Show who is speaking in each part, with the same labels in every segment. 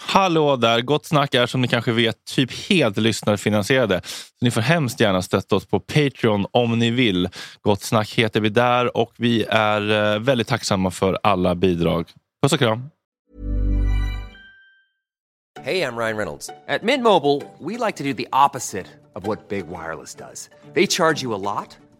Speaker 1: Hallå där! Gott Snack är som ni kanske vet typ helt lyssnarfinansierade. Så ni får hemskt gärna stötta oss på Patreon om ni vill. Gott Snack heter vi där och vi är eh, väldigt tacksamma för alla bidrag. Puss och kram!
Speaker 2: Hey, I'm Ryan Reynolds. At Mint Mobile, we like to do the opposite of what Big Wireless does. They charge you a lot,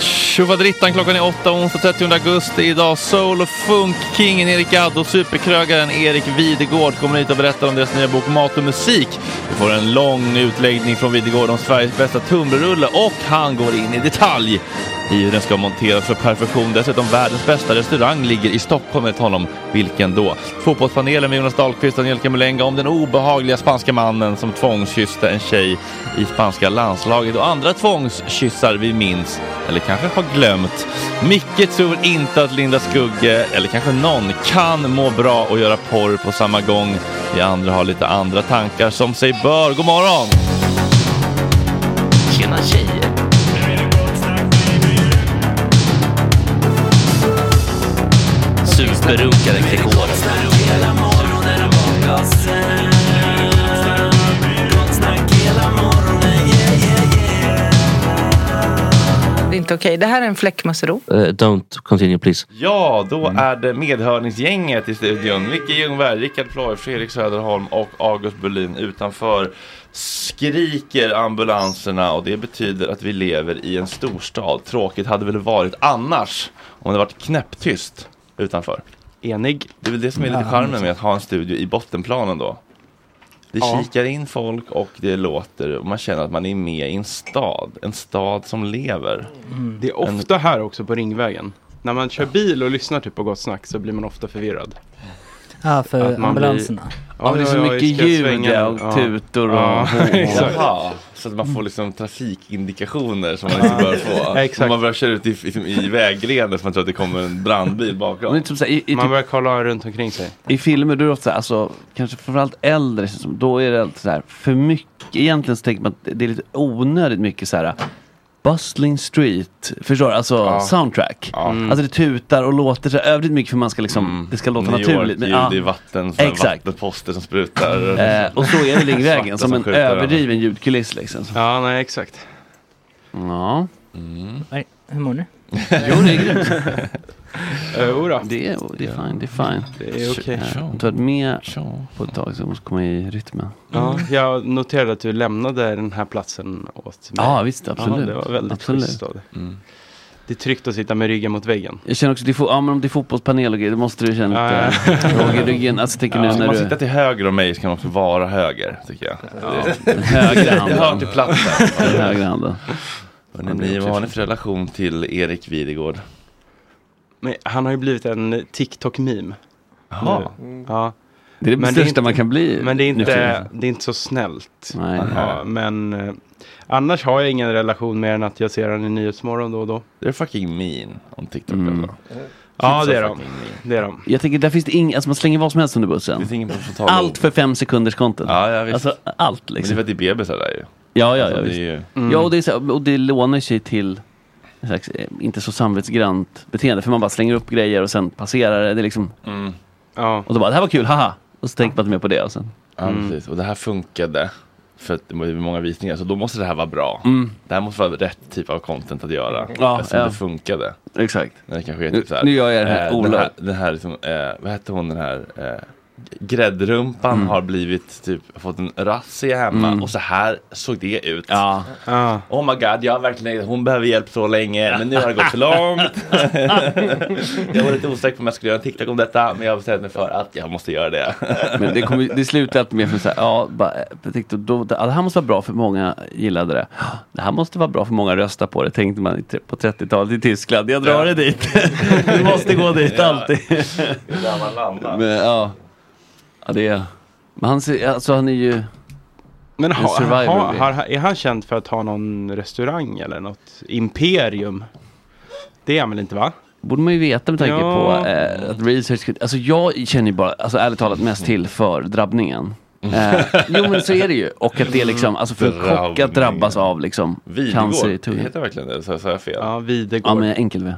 Speaker 1: Tjofaderittan, klockan är åtta onsdag 30 augusti. Idag soul och funk-kingen Erik Gadd och superkrögaren Erik Videgård kommer hit och berättar om deras nya bok Mat och musik. Vi får en lång utläggning från Videgård om Sveriges bästa tunnbrödsrulle och han går in i detalj i hur den ska monteras för perfektion. Dessutom världens bästa restaurang ligger i Stockholm enligt honom. Vilken då? Fotbollspanelen med Jonas Dahlqvist och Angelica Mulenga om den obehagliga spanska mannen som tvångskysste en tjej i spanska landslaget och andra tvångskyssar vi minns, eller kanske har glömt. Micke tror inte att Linda Skugge, eller kanske någon, kan må bra och göra porr på samma gång. Vi andra har lite andra tankar som sig bör. God morgon!
Speaker 3: Tjena tjejer! Superrunkaren Gregor.
Speaker 4: Det är inte okej. Det här är en fläckmussero.
Speaker 3: Uh, don't continue please.
Speaker 1: Ja, då är det medhörningsgänget i studion. Micke Ljungberg, Rickard Ploy, Fredrik Söderholm och August Berlin utanför skriker ambulanserna och det betyder att vi lever i en storstad. Tråkigt hade väl varit annars om det varit knäpptyst utanför.
Speaker 5: Enig.
Speaker 1: Det är väl det som är lite charmen med att ha en studio i bottenplanen då. Det
Speaker 5: Ja.
Speaker 1: kikar in folk och det låter och man känner att man är med i en stad. En stad som lever.
Speaker 6: Mm.
Speaker 5: Det är ofta här också på Ringvägen. När man kör bil och lyssnar typ på Gott Snack så blir man ofta förvirrad.
Speaker 7: Ja, för
Speaker 5: Att man
Speaker 7: ambulanserna.
Speaker 5: Ja,
Speaker 6: men det är så
Speaker 5: ja, ja,
Speaker 6: mycket
Speaker 5: i ska jag
Speaker 6: ljud
Speaker 5: svänga
Speaker 6: ja,
Speaker 5: nu?
Speaker 6: och tutor och- Mm.
Speaker 5: Ja, exakt.
Speaker 1: Jaha, så att man får liksom trafikindikationer som man inte bör få.
Speaker 5: Ja, exakt.
Speaker 1: Om man börjar köra ut i, i, i vägrenen för man tror att det kommer en brandbil
Speaker 6: Men det är
Speaker 1: bakom.
Speaker 6: typ så här, i, i,
Speaker 5: Man
Speaker 6: typ,
Speaker 5: börjar kolla runt omkring sig.
Speaker 6: I filmer då är det ofta så här, alltså, kanske framförallt äldre, känns det som, då är det alltid så här, för mycket, egentligen så tänker man att det är lite onödigt mycket så här eh, Bustling Street, förstår du? Alltså soundtrack.
Speaker 1: Mm.
Speaker 6: Alltså det tutar och låter så här överdrivet mycket för man ska liksom, det ska låta
Speaker 1: New
Speaker 6: naturligt.
Speaker 1: York,
Speaker 6: men,
Speaker 1: ljud
Speaker 6: ja.
Speaker 1: i vatten, såna här
Speaker 6: Exakt.
Speaker 1: vattenposter som sprutar.
Speaker 6: Eh, och så är det Ringvägen,
Speaker 1: Svarta
Speaker 6: som
Speaker 1: som
Speaker 6: en
Speaker 1: skjuter
Speaker 6: överdriven ljudkuliss liksom.
Speaker 5: Ja, nej exakt.
Speaker 6: Ja,
Speaker 1: Mm.
Speaker 7: Nej, Hur mår ni?
Speaker 6: jo det är grymt.
Speaker 5: Eh, Jodå.
Speaker 6: Det är, det är fine, det är fine.
Speaker 5: det är okej.
Speaker 6: Eh, Jag har inte varit med på ett tag så jag måste komma i rytmen.
Speaker 5: Ja, Mm. jag noterade att du lämnade den här platsen åt mig.
Speaker 6: Ja visst,
Speaker 5: Ja,
Speaker 6: absolut.
Speaker 5: det var väldigt
Speaker 6: absolut.
Speaker 5: schysst av dig.
Speaker 1: Mm.
Speaker 5: Det är tryggt att sitta med ryggen mot väggen.
Speaker 6: Jag känner också, det är fo- ja, men om det är fotbollspanel och grejer, då måste du känna lite råg i ryggen. Alltså jag tänker nu
Speaker 1: Om
Speaker 6: när
Speaker 1: man
Speaker 6: du
Speaker 1: sitter till höger om mig så kan man också vara höger, tycker jag. Det-
Speaker 6: högra
Speaker 1: Det hör till
Speaker 6: handen.
Speaker 1: platsen.
Speaker 6: Den högra handen.
Speaker 1: Hörrni, ni, vad har ni för relation till Erik Videgård?
Speaker 5: Men han har ju blivit en TikTok-meme.
Speaker 1: Jaha.
Speaker 5: nu. Ja,
Speaker 6: Det är det
Speaker 5: Men det är
Speaker 6: största
Speaker 5: inte-
Speaker 6: man kan bli.
Speaker 5: men det är,
Speaker 6: nu för
Speaker 5: inte,
Speaker 6: tiden.
Speaker 5: det är inte så snällt.
Speaker 6: Nej.
Speaker 5: Ja, men eh, annars har jag ingen relation mer än att jag ser den i Nyhetsmorgon då och då.
Speaker 1: Det är fucking mean om TikTok.
Speaker 6: Mm.
Speaker 1: Mm.
Speaker 5: Ja, det är de. Det är de.
Speaker 6: Jag tänker, där finns det inget, alltså man slänger vad som helst under
Speaker 1: Det
Speaker 6: bussen.
Speaker 1: finns ingen på att få tag i.
Speaker 6: Allt för fem sekunders content.
Speaker 1: Ja, ja, visst.
Speaker 6: Alltså allt
Speaker 1: Men det är
Speaker 6: liksom.
Speaker 1: för att det är bebisar där ju.
Speaker 6: Ja, ja, ja,
Speaker 1: Alltså, det är
Speaker 6: visst.
Speaker 1: ju...
Speaker 5: Mm.
Speaker 6: Ja, och det, är så, här- och det lånar sig till en slags, eh, inte så samvetsgrant beteende. För man bara slänger upp grejer och sen passerar det. det är liksom,
Speaker 1: Mm.
Speaker 5: Ja,
Speaker 6: och då bara, det här var kul, haha. Och så tänker man inte mer på det. alltså. Mm. Och sen,
Speaker 1: Ja, precis. Och det här funkade. För att det var ju många visningar, så då måste det här vara bra. Det här måste vara rätt typ av content att göra.
Speaker 6: Mm. Ja,
Speaker 1: eftersom
Speaker 6: ja.
Speaker 1: det funkade.
Speaker 6: exakt.
Speaker 1: När det kanske är
Speaker 6: Nu-
Speaker 1: typ så här,
Speaker 6: nu gör jag den här
Speaker 1: eh, den
Speaker 6: Ola.
Speaker 1: här, den här liksom, eh, vad hette hon den här eh, gräddrumpan
Speaker 6: Mm.
Speaker 1: har blivit typ fått en razzia hemma och så här såg det ut. Oh my god, jag har verkligen, hon behöver hjälp så länge men nu har det gått för långt. jag var lite osäker på om jag skulle göra en TikTok om detta men jag bestämde mig för att jag måste göra det.
Speaker 6: Men det, kommer, ju- det slutar alltid med att ja, bara, eh, jag tänkte, då, det, ja, det här måste vara bra för många gillade det. Det här måste vara bra för många rösta på det, tänkte man i tre- på 30-talet i Tyskland. Jag drar det dit. det måste gå dit alltid.
Speaker 1: Det är där man landar.
Speaker 6: Men, ja. ja, det är... Men han, ser- alltså, han är ju...
Speaker 5: Men har,
Speaker 6: survivor
Speaker 5: har,
Speaker 6: blir-
Speaker 5: har, är han känd för att ha någon restaurang eller något imperium? Det är han väl inte va?
Speaker 6: borde man ju veta med tanke
Speaker 5: Ja.
Speaker 6: på eh, att research... Alltså jag känner ju bara, alltså ärligt talat mest till för drabbningen. Eh, jo men så är det ju. Och att det är liksom, alltså för en kock
Speaker 1: Mm. Drabbningen.
Speaker 6: att drabbas av liksom cancer i
Speaker 1: Videgård,
Speaker 6: tungan.
Speaker 1: heter det verkligen det? Så jag säger fel.
Speaker 5: Ja, Videgård.
Speaker 6: Ja men enkel V.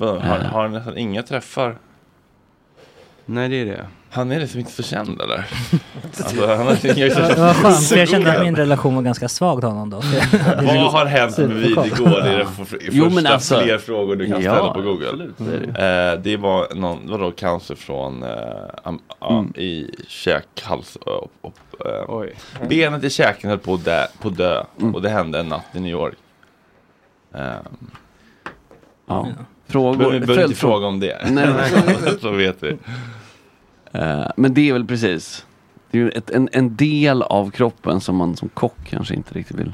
Speaker 1: Har, har nästan inga träffar.
Speaker 5: Nej det är det.
Speaker 1: Han är liksom inte så känd eller? Alltså, han har inga
Speaker 7: Det var skönt, för jag kände att min relation var ganska svag till honom då.
Speaker 1: Vad har hänt med Videgård? Det är den f- f-
Speaker 6: Jo, men
Speaker 1: första
Speaker 6: alltså-
Speaker 1: fler frågor du kan
Speaker 6: Ja,
Speaker 1: ställa på Google.
Speaker 6: absolut, det är
Speaker 1: Eh, det var någon, vadå, cancer från eh, am, ja,
Speaker 6: Mm.
Speaker 1: i käk, hals, upp, upp, eh.
Speaker 5: Oj.
Speaker 1: Benet i käken höll på att dö, på att dö
Speaker 6: Mm.
Speaker 1: och det hände en natt i New York. Eh,
Speaker 6: Ja.
Speaker 1: men vi
Speaker 6: Frågor,
Speaker 1: behöver inte
Speaker 6: följdfrågor.
Speaker 1: fråga om det.
Speaker 6: Nej,
Speaker 1: Så vet vi.
Speaker 6: eh, men det är väl precis. Det är ju ett, en, en del av kroppen som man som kock kanske inte riktigt vill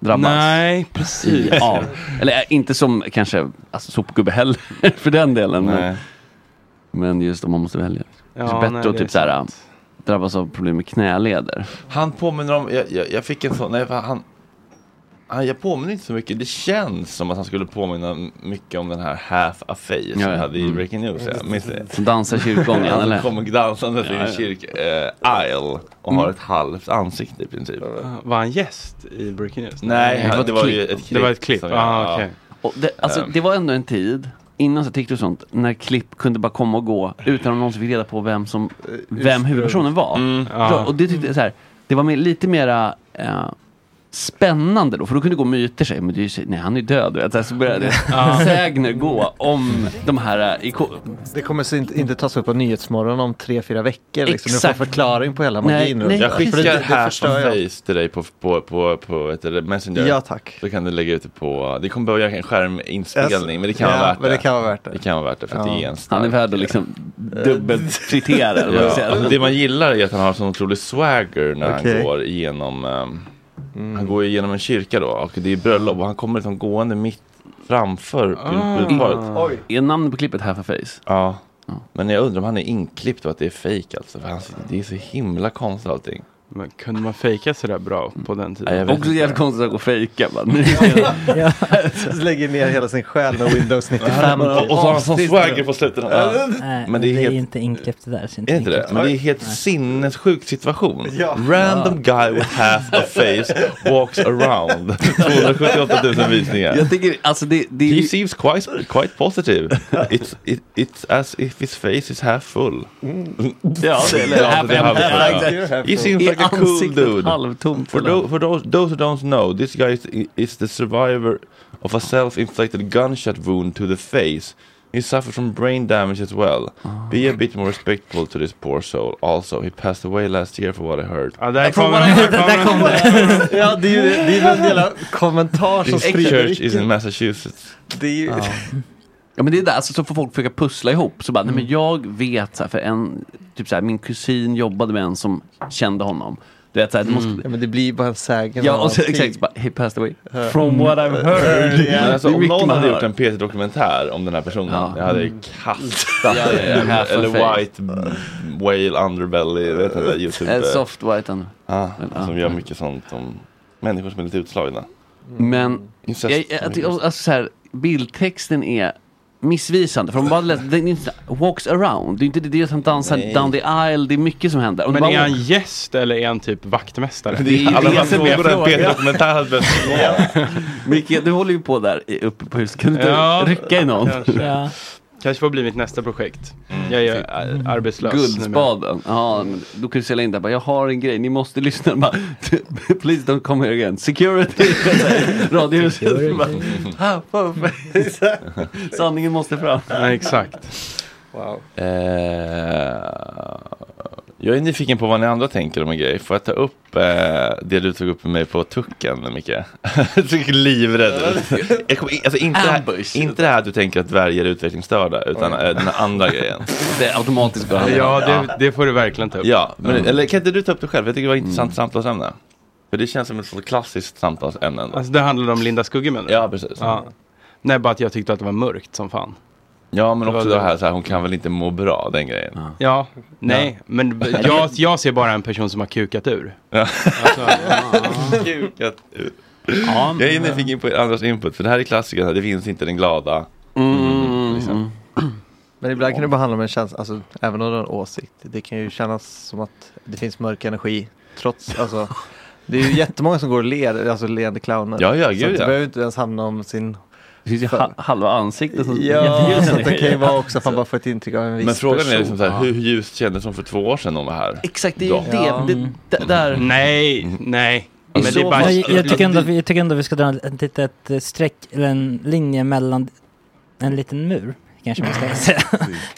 Speaker 6: drabbas.
Speaker 5: Nej precis.
Speaker 6: I, av. Eller eh, inte som kanske alltså, sopgubbe heller för den delen. Men,
Speaker 1: Nej.
Speaker 6: men just om man måste välja.
Speaker 5: Ja,
Speaker 6: det är
Speaker 5: nej,
Speaker 6: bättre att
Speaker 5: det
Speaker 6: typ
Speaker 5: är
Speaker 6: så här,
Speaker 5: sant.
Speaker 6: drabbas av problem med knäleder.
Speaker 1: Han påminner om, jag, jag, jag fick en sån, nej, fan, han, han, jag påminner inte så mycket, det känns som att han skulle påminna mycket om den här Half a Face som
Speaker 6: Ja,
Speaker 1: vi
Speaker 6: ja.
Speaker 1: hade i
Speaker 6: Mm.
Speaker 1: Breaking News. Jag minns det.
Speaker 6: Som dansar i kyrkogången
Speaker 1: Han
Speaker 6: eller?
Speaker 1: som kommer dansandes i
Speaker 6: Ja,
Speaker 1: en
Speaker 6: ja.
Speaker 1: kyrk, eh, aisle och har ett halvt ansikte i princip.
Speaker 5: Var han gäst i Breaking News?
Speaker 1: Nej,
Speaker 6: Det var
Speaker 1: han-
Speaker 6: ett
Speaker 1: det var
Speaker 6: klipp.
Speaker 1: ju ett klipp.
Speaker 5: Det var ett klipp.
Speaker 1: som
Speaker 5: Ah,
Speaker 1: jag- ja.
Speaker 5: okej.
Speaker 6: Och det, alltså, det var ändå en tid, innan så här TikTok och sånt, när klipp kunde bara komma och gå utan att någon fick reda på vem, som, vem huvudpersonen var. Förstår du? Och det tyckte jag så här, det var mer, lite mera eh, spännande då, för då kunde det gå myter, så här, men det är ju, så- nej han är ju död. du vet. Så här, Så började sägner gå om de här, eh, iko-
Speaker 8: Det kommer så inte, inte tas upp på Nyhetsmorgon om tre, fyra veckor. Liksom. Du får
Speaker 6: Exakt.
Speaker 8: förklaring på hela
Speaker 6: Nej,
Speaker 8: magin. runt
Speaker 6: nej,
Speaker 8: det.
Speaker 1: Jag
Speaker 8: För det-
Speaker 1: skickar
Speaker 8: det
Speaker 1: Half a
Speaker 8: förstör jag.
Speaker 1: Face till dig på, på, på, på ett, eller Messenger.
Speaker 8: Ja, tack.
Speaker 1: Så kan du lägga ut det på, det kommer behöva göra en skärminspelning, men det kan
Speaker 8: ja,
Speaker 1: vara värt
Speaker 8: men
Speaker 1: det.
Speaker 8: det kan vara värt det.
Speaker 1: Det kan vara värt det för att det är en
Speaker 6: han är
Speaker 1: stark
Speaker 6: värd att liksom dubbelfritera. eller vad man
Speaker 1: Ja.
Speaker 6: säger.
Speaker 1: Det man gillar är att han har sån otrolig swagger när han
Speaker 8: Okej.
Speaker 1: går igenom ehm,
Speaker 5: Mm.
Speaker 1: Han går ju igenom en kyrka då och det är bröllop och han kommer liksom gående mitt framför
Speaker 5: Ah.
Speaker 1: brudparet.
Speaker 6: Är namnet på klippet Half a Face?
Speaker 1: Ja. Men jag undrar om han är inklippt och att det är fejk alltså. För han, det är så himla konstigt allting.
Speaker 5: Men kunde man fejka sådär bra på den tiden?
Speaker 1: Nej, jag vet
Speaker 6: Också jävligt konstigt att fejka. bara, nu-
Speaker 8: Lägger ner hela sin själ med Windows 95.
Speaker 1: Och, och så har han sån swagger på slutet. Ja.
Speaker 7: Nej,
Speaker 1: Men det är helt-
Speaker 7: inte inklippt det där. så
Speaker 1: Är det inte det?
Speaker 7: inklippt.
Speaker 1: Men det är helt sinnessjuk situation.
Speaker 8: Ja.
Speaker 1: Random guy with half a face walks around. 278 000 visningar.
Speaker 6: Jag tycker, alltså det, det är
Speaker 1: He
Speaker 6: ju-
Speaker 1: seems quite quite positive. It's it, it's as if his face is half full.
Speaker 6: Ja, det, eller,
Speaker 1: Ja,
Speaker 6: half
Speaker 1: det är half
Speaker 6: empty.
Speaker 1: empty.
Speaker 6: Exakt.
Speaker 1: He seems
Speaker 6: I
Speaker 1: like a cool
Speaker 6: ansiktet
Speaker 1: dude.
Speaker 6: halvtomt.
Speaker 1: For, tho- for those, those who don't know, this guy is, is the survivor of a self-inflicted gunshot wound to the face. He suffered from brain damage as well. Be a bit more respectful to this poor soul. Also, he passed away last year for what I heard.
Speaker 5: Ja, där kom den.
Speaker 7: Där kom det.
Speaker 8: Ja, det är ju det, det är någon jävla kommentar som
Speaker 1: This
Speaker 8: sprider
Speaker 1: church is
Speaker 8: rycket.
Speaker 1: in Massachusetts.
Speaker 8: Det är ju,
Speaker 6: Ja, men det är där, alltså, så får folk försöka pussla ihop. Så bara, nej,
Speaker 5: Mm.
Speaker 6: men jag vet, så här, för en, typ så här, min kusin jobbade med en som kände honom. Du vet, så här, det måste,
Speaker 5: Mm.
Speaker 8: ja, men det blir ju bara en sägen.
Speaker 6: ja,
Speaker 8: av
Speaker 6: och så,
Speaker 8: allting.
Speaker 5: typ.
Speaker 6: exakt, så bara, he passed away. From what I've heard.
Speaker 1: Men alltså,
Speaker 6: Mm. Det är
Speaker 1: om någon
Speaker 6: mycket man
Speaker 1: hade
Speaker 6: hör.
Speaker 1: gjort en PT-dokumentär om den här personen,
Speaker 6: Ja.
Speaker 1: jag hade kastat
Speaker 6: Ja, ja, ja.
Speaker 1: en,
Speaker 6: Half a
Speaker 1: eller
Speaker 6: face.
Speaker 1: White Whale Underbelly, vet du, där
Speaker 6: Eh,
Speaker 1: YouTube,
Speaker 6: soft white and...
Speaker 1: ah,
Speaker 6: ja.
Speaker 1: som gör mycket sånt om människor som är lite utslagna.
Speaker 6: Men
Speaker 1: Incest.
Speaker 6: jag, jag, jag, alltså, så här, bildtexten är missvisande. För om man bara läser, den är inte så här, walks around. Det är inte det, det är att han dansar
Speaker 1: Nej.
Speaker 6: down the aisle. Det är mycket som händer. Om
Speaker 5: Men
Speaker 6: det bara
Speaker 5: är han gäst eller är han typ vaktmästare?
Speaker 6: Det är ju
Speaker 1: Alla de
Speaker 6: det
Speaker 1: här
Speaker 6: som är
Speaker 1: frågorna en
Speaker 6: frågan.
Speaker 1: PT-dokumentär hade behövt
Speaker 6: Micke, du håller ju på där i- uppe på huset. Kan du inte
Speaker 5: Ja.
Speaker 6: rycka i någon?
Speaker 7: Ja.
Speaker 5: Kanske får bli mitt nästa projekt. Jag är ju ar- arbetslös. numera.
Speaker 6: typ Guldspaden. Ja, men då kan du sälja in det. Bara, Jag har en grej, ni måste lyssna. Bara, Please don't come here again. Security. Radiohuset. Bara, "Ah, fan, fan." Sanningen måste fram.
Speaker 5: Ja, exakt.
Speaker 8: Wow.
Speaker 1: Eh, jag är nyfiken på vad ni andra tänker om en grej. Får jag ta upp eh, det du tog upp med mig på tucken, Micke? Du ser livrädd ut. Jag kommer in- Alltså, inte, det här, inte det här att du tänker att dvärgar är utvecklingsstörda, utan eh, den här andra grejen.
Speaker 6: Det är automatiskt går
Speaker 5: Ja, det, det får du verkligen ta upp.
Speaker 1: Ja, men,
Speaker 5: Mm.
Speaker 1: eller kan inte du ta upp det själv? Jag tycker det var ett intressant samtalsämne. För det känns som ett sånt klassiskt samtalsämne. ändå.
Speaker 5: Alltså det handlade om Linda Skugge menar du?
Speaker 1: Ja, precis.
Speaker 5: Ja. Nej, bara att jag tyckte att det var mörkt som fan.
Speaker 1: Ja, men
Speaker 5: Det
Speaker 1: också
Speaker 5: var
Speaker 1: det här, så här, hon kan väl inte må bra, den grejen.
Speaker 5: Ja, nej, men b- jag, jag ser bara en person som har kukat ur.
Speaker 6: Alltså,
Speaker 1: Kukat ur. Jag är nyfiken på andras input, för det här är klassikern, det finns inte den glada.
Speaker 5: Mm,
Speaker 1: Liksom.
Speaker 8: Men ibland kan det bara handla om en känsla, alltså även om det är en åsikt. Det kan ju kännas som att det finns mörk energi trots, alltså. Det är ju jättemånga som går och ler, alltså leende clowner.
Speaker 1: Ja, ja, gud,
Speaker 8: så att det
Speaker 1: ja.
Speaker 8: behöver inte ens handla om sin...
Speaker 6: Det finns ju ha- halva ansiktet som
Speaker 8: Ja, så att det kan ju vara också att man bara får ett intryck av en viss
Speaker 5: mm.
Speaker 1: Men frågan
Speaker 8: person.
Speaker 1: är liksom så här, hur ljust kändes hon för två år sedan hon var här?
Speaker 6: Exakt, det är ju
Speaker 8: Ja.
Speaker 6: det. det, det där.
Speaker 5: Mm. Nej,
Speaker 1: Mm.
Speaker 5: nej. Men det
Speaker 6: så
Speaker 5: är bara...
Speaker 6: fall-
Speaker 7: Jag, jag, tycker ändå, att vi- jag tycker ändå att vi ska dra ett litet eh, streck, eller en linje mellan en liten mur, kanske man ska säga.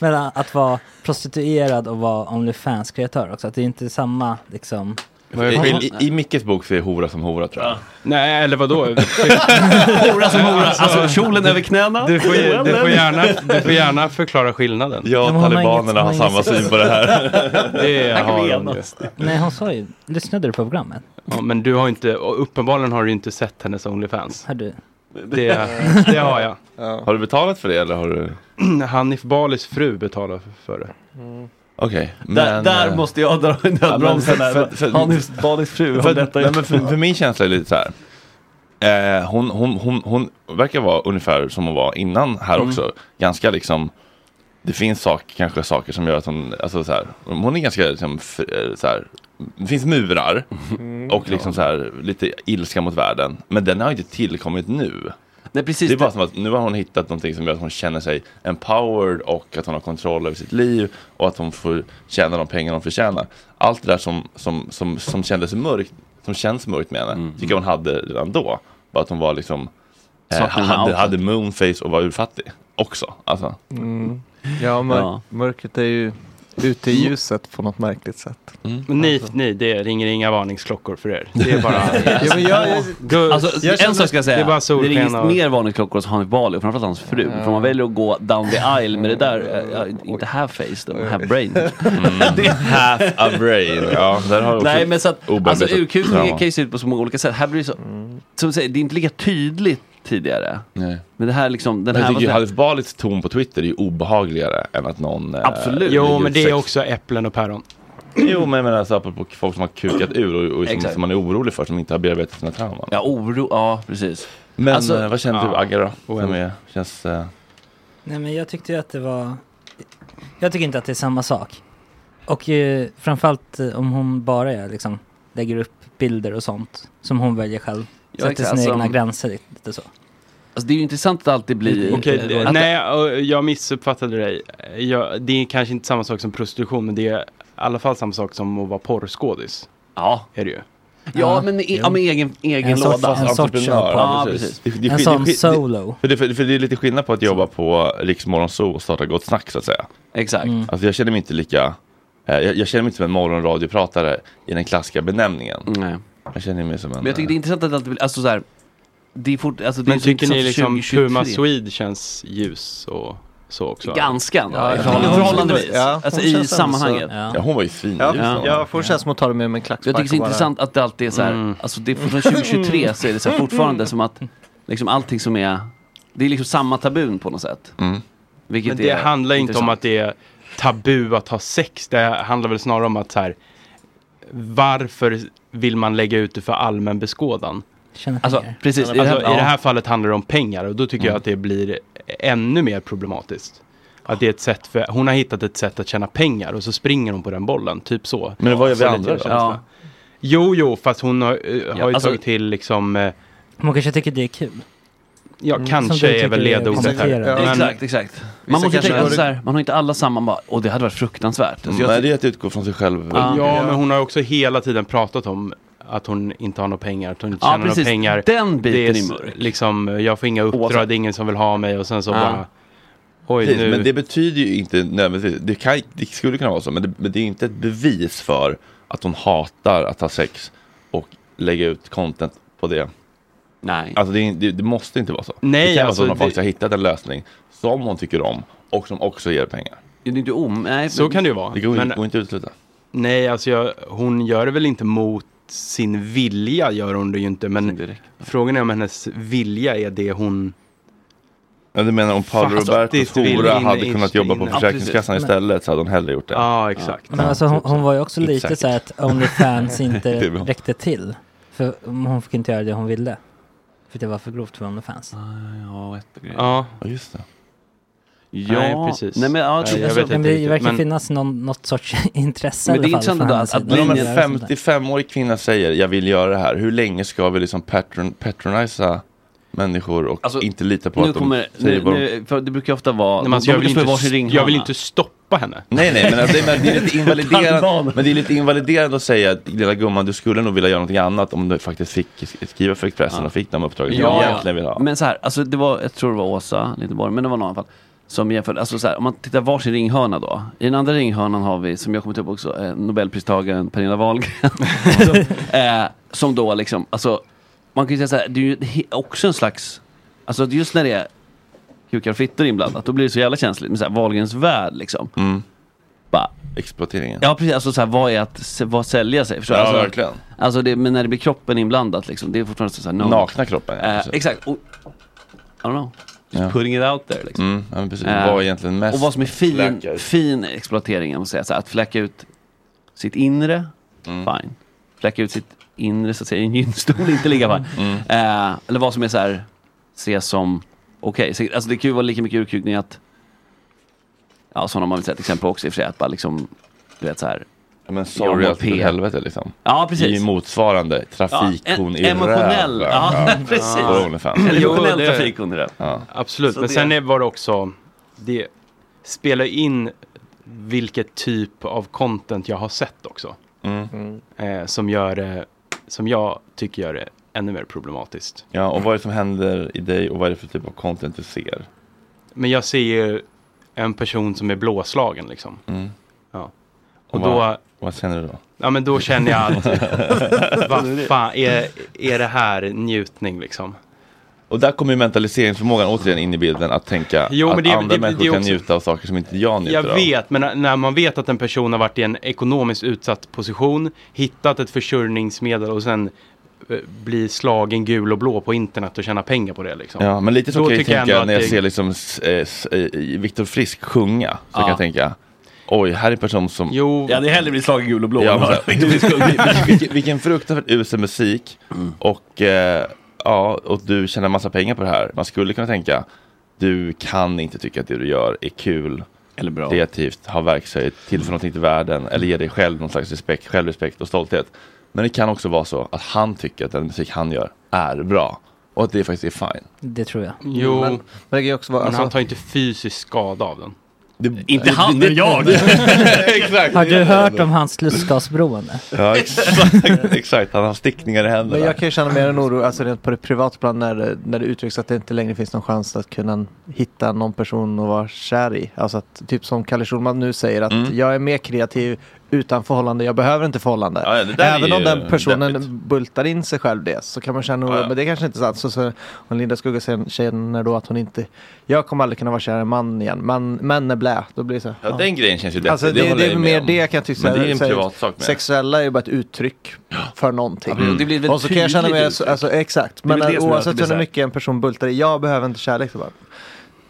Speaker 7: mellan att vara prostituerad och vara Onlyfans-kreatör också. Att det är inte samma liksom...
Speaker 1: I, i, i Mickes bok så är hora som hora tror jag.
Speaker 5: Nej, eller vadå?
Speaker 6: Hora som hora. Alltså kjolen över knäna.
Speaker 5: Du får, ju- du, får gärna, du får gärna förklara skillnaden.
Speaker 1: Jag
Speaker 7: Men
Speaker 1: och
Speaker 7: hon har
Speaker 1: talibanerna
Speaker 7: inget-
Speaker 1: har
Speaker 7: hon har
Speaker 1: samma
Speaker 7: inget
Speaker 1: syn på det här.
Speaker 5: Det har hon ju.
Speaker 7: Nej, hon sa ju... Lyssnade du på programmet?
Speaker 5: Ja, men du har inte, och uppenbarligen har du inte sett hennes Onlyfans.
Speaker 7: Har du?
Speaker 5: Det, det har jag.
Speaker 1: Har du betalat för det eller har du?
Speaker 5: Hanif Balis fru betalar för det.
Speaker 1: Okej.
Speaker 6: Där, där
Speaker 1: eh,
Speaker 6: måste jag dra
Speaker 1: men
Speaker 6: nödbromsen.
Speaker 1: för- för- för-
Speaker 6: där. Hanifs Balis fru
Speaker 1: För,
Speaker 6: har detta
Speaker 1: nej, men för, för min känsla är lite så här. Eh, hon, hon, hon, hon verkar vara ungefär som hon var innan här
Speaker 6: Mm.
Speaker 1: också. Ganska liksom. Det finns sak, kanske saker som gör att hon, alltså så här, hon är ganska liksom, f- eh, så här, det finns murar och liksom så här, lite ilska mot världen. Men den har inte tillkommit nu.
Speaker 6: Nej precis.
Speaker 1: Det är bara som att nu har hon hittat någonting som gör att hon känner sig empowered och att hon har kontroll över sitt liv och att hon får tjäna de pengar hon förtjänar. Allt det där som, som, som, som kändes mörkt, som känns mörkt med henne,
Speaker 6: Mm.
Speaker 1: tycker jag hon hade redan då. Bara att hon var liksom, eh,
Speaker 6: Saknade
Speaker 1: hade,
Speaker 6: outlet.
Speaker 1: hade moonface och var urfattig också. Alltså.
Speaker 8: Mm. Ja, mörk,
Speaker 6: Ja.
Speaker 8: mörkret är ju ute i ljuset på något märkligt sätt.
Speaker 5: Men ni, ni, det ringer inga varningsklockor för er. Det är bara...
Speaker 8: Ja, men jag, jag,
Speaker 5: Go-
Speaker 6: Alltså,
Speaker 8: Jag känner-
Speaker 6: en sak ska jag säga.
Speaker 5: det är bara solsken
Speaker 6: det rings
Speaker 5: och-
Speaker 6: mer varningsklockor hos Hanif Bali och framförallt hans fru. För man väljer att gå down the aisle med det där, eh, ja, inte half face, utan half brain.
Speaker 1: Half a brain. Ja, där har du också
Speaker 6: Nej men så att, alltså
Speaker 1: obearbetat
Speaker 6: urkukning
Speaker 1: trauma.
Speaker 6: kan ju se ut på så många olika sätt. Här blir det så, som du säger, det är inte lika tydligt tidigare.
Speaker 1: Nej.
Speaker 6: Men det här liksom, den
Speaker 1: Men jag
Speaker 6: här...
Speaker 1: tycker ju
Speaker 6: var-
Speaker 1: Halif Balis ton på Twitter är ju obehagligare än att någon... eh,
Speaker 6: Absolut.
Speaker 5: Jo, men det är
Speaker 1: sex-
Speaker 5: också äpplen och päron.
Speaker 1: Jo, men jag menar alltså, apropå folk som har kukat ur och, och som,
Speaker 6: Exakt.
Speaker 1: som man är orolig för, som inte har bearbetat sina trauman.
Speaker 6: Ja, oro, ja precis.
Speaker 1: Men
Speaker 6: Alltså,
Speaker 1: eh, vad känner du
Speaker 5: ja.
Speaker 1: Agge då?
Speaker 5: Oh,
Speaker 1: Som
Speaker 5: ja.
Speaker 1: är, känns, eh,
Speaker 7: Nej men jag tyckte ju att det var... Jag tycker inte att det är samma sak. Och eh, framförallt eh, om hon bara är, liksom, lägger upp bilder och sånt som hon väljer själv.
Speaker 6: Ja,
Speaker 7: Sätter
Speaker 6: exakt,
Speaker 7: sina
Speaker 6: alltså-
Speaker 7: egna gränser lite så.
Speaker 6: Alltså det är ju intressant att det alltid blir...
Speaker 5: Okej, det-
Speaker 6: att,
Speaker 5: nej, och jag missuppfattade dig. Jag, det är kanske inte samma sak som prostitution, men det är i alla fall samma sak som att vara porrskådis.
Speaker 6: Ja,
Speaker 5: Är det ju.
Speaker 6: ja men i- ja, med egen, egen
Speaker 7: En sorts-
Speaker 6: låda.
Speaker 7: en sorts
Speaker 1: entreprenör.
Speaker 7: köpa.
Speaker 6: Ja, precis.
Speaker 1: Det, det,
Speaker 7: En
Speaker 1: det-
Speaker 7: sån
Speaker 1: det-
Speaker 7: solo.
Speaker 1: För det, för, för det är lite skillnad på att jobba på Riksmorgon Zoo och starta Gott Snack så att säga.
Speaker 6: Exakt.
Speaker 7: Mm.
Speaker 1: Alltså jag känner mig inte lika, eh, jag, jag känner mig inte som en morgonradiopratare i den klassiska benämningen.
Speaker 6: Nej.
Speaker 1: Jag känner mig som en...
Speaker 6: Men jag tycker det är intressant att det alltid blir, alltså såhär, det är fort, alltså det är
Speaker 5: Men
Speaker 6: så
Speaker 5: tycker ni
Speaker 6: intressant
Speaker 5: liksom
Speaker 6: 2023.
Speaker 5: Puma Swede känns ljus och så också?
Speaker 6: Ganska, ja,
Speaker 8: ja.
Speaker 6: förhållandevis.
Speaker 8: Ja,
Speaker 6: alltså
Speaker 8: hon
Speaker 6: i
Speaker 8: känns ändå
Speaker 6: sammanhanget.
Speaker 7: Ja.
Speaker 1: eh, ja, hon var ju svinljus.
Speaker 8: jag,
Speaker 1: hon.
Speaker 8: jag får en känsla som att ta det med en klackspark.
Speaker 6: Jag tycker det är
Speaker 8: och bara- Mm.
Speaker 6: intressant att det alltid är såhär, alltså det är från
Speaker 5: Mm.
Speaker 6: 2023 så är det så här, fortfarande som att liksom allting som är, det är liksom samma tabun på något sätt.
Speaker 1: Mm.
Speaker 6: Vilket
Speaker 5: Men det
Speaker 6: är
Speaker 5: handlar inte om
Speaker 6: intressant.
Speaker 5: att det är tabu att ha sex. Det handlar väl snarare om att så här, varför vill man lägga ut det för allmän beskådan?
Speaker 7: Tjäna
Speaker 6: Alltså
Speaker 7: pengar.
Speaker 6: precis, i det
Speaker 5: Alltså,
Speaker 6: här,
Speaker 5: I det
Speaker 6: ja. Mm.
Speaker 5: här fallet handlar det om pengar och då tycker jag att det blir ännu mer problematiskt. Att det är ett sätt för, hon har hittat ett sätt att tjäna pengar och så springer hon på den bollen, typ så.
Speaker 1: Men vad gör vi
Speaker 5: Så lite
Speaker 1: andra då?
Speaker 5: känsla.
Speaker 6: Ja.
Speaker 5: Jo, jo, fast hon har, eh, har ju
Speaker 6: alltså-
Speaker 5: tagit till liksom, eh,
Speaker 7: Man kanske tycker det är kul. Mm,
Speaker 5: ja
Speaker 7: Som du
Speaker 5: kanske är
Speaker 7: tycker
Speaker 5: väl
Speaker 7: är
Speaker 5: ledordet här.
Speaker 7: kommenterande.
Speaker 5: Men-
Speaker 6: Exakt, exakt. Man måste
Speaker 8: kanske
Speaker 6: tänka alltså
Speaker 8: har-
Speaker 6: så här, man har inte alla samma, man bara, åh det hade varit fruktansvärt. Alltså, jag,
Speaker 1: Nej, det är att utgå från sig själv.
Speaker 6: Ja.
Speaker 5: Mm. Ja, men hon har också hela tiden pratat om att hon inte har några pengar, att hon inte
Speaker 6: Ja,
Speaker 5: tjänar några
Speaker 6: precis.
Speaker 5: pengar.
Speaker 6: Den biten
Speaker 5: det är
Speaker 6: är
Speaker 5: s-
Speaker 6: mörk.
Speaker 5: liksom, jag får inga uppdrag,
Speaker 6: Oavsett.
Speaker 5: det är ingen som vill ha mig och sen så
Speaker 6: Ja.
Speaker 5: bara Oj,
Speaker 1: Alltså Precis,
Speaker 5: nu.
Speaker 1: men det betyder ju inte nödvändigtvis, det, kan, det skulle kunna vara så, men det, men det är inte ett bevis för att hon hatar att ha sex och lägga ut content på det.
Speaker 6: Nej.
Speaker 1: Alltså det, är- det, det måste inte vara så.
Speaker 5: Nej,
Speaker 1: det kan
Speaker 5: alltså
Speaker 1: vara så
Speaker 5: det-
Speaker 1: att hon faktiskt har hittat en lösning som hon tycker om och som också ger pengar.
Speaker 6: Det är inte om... Nej,
Speaker 5: Så kan det ju vara.
Speaker 1: Det går,
Speaker 5: Men-
Speaker 1: går inte att utesluta.
Speaker 5: Nej, alltså jag, hon gör det väl inte mot sin vilja, gör hon det ju inte. Men
Speaker 6: Direkt.
Speaker 5: frågan är om hennes vilja är det hon...
Speaker 1: Ja, du menar om Paolo
Speaker 6: alltså,
Speaker 5: Fast
Speaker 1: Robertos
Speaker 5: det vill
Speaker 1: hora
Speaker 5: in-
Speaker 1: hade
Speaker 5: in-
Speaker 1: kunnat jobba på
Speaker 5: in- ja,
Speaker 1: Försäkringskassan
Speaker 7: precis.
Speaker 1: istället så hade hon hellre gjort det.
Speaker 5: Ja, exakt.
Speaker 7: Men alltså hon, hon var ju också lite
Speaker 1: Exakt.
Speaker 7: så här att Onlyfans
Speaker 1: Det
Speaker 7: inte
Speaker 1: är bra.
Speaker 7: räckte till. För hon fick inte göra det hon ville. För det var för grovt för
Speaker 6: Ah,
Speaker 7: Onlyfans.
Speaker 6: Ja, ett grej.
Speaker 5: Ja,
Speaker 1: Ja, just det.
Speaker 6: Ja,
Speaker 5: Nej, precis.
Speaker 6: Nej, men, ja,
Speaker 5: Nej, jag
Speaker 6: alltså,
Speaker 5: vet
Speaker 7: Men
Speaker 5: inte
Speaker 7: det
Speaker 5: riktigt,
Speaker 7: verkar
Speaker 5: men-
Speaker 7: finnas någon, något sorts intresse
Speaker 6: Men det är
Speaker 7: i alla fall
Speaker 6: intressant
Speaker 7: från
Speaker 6: ändå
Speaker 7: hans
Speaker 6: att-
Speaker 7: sida.
Speaker 1: Men om en
Speaker 6: Linjer
Speaker 7: Göra sånt där.
Speaker 1: 55-årig kvinna säger jag vill göra det här, hur länge ska vi liksom patron, patronisa människor och
Speaker 6: Alltså,
Speaker 1: inte lita på
Speaker 6: nu
Speaker 1: att de
Speaker 6: kommer...
Speaker 1: säger
Speaker 6: Nu,
Speaker 1: vad de...
Speaker 6: nu, för det brukar ofta vara...
Speaker 5: Nej, men alltså, jag, vill
Speaker 6: brukar få varsin
Speaker 5: inte,
Speaker 6: ringhörna.
Speaker 5: jag vill inte stoppa henne.
Speaker 1: Nej, nej, men, alltså, det, men det är lite invaliderande, men det är lite invaliderande att säga att lilla gumman, du skulle nog vilja göra någonting annat om du faktiskt fick skriva för Expressen
Speaker 6: Ja.
Speaker 1: och fick de uppdragen som
Speaker 6: Ja,
Speaker 1: du
Speaker 6: ja.
Speaker 1: egentligen vill ha.
Speaker 6: Men så här, alltså det var, jag tror det var Åsa Linderborg, men det var någon i alla fall. Som jämförde, alltså så här, om man tittar varsin ringhörna då. I den andra ringhörnan har vi, som jag kommit upp också, eh, Nobelpristagaren Pernilla Wahlgren. som, eh, som då liksom, alltså man kan ju säga så här, det är ju he- också en slags, alltså just när det är kukar och fittor inblandat, då blir det så jävla känsligt. Men så här, Wahlgrens värld liksom.
Speaker 1: Mm.
Speaker 6: Bara,
Speaker 1: Exploateringen.
Speaker 6: ja precis, alltså så här, vad är att, s- vad sälja sig? Förstår du?
Speaker 1: Ja,
Speaker 6: alltså,
Speaker 1: verkligen.
Speaker 6: Alltså det, men när det blir kroppen inblandat liksom, det är fortfarande så här, no.
Speaker 1: Nakna kroppen. ja,
Speaker 6: Eh,
Speaker 1: precis.
Speaker 6: exakt. Och, I don't know. Just
Speaker 1: Ja.
Speaker 6: putting it out there. Liksom.
Speaker 1: Mm, ja, men precis.
Speaker 6: Eh,
Speaker 1: Vad är egentligen mest
Speaker 6: Och vad som är fin,
Speaker 1: läkar.
Speaker 6: fin exploatering, om man säger så här, att fläcka ut sitt inre,
Speaker 1: Mm.
Speaker 6: fine. Fläcka ut sitt inre, så att säga, i en gynstol, inte ligga fine.
Speaker 1: Mm.
Speaker 6: Eh, eller vad som är så här, ses som okej. Så, Alltså det kan ju vara lika mycket urkukning att, ja sådana man vill säga ett exempel på också i och för sig, att bara liksom, du vet så här,
Speaker 1: Ja, men sorry
Speaker 6: Ja,
Speaker 1: att för
Speaker 6: P.
Speaker 1: helvete liksom.
Speaker 6: ja
Speaker 1: Det är ju
Speaker 6: precis.
Speaker 1: motsvarande trafikhon i
Speaker 6: emotionell,
Speaker 1: röven.
Speaker 6: ja,
Speaker 1: Ja.
Speaker 6: precis.
Speaker 1: På Onlyfans.
Speaker 6: Eller
Speaker 5: Jo,
Speaker 6: emotionell
Speaker 5: det-
Speaker 6: trafik under det.
Speaker 1: Ja.
Speaker 5: Absolut,
Speaker 6: Så
Speaker 5: men
Speaker 6: det-
Speaker 5: sen är- var det också, det spelar in vilket typ av content jag har sett också.
Speaker 1: Mm.
Speaker 5: Eh, som gör det, som jag tycker gör det ännu mer problematiskt.
Speaker 1: ja, och vad är det som händer i dig och vad är det för typ av content du ser?
Speaker 5: Men jag ser ju en person som är blåslagen liksom.
Speaker 1: Mm.
Speaker 5: Ja. Och
Speaker 1: Wow.
Speaker 5: då,
Speaker 1: Vad känner du då?
Speaker 5: ja men då känner jag att, vad fan, är, är det här njutning liksom?
Speaker 1: Och där kommer ju mentaliseringsförmågan återigen in i bilden att tänka
Speaker 5: Jo, men
Speaker 1: att
Speaker 5: det-
Speaker 1: andra
Speaker 5: det-
Speaker 1: människor
Speaker 5: det är
Speaker 1: kan
Speaker 5: också-
Speaker 1: njuta av saker som inte jag njuter
Speaker 5: Jag
Speaker 1: av.
Speaker 5: vet, men när- när man vet att en person har varit i en ekonomiskt utsatt position, hittat ett försörjningsmedel och sen eh, blir slagen gul och blå på internet och tjäna pengar på det liksom.
Speaker 1: Ja, men lite så
Speaker 5: Då
Speaker 1: kan jag ju
Speaker 5: tycker jag
Speaker 1: tänka
Speaker 5: ändå att
Speaker 1: när jag
Speaker 5: det-
Speaker 1: ser liksom s- eh, s- eh, Viktor Frisk sjunga. Så
Speaker 6: Ja.
Speaker 1: kan jag tänka, oj, här är en person som...
Speaker 5: Jo,
Speaker 6: Jag hade hellre blivit slagen gul och blå.
Speaker 1: Ja, men så här, vilken, vilken, vilken fruktansvärt usel musik
Speaker 6: Mm.
Speaker 1: och, eh, ja, och du tjänar massa pengar på det här. Man skulle kunna tänka, du kan inte tycka att det du gör är kul,
Speaker 6: Eller bra.
Speaker 1: kreativt, har verkshöjd, tillför någonting till världen eller ger dig själv någon slags respekt, självrespekt och stolthet. Men det kan också vara så att han tycker att den musik han gör är bra och att det faktiskt är fine.
Speaker 7: Det tror jag.
Speaker 5: jo
Speaker 8: Men,
Speaker 5: men,
Speaker 8: men det kan ju också vara,
Speaker 5: han
Speaker 8: alltså,
Speaker 5: tar inte fysisk skada av den.
Speaker 6: Inte han, men jag!
Speaker 1: Exakt!
Speaker 7: Har du hört om hans lustgasberoende?
Speaker 1: Ja, exakt, exakt. Han har stickningar i
Speaker 8: men
Speaker 1: händerna.
Speaker 8: jag kan ju känna mer en oro, alltså rent på det privata plan när, det- när det uttrycks att det inte längre finns någon chans att kunna hitta någon person att vara kär i. Alltså att, typ som Kalle Schulman nu säger att
Speaker 1: Mm.
Speaker 8: jag är mer kreativ utan förhållande, jag behöver inte förhållande.
Speaker 1: Ja, ja, det där är
Speaker 8: Även
Speaker 1: ju
Speaker 8: om den personen
Speaker 1: deppigt.
Speaker 8: bultar in sig själv det så kan man känna oro,
Speaker 1: Ja, ja.
Speaker 8: men det kanske inte är sant. Så, så, och Linda Skugga säger- känner då att hon inte, jag kommer aldrig kunna vara kär i en man igen, men män är blä. Då blir det så här,
Speaker 1: Ja, den grejen känns ju deppig.
Speaker 8: Alltså det, det,
Speaker 1: håller jag
Speaker 8: är
Speaker 1: ju
Speaker 8: mer
Speaker 1: om.
Speaker 8: det kan jag tycka.
Speaker 1: Men det är
Speaker 8: så-
Speaker 1: en
Speaker 8: så här,
Speaker 1: privat sak med.
Speaker 8: Sexuella är ju bara ett uttryck för någonting.
Speaker 6: Mm. Det blir väl
Speaker 8: Och så kan jag känna mig,
Speaker 6: tydligt
Speaker 8: så- alltså, exakt. Men
Speaker 6: väl det som gör att det
Speaker 8: oavsett
Speaker 6: blir så
Speaker 8: hur
Speaker 6: här.
Speaker 8: mycket en person bultar i, jag behöver inte kärlek. Så bara,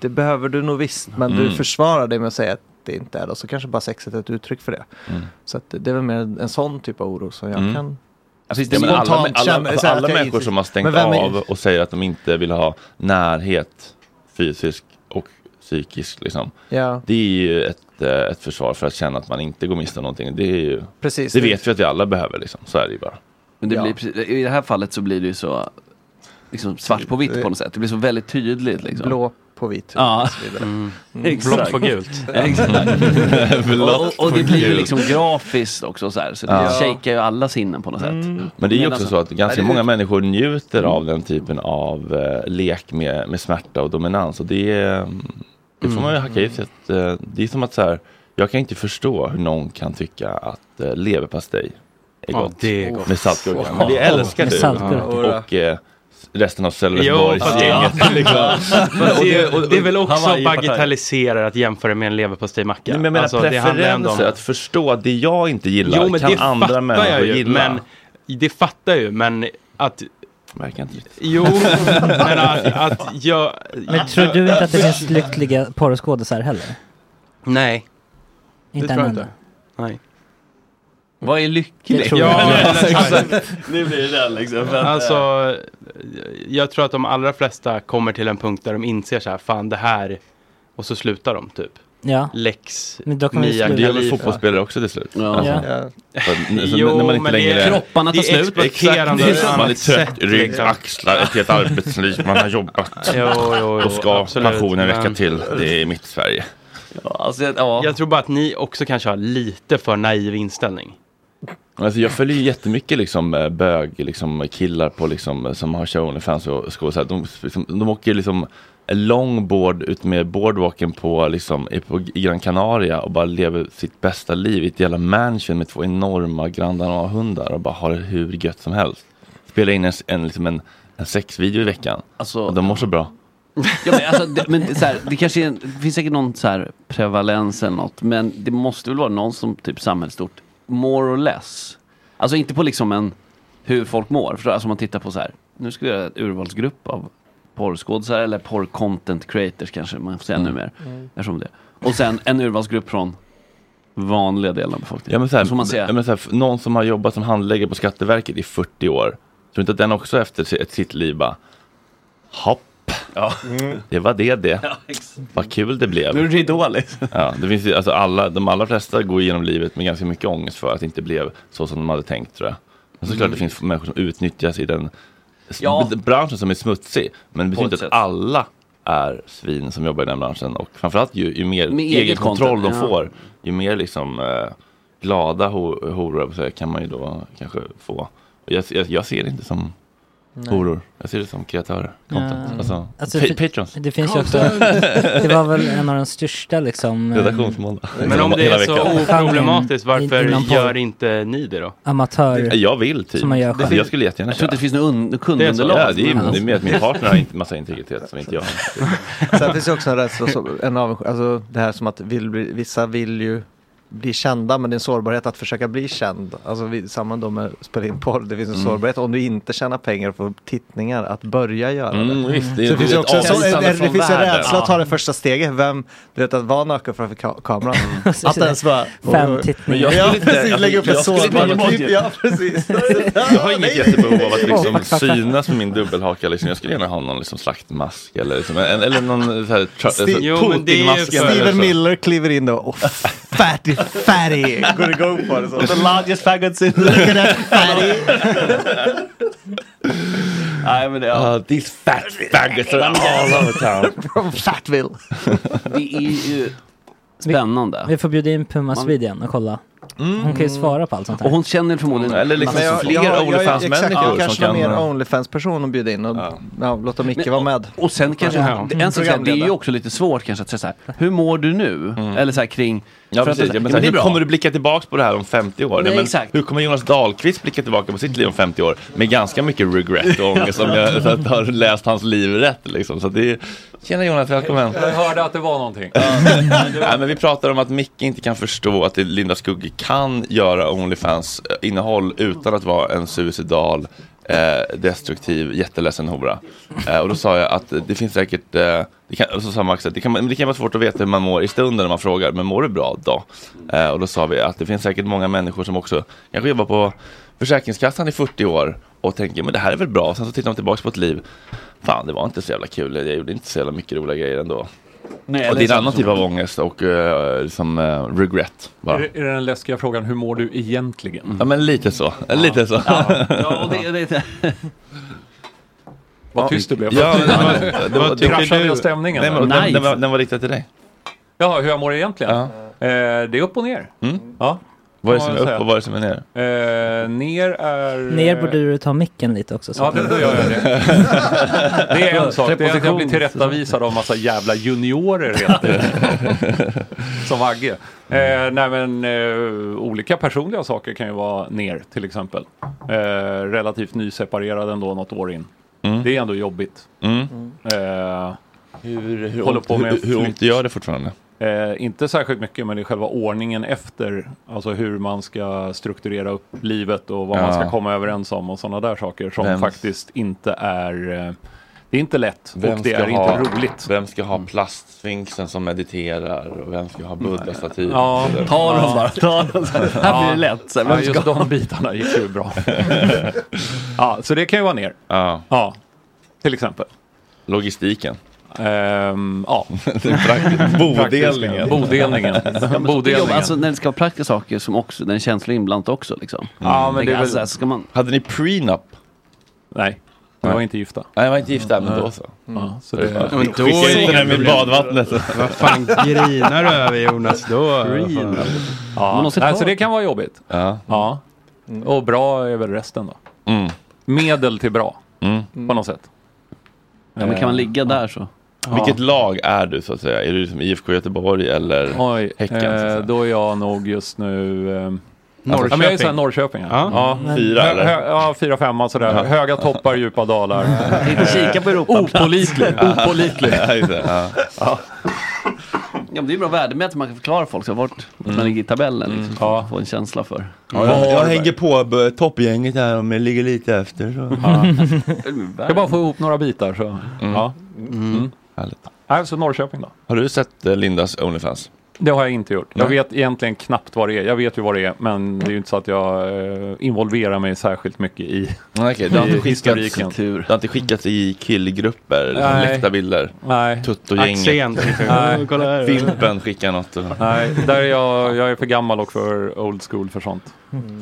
Speaker 8: det behöver du nog visst, men du
Speaker 1: Mm.
Speaker 8: försvarar det med att säga att det inte är det. Och så kanske bara sexet är ett uttryck för det. Så att det det är väl mer en sån typ av oro som jag
Speaker 1: Mm.
Speaker 8: kan...
Speaker 1: Alltså, det är alla,
Speaker 8: spontant
Speaker 1: alla, alla,
Speaker 8: känner-
Speaker 1: alltså,
Speaker 8: så här att
Speaker 1: alla
Speaker 8: jag-
Speaker 1: människor som har stängt
Speaker 8: Men vem är-
Speaker 1: av och säger att de inte vill ha närhet fysisk och psykisk. Liksom.
Speaker 8: Ja,
Speaker 1: Det är ju ett, eh, ett försvar för att känna att man inte går miste om någonting. Det, är ju,
Speaker 8: precis.
Speaker 1: det vet vi att vi alla behöver. Liksom. Så är det ju bara.
Speaker 6: Men det
Speaker 8: Ja.
Speaker 6: blir, precis- i det här fallet så blir det ju så liksom svart på vitt på något sätt. Det blir så väldigt tydligt liksom.
Speaker 8: Blå på vit.
Speaker 6: Ja,
Speaker 8: Och så vidare. Mm.
Speaker 6: exakt.
Speaker 5: Mm. Blått på gult.
Speaker 6: Exakt. och, och, och det blir ju
Speaker 1: gult.
Speaker 6: liksom grafiskt också så här. Så det
Speaker 1: Ja.
Speaker 6: shakar ju alla sinnen på något sätt.
Speaker 5: Mm.
Speaker 1: Men det är ju
Speaker 6: Medan-
Speaker 5: alltså,
Speaker 1: också så att ganska
Speaker 6: Nej, det-
Speaker 1: många människor njuter av den typen av eh, lek med, med smärta och dominans. Och det, är, mm, Det får man ju hacka i sig. att, eh, Det är som att så här, jag kan inte förstå hur någon kan tycka att eh, leverpastej är
Speaker 5: Ja,
Speaker 1: gott.
Speaker 5: det är gott.
Speaker 1: Med saltgurka. Men det älskar
Speaker 5: Med
Speaker 1: du.
Speaker 5: saltgurka.
Speaker 1: Och eh, resten av
Speaker 5: Ja,
Speaker 1: Sölvesborgsgänget.
Speaker 5: fast det-
Speaker 1: Och och-
Speaker 5: det är väl också
Speaker 1: Hawaii-partaj.
Speaker 5: bagatelliserar att jämföra med en leverpastejmacka. Alltså,
Speaker 1: Nej, men jag menar
Speaker 5: det handlar ändå om-
Speaker 1: preferenser, att förstå att det jag inte gillar
Speaker 5: Jo, men
Speaker 1: kan
Speaker 5: det
Speaker 1: andra
Speaker 5: fattar
Speaker 1: människor
Speaker 5: jag ju,
Speaker 1: gilla.
Speaker 5: men det fattar jag ju, men att...
Speaker 1: Verkar inte riktigt.
Speaker 5: Jo, men att, att jag...
Speaker 7: Men tror du inte att det finns lyckliga porrskådisar heller?
Speaker 5: Nej.
Speaker 7: Inte tror en jag enda. inte.
Speaker 5: Nej.
Speaker 6: Vad är
Speaker 7: Det
Speaker 6: lycklig?
Speaker 7: tror jag. Ja,
Speaker 1: Nu blir det den liksom. för att, eh,
Speaker 5: Alltså, jag tror att de allra flesta kommer till en punkt där de inser så här, fan det här, och så slutar de typ.
Speaker 7: Ja.
Speaker 5: Lex,
Speaker 7: Men då kan vi
Speaker 5: Mia
Speaker 7: sluta.
Speaker 1: Det gör väl
Speaker 5: Khalifa.
Speaker 1: fotbollsspelare också till slut?
Speaker 6: Ja.
Speaker 1: Alltså,
Speaker 8: Ja.
Speaker 1: för- så
Speaker 5: Jo,
Speaker 1: när man inte
Speaker 5: men det-
Speaker 1: längre...
Speaker 6: Kropparna tar
Speaker 5: Det är
Speaker 6: slut.
Speaker 5: exploaterande
Speaker 1: Exakt, det är så.
Speaker 5: på
Speaker 1: Man är
Speaker 5: ett
Speaker 1: trött,
Speaker 5: sätt,
Speaker 1: rygg,
Speaker 5: liksom.
Speaker 1: axlar, ett helt arbetsliv, man har jobbat.
Speaker 5: Jo, jo, jo,
Speaker 1: Då ska
Speaker 5: absolut,
Speaker 1: pensionen räcka
Speaker 5: men-
Speaker 1: till. Det är mitt Sverige.
Speaker 6: Ja, alltså, ja.
Speaker 5: Jag tror bara att ni också kanske har lite för naiv inställning.
Speaker 1: Alltså jag följer ju jättemycket liksom eh, bög, liksom killar på liksom eh, som har show Onlyfans och skor så här. De, liksom, de åker liksom en longboard ut med boardwalken på liksom i- på Gran Canaria och bara lever sitt bästa liv i ett jävla mansion med två enorma Grand Danois-hundar och bara har det hur gött som helst. Spelar in en, en, liksom en, en sexvideo i veckan.
Speaker 6: Alltså,
Speaker 1: Och de mår så bra.
Speaker 6: Ja, men alltså, det, men det, så här, det kanske är en, det finns säkert någon så här prevalens eller något. Men det måste väl vara någon som typ samhällsstort, more or less. Alltså inte på liksom en hur folk mår. För alltså om man tittar på så här, nu ska vi göra en urvalsgrupp av porrskådisar eller porr-content creators kanske man får säga
Speaker 1: Mm.
Speaker 6: nu mer. Eftersom det. Och sen en urvalsgrupp från vanliga delen av befolkningen.
Speaker 1: Ja, men så här,
Speaker 6: Så man säga.
Speaker 1: ja, men så här, någon som har jobbat som handläggare på Skatteverket i 40 år. Tror inte att den också efter si- ett sitt liv bara, hopp.
Speaker 8: Mm.
Speaker 1: Det var det det. Vad kul det
Speaker 6: Nu är
Speaker 1: blev.
Speaker 6: det dåligt.
Speaker 1: Ja, det finns ju, alltså alla, de allra flesta går igenom livet med ganska mycket ångest för att det inte blev så som de hade tänkt tror jag. Men såklart det finns människor som utnyttjas i den s-
Speaker 6: Mm. Ja.
Speaker 1: b- branschen som är smutsig. Men det betyder
Speaker 6: ett
Speaker 1: inte att
Speaker 6: sätt.
Speaker 1: alla är svin som jobbar i den branschen. Och framförallt ju, ju mer
Speaker 6: Med
Speaker 1: egen
Speaker 6: eget
Speaker 1: kontroll de
Speaker 6: content, ja.
Speaker 1: får, ju mer liksom eh, glada ho- horor höll jag på att säga, kan man ju då kanske få. Och Jag, jag, jag ser det inte som horor, jag ser det som kreatörer. Content.
Speaker 7: Ja.
Speaker 1: Alltså,
Speaker 7: Alltså,
Speaker 1: pa-
Speaker 7: för-
Speaker 1: patrons.
Speaker 7: Det finns ju också, det var väl en av de största liksom eh,
Speaker 1: Redaktionsmåndag.
Speaker 5: Men om det
Speaker 1: Hela
Speaker 5: är så
Speaker 1: veckan.
Speaker 5: oproblematiskt, varför
Speaker 7: Inom porr.
Speaker 5: gör inte ni det då?
Speaker 7: amatör...
Speaker 1: Jag vill typ.
Speaker 7: Som man gör själv.
Speaker 1: jag skulle jättegärna
Speaker 6: Jag tror
Speaker 1: köra.
Speaker 6: inte det finns något un-
Speaker 1: Det är, så, ja,
Speaker 6: kundunderlag.
Speaker 1: det, är, det är mer att min partner har inte massa integritet som inte jag har.
Speaker 8: Sen finns det också en rädsla, som- en avundsjuk, alltså det här som att vill bli, vissa vill ju bli kända men det är en sårbarhet att försöka bli känd. Alltså vi, samma då med att spela in porr, det finns en sårbarhet om du inte tjänar pengar och får tittningar att börja göra det.
Speaker 1: Mm, visst, det,
Speaker 8: Så det finns ju också en, sån- en,
Speaker 1: avvisande
Speaker 8: en, det
Speaker 1: från
Speaker 8: finns en
Speaker 1: världen.
Speaker 8: rädsla att ta det första steget, vem, du vet att vara naken framför ka- kameran. Att ens bara...
Speaker 7: Fem
Speaker 1: Men
Speaker 7: tittningar.
Speaker 1: jag-
Speaker 8: Ja
Speaker 1: skulle inte-
Speaker 8: precis, lägga upp en
Speaker 1: alltså, jag skulle inte-
Speaker 8: sårbarhet. Ja precis.
Speaker 1: Jag har inget jättebehov av att liksom
Speaker 8: Fuck, fuck, fuck.
Speaker 1: synas med min dubbelhaka. Liksom. Jag skulle gärna ha någon liksom slaktmask eller, liksom, en, eller någon så här, tra-
Speaker 8: Steve-
Speaker 1: så-
Speaker 5: Jo, men det är ju
Speaker 1: Putin-mask
Speaker 5: för-
Speaker 1: eller
Speaker 8: Steven
Speaker 1: så.
Speaker 8: Miller kliver in då och fatty fatty går igång på det så.
Speaker 6: The largest faggots in the Nej men det, ja.
Speaker 1: Ah, these fat faggots are all over town.
Speaker 8: From Fatville.
Speaker 6: det är ju spännande.
Speaker 7: Vi får bjuda in Pumas
Speaker 6: Man-
Speaker 7: videon och kolla.
Speaker 1: Mm.
Speaker 7: Hon kan ju svara på allt sånt
Speaker 6: Och
Speaker 7: här.
Speaker 6: hon känner förmodligen...
Speaker 1: Eller liksom
Speaker 8: Men jag- jag- jag-
Speaker 1: fler
Speaker 8: jag- exakt,
Speaker 1: Onlyfans-människor som
Speaker 8: kanske
Speaker 1: kan...
Speaker 8: någon mer Onlyfans-person att bjuda in och ja. låta Micke vara med.
Speaker 6: Och sen kanske,
Speaker 5: Ja.
Speaker 1: Mm.
Speaker 6: det- en sak så här, det är ju
Speaker 8: Programledare.
Speaker 6: också lite svårt kanske att säga så här, hur mår du nu? Eller så här kring...
Speaker 1: Mm. Ja,
Speaker 6: för att-
Speaker 1: precis. Ja, men
Speaker 6: men
Speaker 1: så här,
Speaker 6: det är
Speaker 1: hur
Speaker 6: bra.
Speaker 1: kommer du blicka tillbaka på det här om 50 år? Nej, men
Speaker 6: exakt.
Speaker 1: Hur kommer Jonas Dahlqvist blicka tillbaka på sitt liv om 50 år? Med ganska mycket regret och ångest om jag så att jag har läst hans liv rätt. Liksom. Så att det är... Tjena Jonas, välkommen.
Speaker 9: Jag hörde att det var någonting.
Speaker 1: Nej, men vi pratar om att Micke inte kan förstå att det Linda Skugge kan göra Onlyfans-innehåll utan att vara en suicidal, eh, destruktiv, jätteledsen hora. Eh, och då sa jag att det finns säkert, eh, det kan, och så sa Max att det kan, men det kan vara svårt att veta hur man mår i stunden när man frågar, men mår du bra då? Eh, och då sa vi att det finns säkert många människor som också kanske jobbar på Försäkringskassan i 40 år och tänker, men det här är väl bra. Sen så tittar de tillbaka på ett liv, fan det var inte så jävla kul, jag gjorde inte så jävla mycket roliga grejer ändå.
Speaker 6: Nej,
Speaker 1: Och
Speaker 6: eller
Speaker 1: det är
Speaker 6: så-
Speaker 1: en annan typ av ångest och eh, liksom, eh, regret.
Speaker 9: Är
Speaker 1: Bara.
Speaker 9: det, är det den läskiga frågan, hur mår du egentligen?
Speaker 1: Mm. Ja men lite så, lite så.
Speaker 6: Ja, och det, det,
Speaker 9: Vad tyst du blev.
Speaker 1: Ja, men, men, det var,
Speaker 5: Vad
Speaker 1: det,
Speaker 5: tycker
Speaker 9: Kraschade jag
Speaker 5: du?
Speaker 9: stämningen?
Speaker 1: nej,
Speaker 9: där?
Speaker 1: men, den,
Speaker 6: Nice.
Speaker 1: den, var, den var riktad till dig.
Speaker 9: Jaha, hur jag mår egentligen?
Speaker 1: Ja.
Speaker 9: Eh, det är upp och ner. Ja.
Speaker 1: Mm? Vad är det
Speaker 9: kan
Speaker 1: som
Speaker 9: man
Speaker 1: är
Speaker 9: väl
Speaker 1: upp och vad är det som är ner?
Speaker 9: säga. Eh, ner är...
Speaker 7: Ner borde du ta micken lite också.
Speaker 9: Ja, det, då gör jag det. Det är en sak. Det är att jag blir tillrättavisad av massa jävla juniorer helt enkelt. Som Agge. Eh, nej men eh, olika personliga saker kan ju vara ner till exempel. Eh, relativt nyseparerad ändå något år in.
Speaker 1: Mm.
Speaker 9: Det är ändå jobbigt.
Speaker 1: Mm.
Speaker 9: Eh,
Speaker 1: hur, hur,
Speaker 9: håller
Speaker 1: ont,
Speaker 9: på med
Speaker 1: hur, hur
Speaker 9: flytt.
Speaker 1: ont gör det fortfarande?
Speaker 9: Eh, inte särskilt mycket, men det är själva ordningen efter. Alltså hur man ska strukturera upp livet och vad man
Speaker 1: Ja.
Speaker 9: ska komma överens om och sådana där saker som
Speaker 1: Vems-
Speaker 9: faktiskt inte är... Eh, det är inte lätt
Speaker 1: Vem
Speaker 9: och det
Speaker 1: ska
Speaker 9: är
Speaker 1: ha-
Speaker 9: inte roligt.
Speaker 1: Vem ska ha plastsphinxen som mediterar och vem ska ha buddha-statyn?
Speaker 9: Ja.
Speaker 1: och så vidare?
Speaker 9: Ta dem bara, ta dem så här. Här blir det
Speaker 1: Ja.
Speaker 9: lätt, så här. Vem ska ha- bitarna gick ju bra. ja, så det kan ju vara ner.
Speaker 1: Ja.
Speaker 9: ja, till exempel. Ehm,
Speaker 1: Logistiken.
Speaker 9: ja.
Speaker 6: Bodelningen.
Speaker 9: Bodelningen.
Speaker 6: Ja, men
Speaker 9: Bodelningen.
Speaker 6: jobb- Alltså när det ska vara praktiska saker som också, den känslan inblandat också liksom.
Speaker 9: Ja, men det är väl-
Speaker 6: alltså, ska man...
Speaker 1: Hade ni prenup?
Speaker 9: Nej, vi var inte gifta.
Speaker 1: Nej, jag var inte gifta, men då så.
Speaker 9: Mm. Ja, så
Speaker 1: Det är
Speaker 9: det-
Speaker 1: bara-
Speaker 9: Ja, men då
Speaker 1: Skicka
Speaker 9: är det
Speaker 1: in
Speaker 9: inga
Speaker 1: den med
Speaker 9: problem.
Speaker 1: badvattnet.
Speaker 9: Vad fan grinar du över, Jonas? Då-
Speaker 1: Prenup.
Speaker 9: Ja.
Speaker 1: Man måste
Speaker 9: Nej,
Speaker 1: ta
Speaker 9: så det
Speaker 1: det.
Speaker 9: kan vara jobbigt.
Speaker 1: Ja.
Speaker 9: Ja. Och bra är väl resten då.
Speaker 1: Mm.
Speaker 9: Medel till bra.
Speaker 1: Mm.
Speaker 9: På något sätt. Eh,
Speaker 1: Ja, men kan man
Speaker 6: ligga där så?
Speaker 9: Ja.
Speaker 1: Vilket lag är du så att säga? Är du liksom som IFK Göteborg eller
Speaker 9: Oj,
Speaker 1: Häcken? så att
Speaker 9: eh,
Speaker 1: säga?
Speaker 9: då är jag nog just nu... Eh,
Speaker 1: Norrköping.
Speaker 9: Ja, men jag är såhär Norrköping.
Speaker 1: Ja. Mm. Fyra,
Speaker 9: Hö-
Speaker 1: eller?
Speaker 9: hö- Ja, fyra, femma sådär.
Speaker 1: Ja.
Speaker 9: Höga toppar, djupa dalar.
Speaker 6: Inte kika på Europaplats.
Speaker 9: Opålitlig. Opålitlig.
Speaker 1: Ja, just det. Ja.
Speaker 9: Ja.
Speaker 6: Ja, men det är bra värdemätare, man kan förklara folk så här, vart vart man ligger i tabellen. Liksom, så man Få en känsla för.
Speaker 1: Ja, jag, jag hänger på b- toppgänget här om jag ligger lite efter. Så.
Speaker 9: Ska bara få ihop några bitar så. Ja. Mm.
Speaker 1: Härligt.
Speaker 9: Nej, så Norrköping då.
Speaker 1: Har du sett eh, Lindas Onlyfans?
Speaker 9: Det har jag inte gjort. Jag
Speaker 1: Nej.
Speaker 9: vet egentligen knappt vad det är. Jag vet ju vad det är, men det är ju inte så att jag eh, involverar mig särskilt mycket i,
Speaker 1: Nej, okej. Du har
Speaker 9: i
Speaker 1: inte skickats,
Speaker 9: historiken.
Speaker 1: du har inte skickats i killgrupper,
Speaker 9: Nej.
Speaker 1: läckta bilder?
Speaker 9: Nej. Axén,
Speaker 1: Tuttogänget?
Speaker 9: liksom. Nej. Kolla här.
Speaker 1: Fimpen skickar något. och-
Speaker 9: Nej, där är jag, jag är för gammal och för old school för sånt.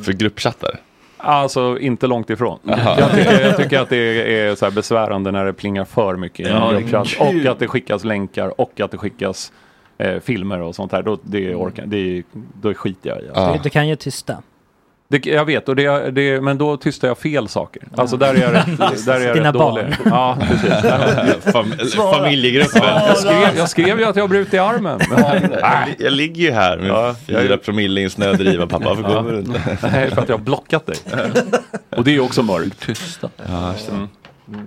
Speaker 1: För gruppchattar?
Speaker 9: Alltså inte långt ifrån.
Speaker 1: Jaha.
Speaker 9: Jag tycker, jag tycker att det är så här besvärande när det plingar för mycket i
Speaker 1: Ja,
Speaker 9: en
Speaker 1: det är
Speaker 9: gruppchatt.
Speaker 1: kul.
Speaker 9: Och att det skickas länkar och att det skickas eh, filmer och sånt här. Då, det
Speaker 1: Mm.
Speaker 9: orkar, det, då skiter jag i. Alltså.
Speaker 7: Du, du kan ju tysta.
Speaker 9: Det, jag vet, och det, det, men då tystar jag fel saker. Alltså där är jag rätt, där är jag
Speaker 7: Dina
Speaker 9: rätt
Speaker 7: barn.
Speaker 9: dålig. Ja, precis.
Speaker 1: Fam- Svara. familjegruppen.
Speaker 9: Jag skrev, jag skrev ju att jag har brutit armen.
Speaker 1: Jag, li- jag ligger ju här med fyra promille i en snödriva pappa. Varför kommer du inte?
Speaker 9: Nej, för att jag har blockat dig. Och det är ju också mörkt.
Speaker 1: Ja, just det.
Speaker 9: Mm.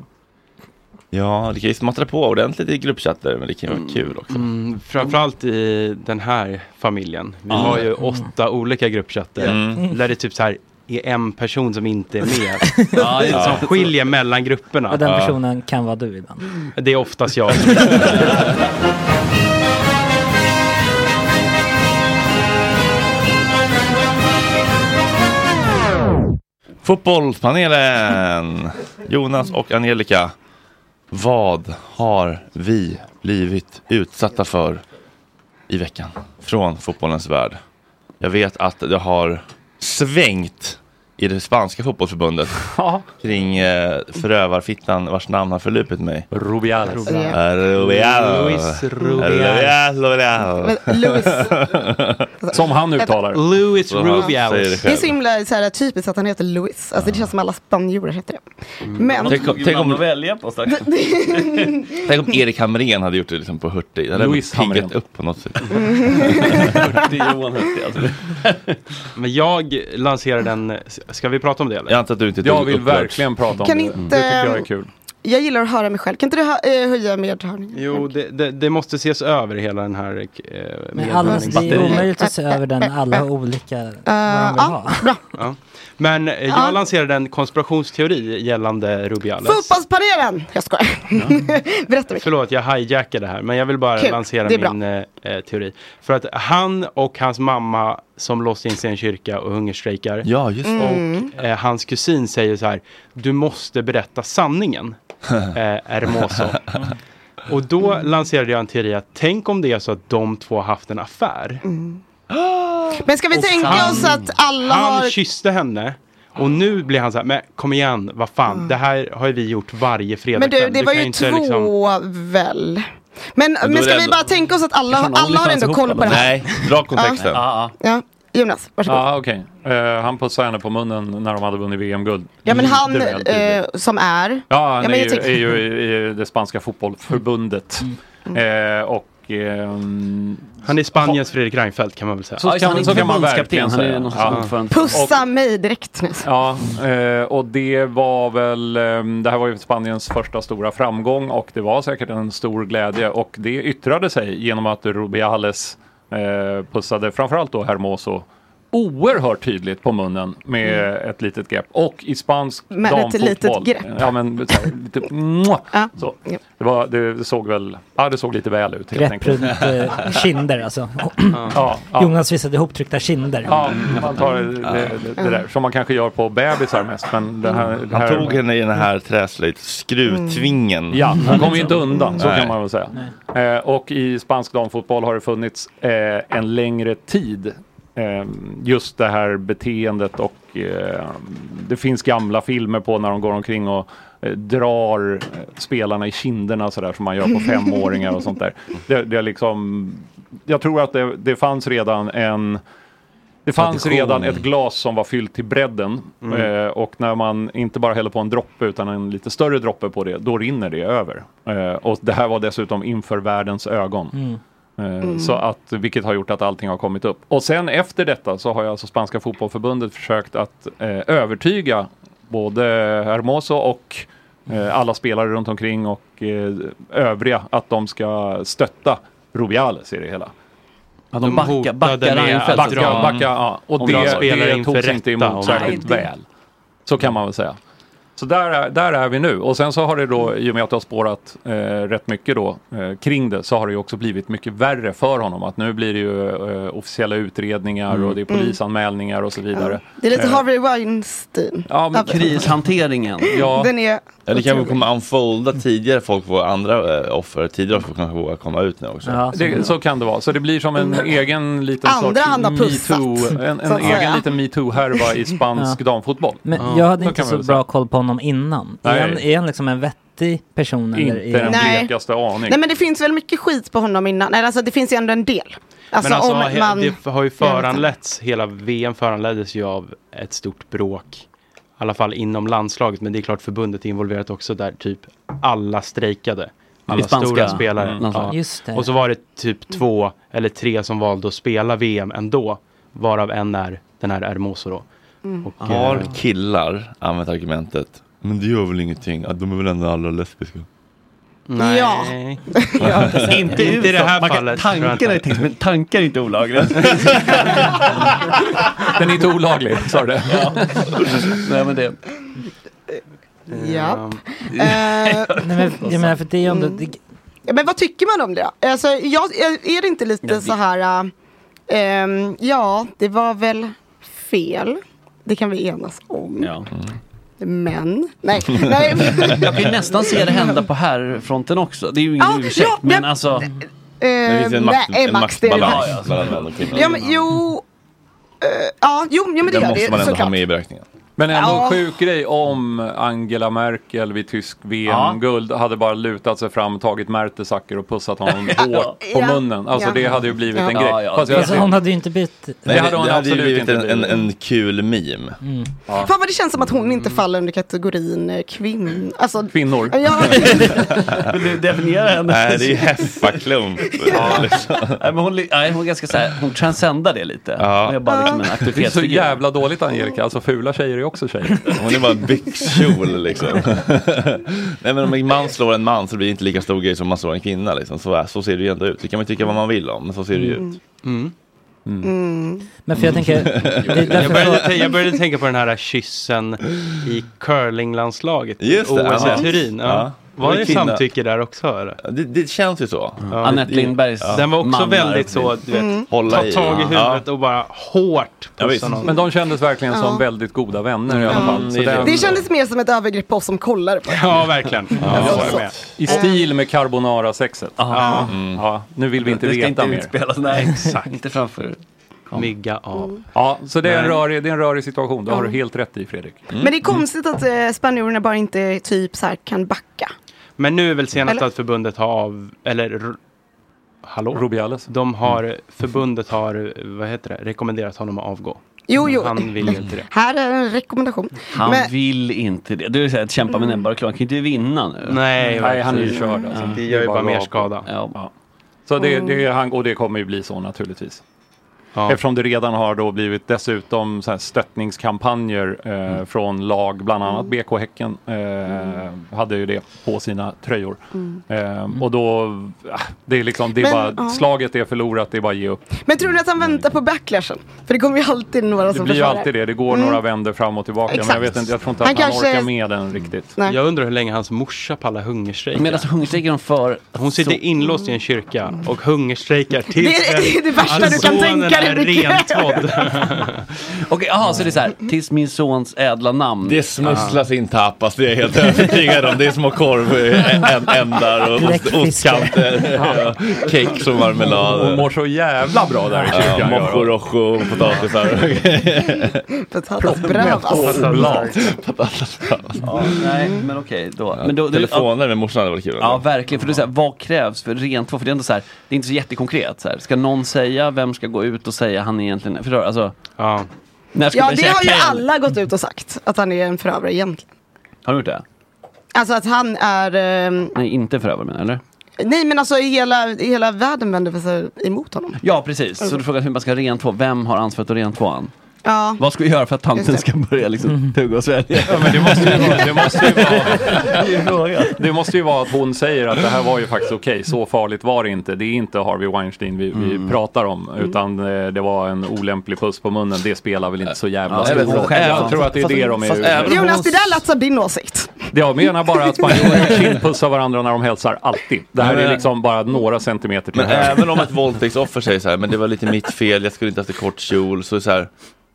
Speaker 1: ja, det kan ju smattra på ordentligt i gruppchatter men det kan ju vara kul också.
Speaker 5: Mm, framförallt i eh, den här familjen. Vi
Speaker 1: Ja.
Speaker 5: har ju åtta olika gruppchatter.
Speaker 1: Mm.
Speaker 5: Där det typ så här är en person som inte är med.
Speaker 7: Ja, just det.
Speaker 5: Som skiljer mellan grupperna.
Speaker 7: Och den personen kan vara du ibland.
Speaker 5: Det är oftast jag.
Speaker 1: Fotbollspanelen! Jonas och Angelica. Vad har vi blivit utsatta för i veckan från fotbollens värld? Jag vet att det har svängt i det spanska fotbollsförbundet kring eh, förövarfittan vars namn har förlupit mig.
Speaker 9: Rubiales.
Speaker 1: Rubiales.
Speaker 9: Luis Rubiales.
Speaker 1: Rubiales.
Speaker 10: Men Luis-
Speaker 9: Som han uttalar.
Speaker 5: Louis
Speaker 1: Så han
Speaker 5: Rubiales.
Speaker 1: säger det
Speaker 10: Det är
Speaker 1: själv.
Speaker 10: så himla så här, typiskt att han heter Louis. Alltså, det känns som alla spanjorer heter det. Men...
Speaker 1: Tänk om- tänk om-
Speaker 6: välja på strax.
Speaker 1: Tänk om Erik Hamrén hade gjort det liksom på Hurtig. Det hade
Speaker 5: Louis
Speaker 1: piggat
Speaker 5: Hamrén.
Speaker 1: upp på något sätt.
Speaker 9: alltså.
Speaker 5: Men jag lanserade en... Ska vi prata om det eller? Jag
Speaker 1: antar att du inte
Speaker 9: tog Jag vill upp Lurch. verkligen prata om
Speaker 10: Kan det. inte- Det tycker jag är
Speaker 5: kul.
Speaker 10: Jag gillar att höra mig själv. Kan inte du hö- eh, höja medhörningen?
Speaker 5: Jo, det, det, det måste ses över hela den här eh,
Speaker 7: Men alla, det är
Speaker 5: medhörningsbatteriet.
Speaker 7: omöjligt att se över den, alla har olika vad de vill ha.
Speaker 5: Ja. Men eh, jag
Speaker 10: Ja.
Speaker 5: lanserade en konspirationsteori gällande Rubiales.
Speaker 10: Fotbollspanelen! Jag skojar. Berätta mer.
Speaker 5: Förlåt, jag hijackade här. Men jag vill bara
Speaker 10: Kul, det är
Speaker 5: lansera
Speaker 10: bra.
Speaker 5: min eh, eh, teori. För att han och hans mamma som låste in sig i en kyrka och hungerstrejkar.
Speaker 1: Ja, just det. Mm.
Speaker 5: Och eh, hans kusin säger så här. Du måste berätta sanningen, eh, Hermoso. Och då lanserade jag en teori att tänk om det är så att de två har haft en affär.
Speaker 10: Mm. Men ska vi
Speaker 5: Och
Speaker 10: tänka
Speaker 5: han-
Speaker 10: oss att alla
Speaker 5: han
Speaker 10: har...
Speaker 5: kysste henne. Och nu blir han så här, men kom igen, vad fan, det här har ju vi gjort varje fredag.
Speaker 10: Mm. Men du,
Speaker 5: kväll.
Speaker 10: det
Speaker 5: Du
Speaker 10: var
Speaker 5: kan
Speaker 10: ju
Speaker 5: inte liksom
Speaker 10: två väl? Men,
Speaker 5: då
Speaker 10: men
Speaker 5: är
Speaker 10: ska
Speaker 5: det
Speaker 10: vi
Speaker 5: ändå-
Speaker 10: bara tänka oss att alla,
Speaker 5: Kanske någon
Speaker 10: alla har
Speaker 5: OnlyFans
Speaker 10: ändå
Speaker 5: ihop
Speaker 10: koll på
Speaker 5: eller?
Speaker 10: det här?
Speaker 1: Nej, dra kontexten.
Speaker 10: Ja. Ja. Jonas, varsågod.
Speaker 9: Ja, okej. Eh, han pussade henne på munnen när de hade vunnit VM-guld.
Speaker 10: Ja men han
Speaker 9: Lite Mm, väl tidigt.
Speaker 10: eh, som är...
Speaker 9: Ja, han
Speaker 10: men
Speaker 9: är,
Speaker 10: jag
Speaker 9: ju,
Speaker 10: tycker-
Speaker 9: är ju i, i det spanska fotbollförbundet.
Speaker 10: Mm.
Speaker 9: Eh, och han
Speaker 5: är Spaniens Fredrik Reinfeldt kan man väl säga.
Speaker 9: Så kan, så kan man verkligen säga. Ja.
Speaker 10: Pussa mig direkt. nu.
Speaker 9: Ja, eh, och det var väl, ehm, det här var ju Spaniens första stora framgång och det var säkert en stor glädje och det yttrade sig genom att Rubiales eh, pussade framförallt då Hermoso oerhört tydligt på munnen med ett litet grepp och i spansk
Speaker 10: Mm. Med ett
Speaker 9: damfotboll.
Speaker 10: litet grepp.
Speaker 9: Ja, men så här, lite, mwah, så. Det, var, det såg väl, ja det såg lite väl ut helt
Speaker 7: Grepp
Speaker 9: enkelt.
Speaker 7: runt eh, kinder alltså.
Speaker 9: Ja, ja.
Speaker 7: Jonas visade ihoptryckta kinder.
Speaker 9: Ja, man tar det, det, det där som man kanske gör på bebisar mest. Men det här, det
Speaker 1: Mm. Han
Speaker 9: här,
Speaker 1: tog henne i den här träslöjdsskruvtvingen.
Speaker 9: Ja, han kommer ju inte undan, så
Speaker 1: Nej.
Speaker 9: kan man väl säga. Eh, och i spansk damfotboll har det funnits eh, en längre tid. Eh, just det här beteendet och eh, det finns gamla filmer på när de går omkring och eh, drar eh, spelarna i kinderna sådär som man gör på femåringar och sånt där. Det, det är liksom, jag tror att det, det fanns redan en det fanns
Speaker 1: Tradition.
Speaker 9: redan ett glas som var fyllt till bredden
Speaker 1: Mm.
Speaker 9: eh, och när man inte bara häller på en droppe utan en lite större droppe på det, då rinner det över. Eh, och det här var dessutom inför världens ögon. Eh,
Speaker 1: Mm.
Speaker 9: Så att, vilket har gjort att allting har kommit upp. Och sen efter detta så har ju alltså Spanska Fotbollförbundet försökt att eh, övertyga både Hermoso och eh, alla spelare runt omkring och eh, övriga att de ska stötta Rubiales i det hela.
Speaker 6: Ja, de backar- backar
Speaker 9: hotade med
Speaker 6: Reinfeldt.
Speaker 9: att Backa,
Speaker 6: dra-
Speaker 9: backa, ja.
Speaker 6: om
Speaker 9: Och
Speaker 6: de
Speaker 9: det,
Speaker 6: spelar
Speaker 9: det
Speaker 6: inför
Speaker 9: togs inte
Speaker 6: rätta
Speaker 9: emot
Speaker 6: och-
Speaker 9: särskilt
Speaker 6: Nej, det-
Speaker 9: väl. Så kan man väl säga. Så där är, där är vi nu. Och sen så har det då, i och med att det har spårat eh, rätt mycket då eh, kring det, så har det ju också blivit mycket värre för honom. Att nu blir det ju eh, officiella utredningar och det är
Speaker 10: Mm.
Speaker 9: polisanmälningar och så vidare.
Speaker 10: Det är lite
Speaker 9: Eh,
Speaker 10: Harvey Weinstein.
Speaker 9: Ja, men
Speaker 10: Av-
Speaker 1: krishanteringen.
Speaker 10: Den är...
Speaker 1: Eller kan vi komma unfolda tidigare folk var andra eh, offer, tidigare offer kanske vågar komma ut nu också.
Speaker 9: Ja, så, det, så kan det vara. Så det blir som en egen liten
Speaker 10: Mm. Andra han har
Speaker 9: sorts
Speaker 10: pussat,
Speaker 9: metoo, en,
Speaker 10: så
Speaker 9: en
Speaker 10: att säga.
Speaker 9: egen liten metoo-härva i spansk
Speaker 7: Ja.
Speaker 9: damfotboll.
Speaker 7: Men
Speaker 9: Ja,
Speaker 7: jag hade
Speaker 9: så
Speaker 7: inte
Speaker 9: kan
Speaker 7: så
Speaker 9: man
Speaker 7: bra
Speaker 9: väl säga.
Speaker 7: koll på honom innan.
Speaker 9: Nej.
Speaker 7: Är han, är han liksom en vettig person? eller
Speaker 9: Inte
Speaker 7: är
Speaker 9: den
Speaker 7: han-
Speaker 10: Nej.
Speaker 9: blekaste aning.
Speaker 10: Nej men det finns väl mycket skit på honom innan. Nej, alltså det finns ju ändå en del. Alltså,
Speaker 5: men alltså,
Speaker 10: om
Speaker 5: he-
Speaker 10: man...
Speaker 5: det har ju
Speaker 10: Ja,
Speaker 5: föranletts, hela VM föranleddes ju av ett stort bråk. I alla fall inom landslaget, men det är klart förbundet är involverat också där typ alla strejkade. Alla
Speaker 6: spanska
Speaker 5: stora spelare.
Speaker 9: Mm.
Speaker 6: landslaget.
Speaker 5: Ja.
Speaker 6: Just det.
Speaker 5: Och så var det typ två eller tre som valde att spela VM ändå. Varav en är den här Hermoso då.
Speaker 1: Mm.
Speaker 5: Och, eh,
Speaker 1: Har killar använt argumentet, men det gör väl ingenting, att de är väl ändå alla lesbiska?
Speaker 5: Nej.
Speaker 10: Ja.
Speaker 5: Ja, precis. Inte i det här
Speaker 6: Man kan-
Speaker 5: fallet, tror jag
Speaker 6: Tankar
Speaker 5: inte.
Speaker 6: är text, men tankar är inte olagliga.
Speaker 9: Den är inte olaglig, sa du
Speaker 6: ja. Nej men det.
Speaker 9: Mm.
Speaker 10: Japp. Eh, Mm.
Speaker 7: Nej, men, jag menar, för det är ju ändå... Det,
Speaker 10: Ja, men vad tycker man om det? Alltså, jag, är det inte lite
Speaker 7: Ja, det-
Speaker 10: så här, äh, ehm, ja, det var väl fel. Det kan vi enas om. Men, nej, nej.
Speaker 6: Jag kan ju nästan se det hända på herrfronten också. Det är ju ingen
Speaker 10: Ja,
Speaker 6: ursäkt,
Speaker 10: ja,
Speaker 6: men alltså.
Speaker 10: Ehm, det finns en makt- Eh, nej, en maktbalans maktbalans.
Speaker 6: Ja, alltså. ja,
Speaker 1: mellan män och kvinnor.
Speaker 10: Ja, men jo. eh, ja, jo, jo, men det
Speaker 9: Den
Speaker 10: gör
Speaker 9: måste
Speaker 10: det
Speaker 9: man ändå ha
Speaker 10: såklart.
Speaker 1: Med i beräkningen.
Speaker 9: Men ändå
Speaker 10: Ja.
Speaker 9: en sjuk grej om Angela Merkel vid tysk VM-guld hade bara lutat sig fram, tagit Mertesacker och pussat honom
Speaker 7: Ja.
Speaker 9: hårt på
Speaker 7: Ja.
Speaker 9: munnen. Alltså
Speaker 7: Ja.
Speaker 9: det hade ju blivit en
Speaker 7: Ja.
Speaker 9: grej.
Speaker 7: Ja, ja.
Speaker 9: Fast jag
Speaker 7: Alltså,
Speaker 9: ser-
Speaker 7: hon hade ju inte bytt...
Speaker 1: Nej,
Speaker 9: Det
Speaker 1: det
Speaker 9: hade
Speaker 1: hade,
Speaker 9: hon
Speaker 1: ju
Speaker 9: absolut
Speaker 1: blivit
Speaker 9: inte
Speaker 1: en, en,
Speaker 9: blivit. Mm.
Speaker 1: en kul meme.
Speaker 10: Fan vad det känns som att hon inte faller under kategorin eh, kvinn. Alltså,
Speaker 9: Kvinnor.
Speaker 10: Ja,
Speaker 6: Vill du definiera henne?
Speaker 1: Nej, det är ju heffaklump. Liksom.
Speaker 6: Ja. Nej, men hon, li- nej, hon är ganska så här, hon transcendar det lite. Hon är bara liksom en
Speaker 9: Det är så
Speaker 6: aktivitetsfigur.
Speaker 9: jävla dåligt Angelica, alltså fula tjejer är också tjejer.
Speaker 1: Hon är bara en byxkjol liksom. Nej men om en man slår en man så blir det inte lika stor grej som om man slår en kvinna liksom. Så, är- så ser det ju ändå ut. Det kan man tycka vad man vill om, men så ser det ju
Speaker 5: Mm.
Speaker 1: ut.
Speaker 10: Mm.
Speaker 7: Men för jag tänker... Det är
Speaker 5: Jag
Speaker 7: därför jag,
Speaker 5: började, jag började tänka på den här kyssen i curlinglandslaget
Speaker 1: Just det,
Speaker 5: OS
Speaker 1: ja.
Speaker 5: i Turin. Ja.
Speaker 1: Ja.
Speaker 5: Var det
Speaker 1: Kvinna.
Speaker 5: samtycke där också? Eller?
Speaker 1: Det, det känns ju så.
Speaker 5: Ja. Anette Lindbergs Mm.
Speaker 1: Den
Speaker 5: Den var också väldigt så, du vet,
Speaker 10: Mm.
Speaker 1: Hålla
Speaker 5: ta
Speaker 1: i.
Speaker 5: tag i huvudet och bara hårt
Speaker 1: Ja, visst. Mm,
Speaker 5: pussa någon.
Speaker 9: Men de kändes verkligen som
Speaker 10: Ja.
Speaker 9: väldigt goda vänner i alla fall. Så den-
Speaker 10: det kändes mer som ett övergrepp på oss som kollar på det.
Speaker 5: Ja, verkligen.
Speaker 9: Ja,
Speaker 5: Jag
Speaker 9: så är
Speaker 5: håller med. Mm.
Speaker 9: det. I stil med carbonara-sexet. Ja. Ja, nu vill vi inte
Speaker 6: Det ska
Speaker 9: veta
Speaker 6: inte
Speaker 9: mer.
Speaker 6: utspelas, nej.
Speaker 5: Exakt.
Speaker 6: Inte framför.
Speaker 5: Mygga av.
Speaker 9: Ja, så det är, en
Speaker 5: Nej.
Speaker 9: rörig, det är en rörig situation. Det har
Speaker 10: Ja.
Speaker 9: du helt rätt i Fredrik.
Speaker 6: Mm.
Speaker 10: Men det är konstigt att eh, spanjorerna bara inte typ så här kan backa.
Speaker 5: Men nu är väl senast
Speaker 10: Eller?
Speaker 5: att förbundet har av, eller r- Hallå? Rubiales. De har, förbundet har, vad heter det, rekommenderat honom att avgå.
Speaker 10: Jo, jo.
Speaker 5: Han vill ju inte det.
Speaker 10: Här är en rekommendation.
Speaker 6: Han
Speaker 10: Men- Mm.
Speaker 6: vill inte det. Det vill säga att kämpa med näbbar och klor. Han kan ju inte vinna nu.
Speaker 5: Nej, Nej, han är ju
Speaker 9: körd, alltså.
Speaker 6: Ja.
Speaker 9: Det gör ju bara mer skada.
Speaker 6: Ja.
Speaker 9: Så
Speaker 10: Mm.
Speaker 9: det, det, han, och det kommer ju bli så naturligtvis. Eftersom det redan har då blivit dessutom så här stöttningskampanjer eh, från lag, bland annat
Speaker 10: Mm.
Speaker 9: BK Häcken eh, hade ju det på sina tröjor.
Speaker 10: Mm.
Speaker 9: Eh, och då, ah, det är liksom, det är
Speaker 10: Men,
Speaker 9: bara,
Speaker 10: ja.
Speaker 9: slaget är förlorat, det är bara att ge upp.
Speaker 10: Men tror ni att han väntar på backlashen? För det kommer ju alltid några
Speaker 9: Det
Speaker 10: som
Speaker 9: blir ju
Speaker 10: försvarar.
Speaker 9: alltid det, det går
Speaker 10: Alltså, Mm.
Speaker 9: några vänder fram och tillbaka. Men jag,
Speaker 10: Exakt.
Speaker 9: vet inte, jag tror inte att
Speaker 10: Han
Speaker 9: han,
Speaker 10: kanske-
Speaker 9: orkar med den riktigt.
Speaker 10: Nej.
Speaker 5: Jag undrar hur länge hans morsa pallar hungerstrejka.
Speaker 6: Men alltså hungerstrejkar de för...
Speaker 5: Hon sitter inlåst i en kyrka och hungerstrejkar Alltså, tills
Speaker 10: Det är- det är det värsta
Speaker 5: att
Speaker 10: du kan
Speaker 5: sonen
Speaker 10: tänka dig,
Speaker 5: är
Speaker 10: Micke.
Speaker 5: rentvådd.
Speaker 6: Okej, jaha, så det är så här. Tills min sons ädla namn.
Speaker 1: Det smusslas in tapas, det är jag helt övertygad om. Det är små korvändar och ost, ostkanter, ja, kex och marmelad.
Speaker 9: Hon mår så jävla bra där i
Speaker 1: Ja,
Speaker 9: kyrkan.
Speaker 1: Mocco rojo och potatisar.
Speaker 10: Potatisbröd. alltså.
Speaker 6: Ja, nej, men okej då. Men då, då
Speaker 1: Telefoner med morsan hade varit kul.
Speaker 6: Ja, verkligen. För det är så här, vad krävs för rent För det är ändå så här, det är inte så jättekonkret. Så här. Ska någon säga, vem ska gå ut och säga han egentligen är? Förstår du? Alltså, när ska
Speaker 10: Ja,
Speaker 6: man
Speaker 10: det
Speaker 6: säga
Speaker 10: har ju
Speaker 6: kväll?
Speaker 10: alla gått ut och sagt. Att han är en förövare egentligen.
Speaker 6: Har du gjort det?
Speaker 10: Alltså att han är... ehm,
Speaker 6: Nej, inte förövare menar jag, eller?
Speaker 10: nej men alltså hela, hela världen vänder sig emot honom.
Speaker 6: Ja, precis. Så du frågar hur man ska rentvå. Vem har ansvaret att rentvå han?
Speaker 10: Ja.
Speaker 6: Vad ska vi göra för att tanten
Speaker 10: Just det.
Speaker 6: ska börja
Speaker 7: Mm.
Speaker 6: liksom tugga och svälja?
Speaker 9: Det måste ju vara, det måste ju vara att hon säger att det här var ju faktiskt okej, så farligt var det inte. Det är inte Harvey Weinstein vi, vi pratar om, utan eh, det var en olämplig puss på munnen. Det spelar väl inte så jävla stor roll. Jag tror att det är det de är ute efter.
Speaker 10: Jonas, det där lät som din åsikt.
Speaker 9: Jag menar bara att spanjorer kindpussar varandra när de hälsar, alltid. Det här
Speaker 1: Men,
Speaker 9: är
Speaker 1: eh,
Speaker 9: liksom bara några centimeter till
Speaker 1: Men
Speaker 9: höger.
Speaker 1: även om ett våldtäktsoffer säger så här, men det var lite mitt fel, jag skulle inte haft en kort kjol. Så är det så här,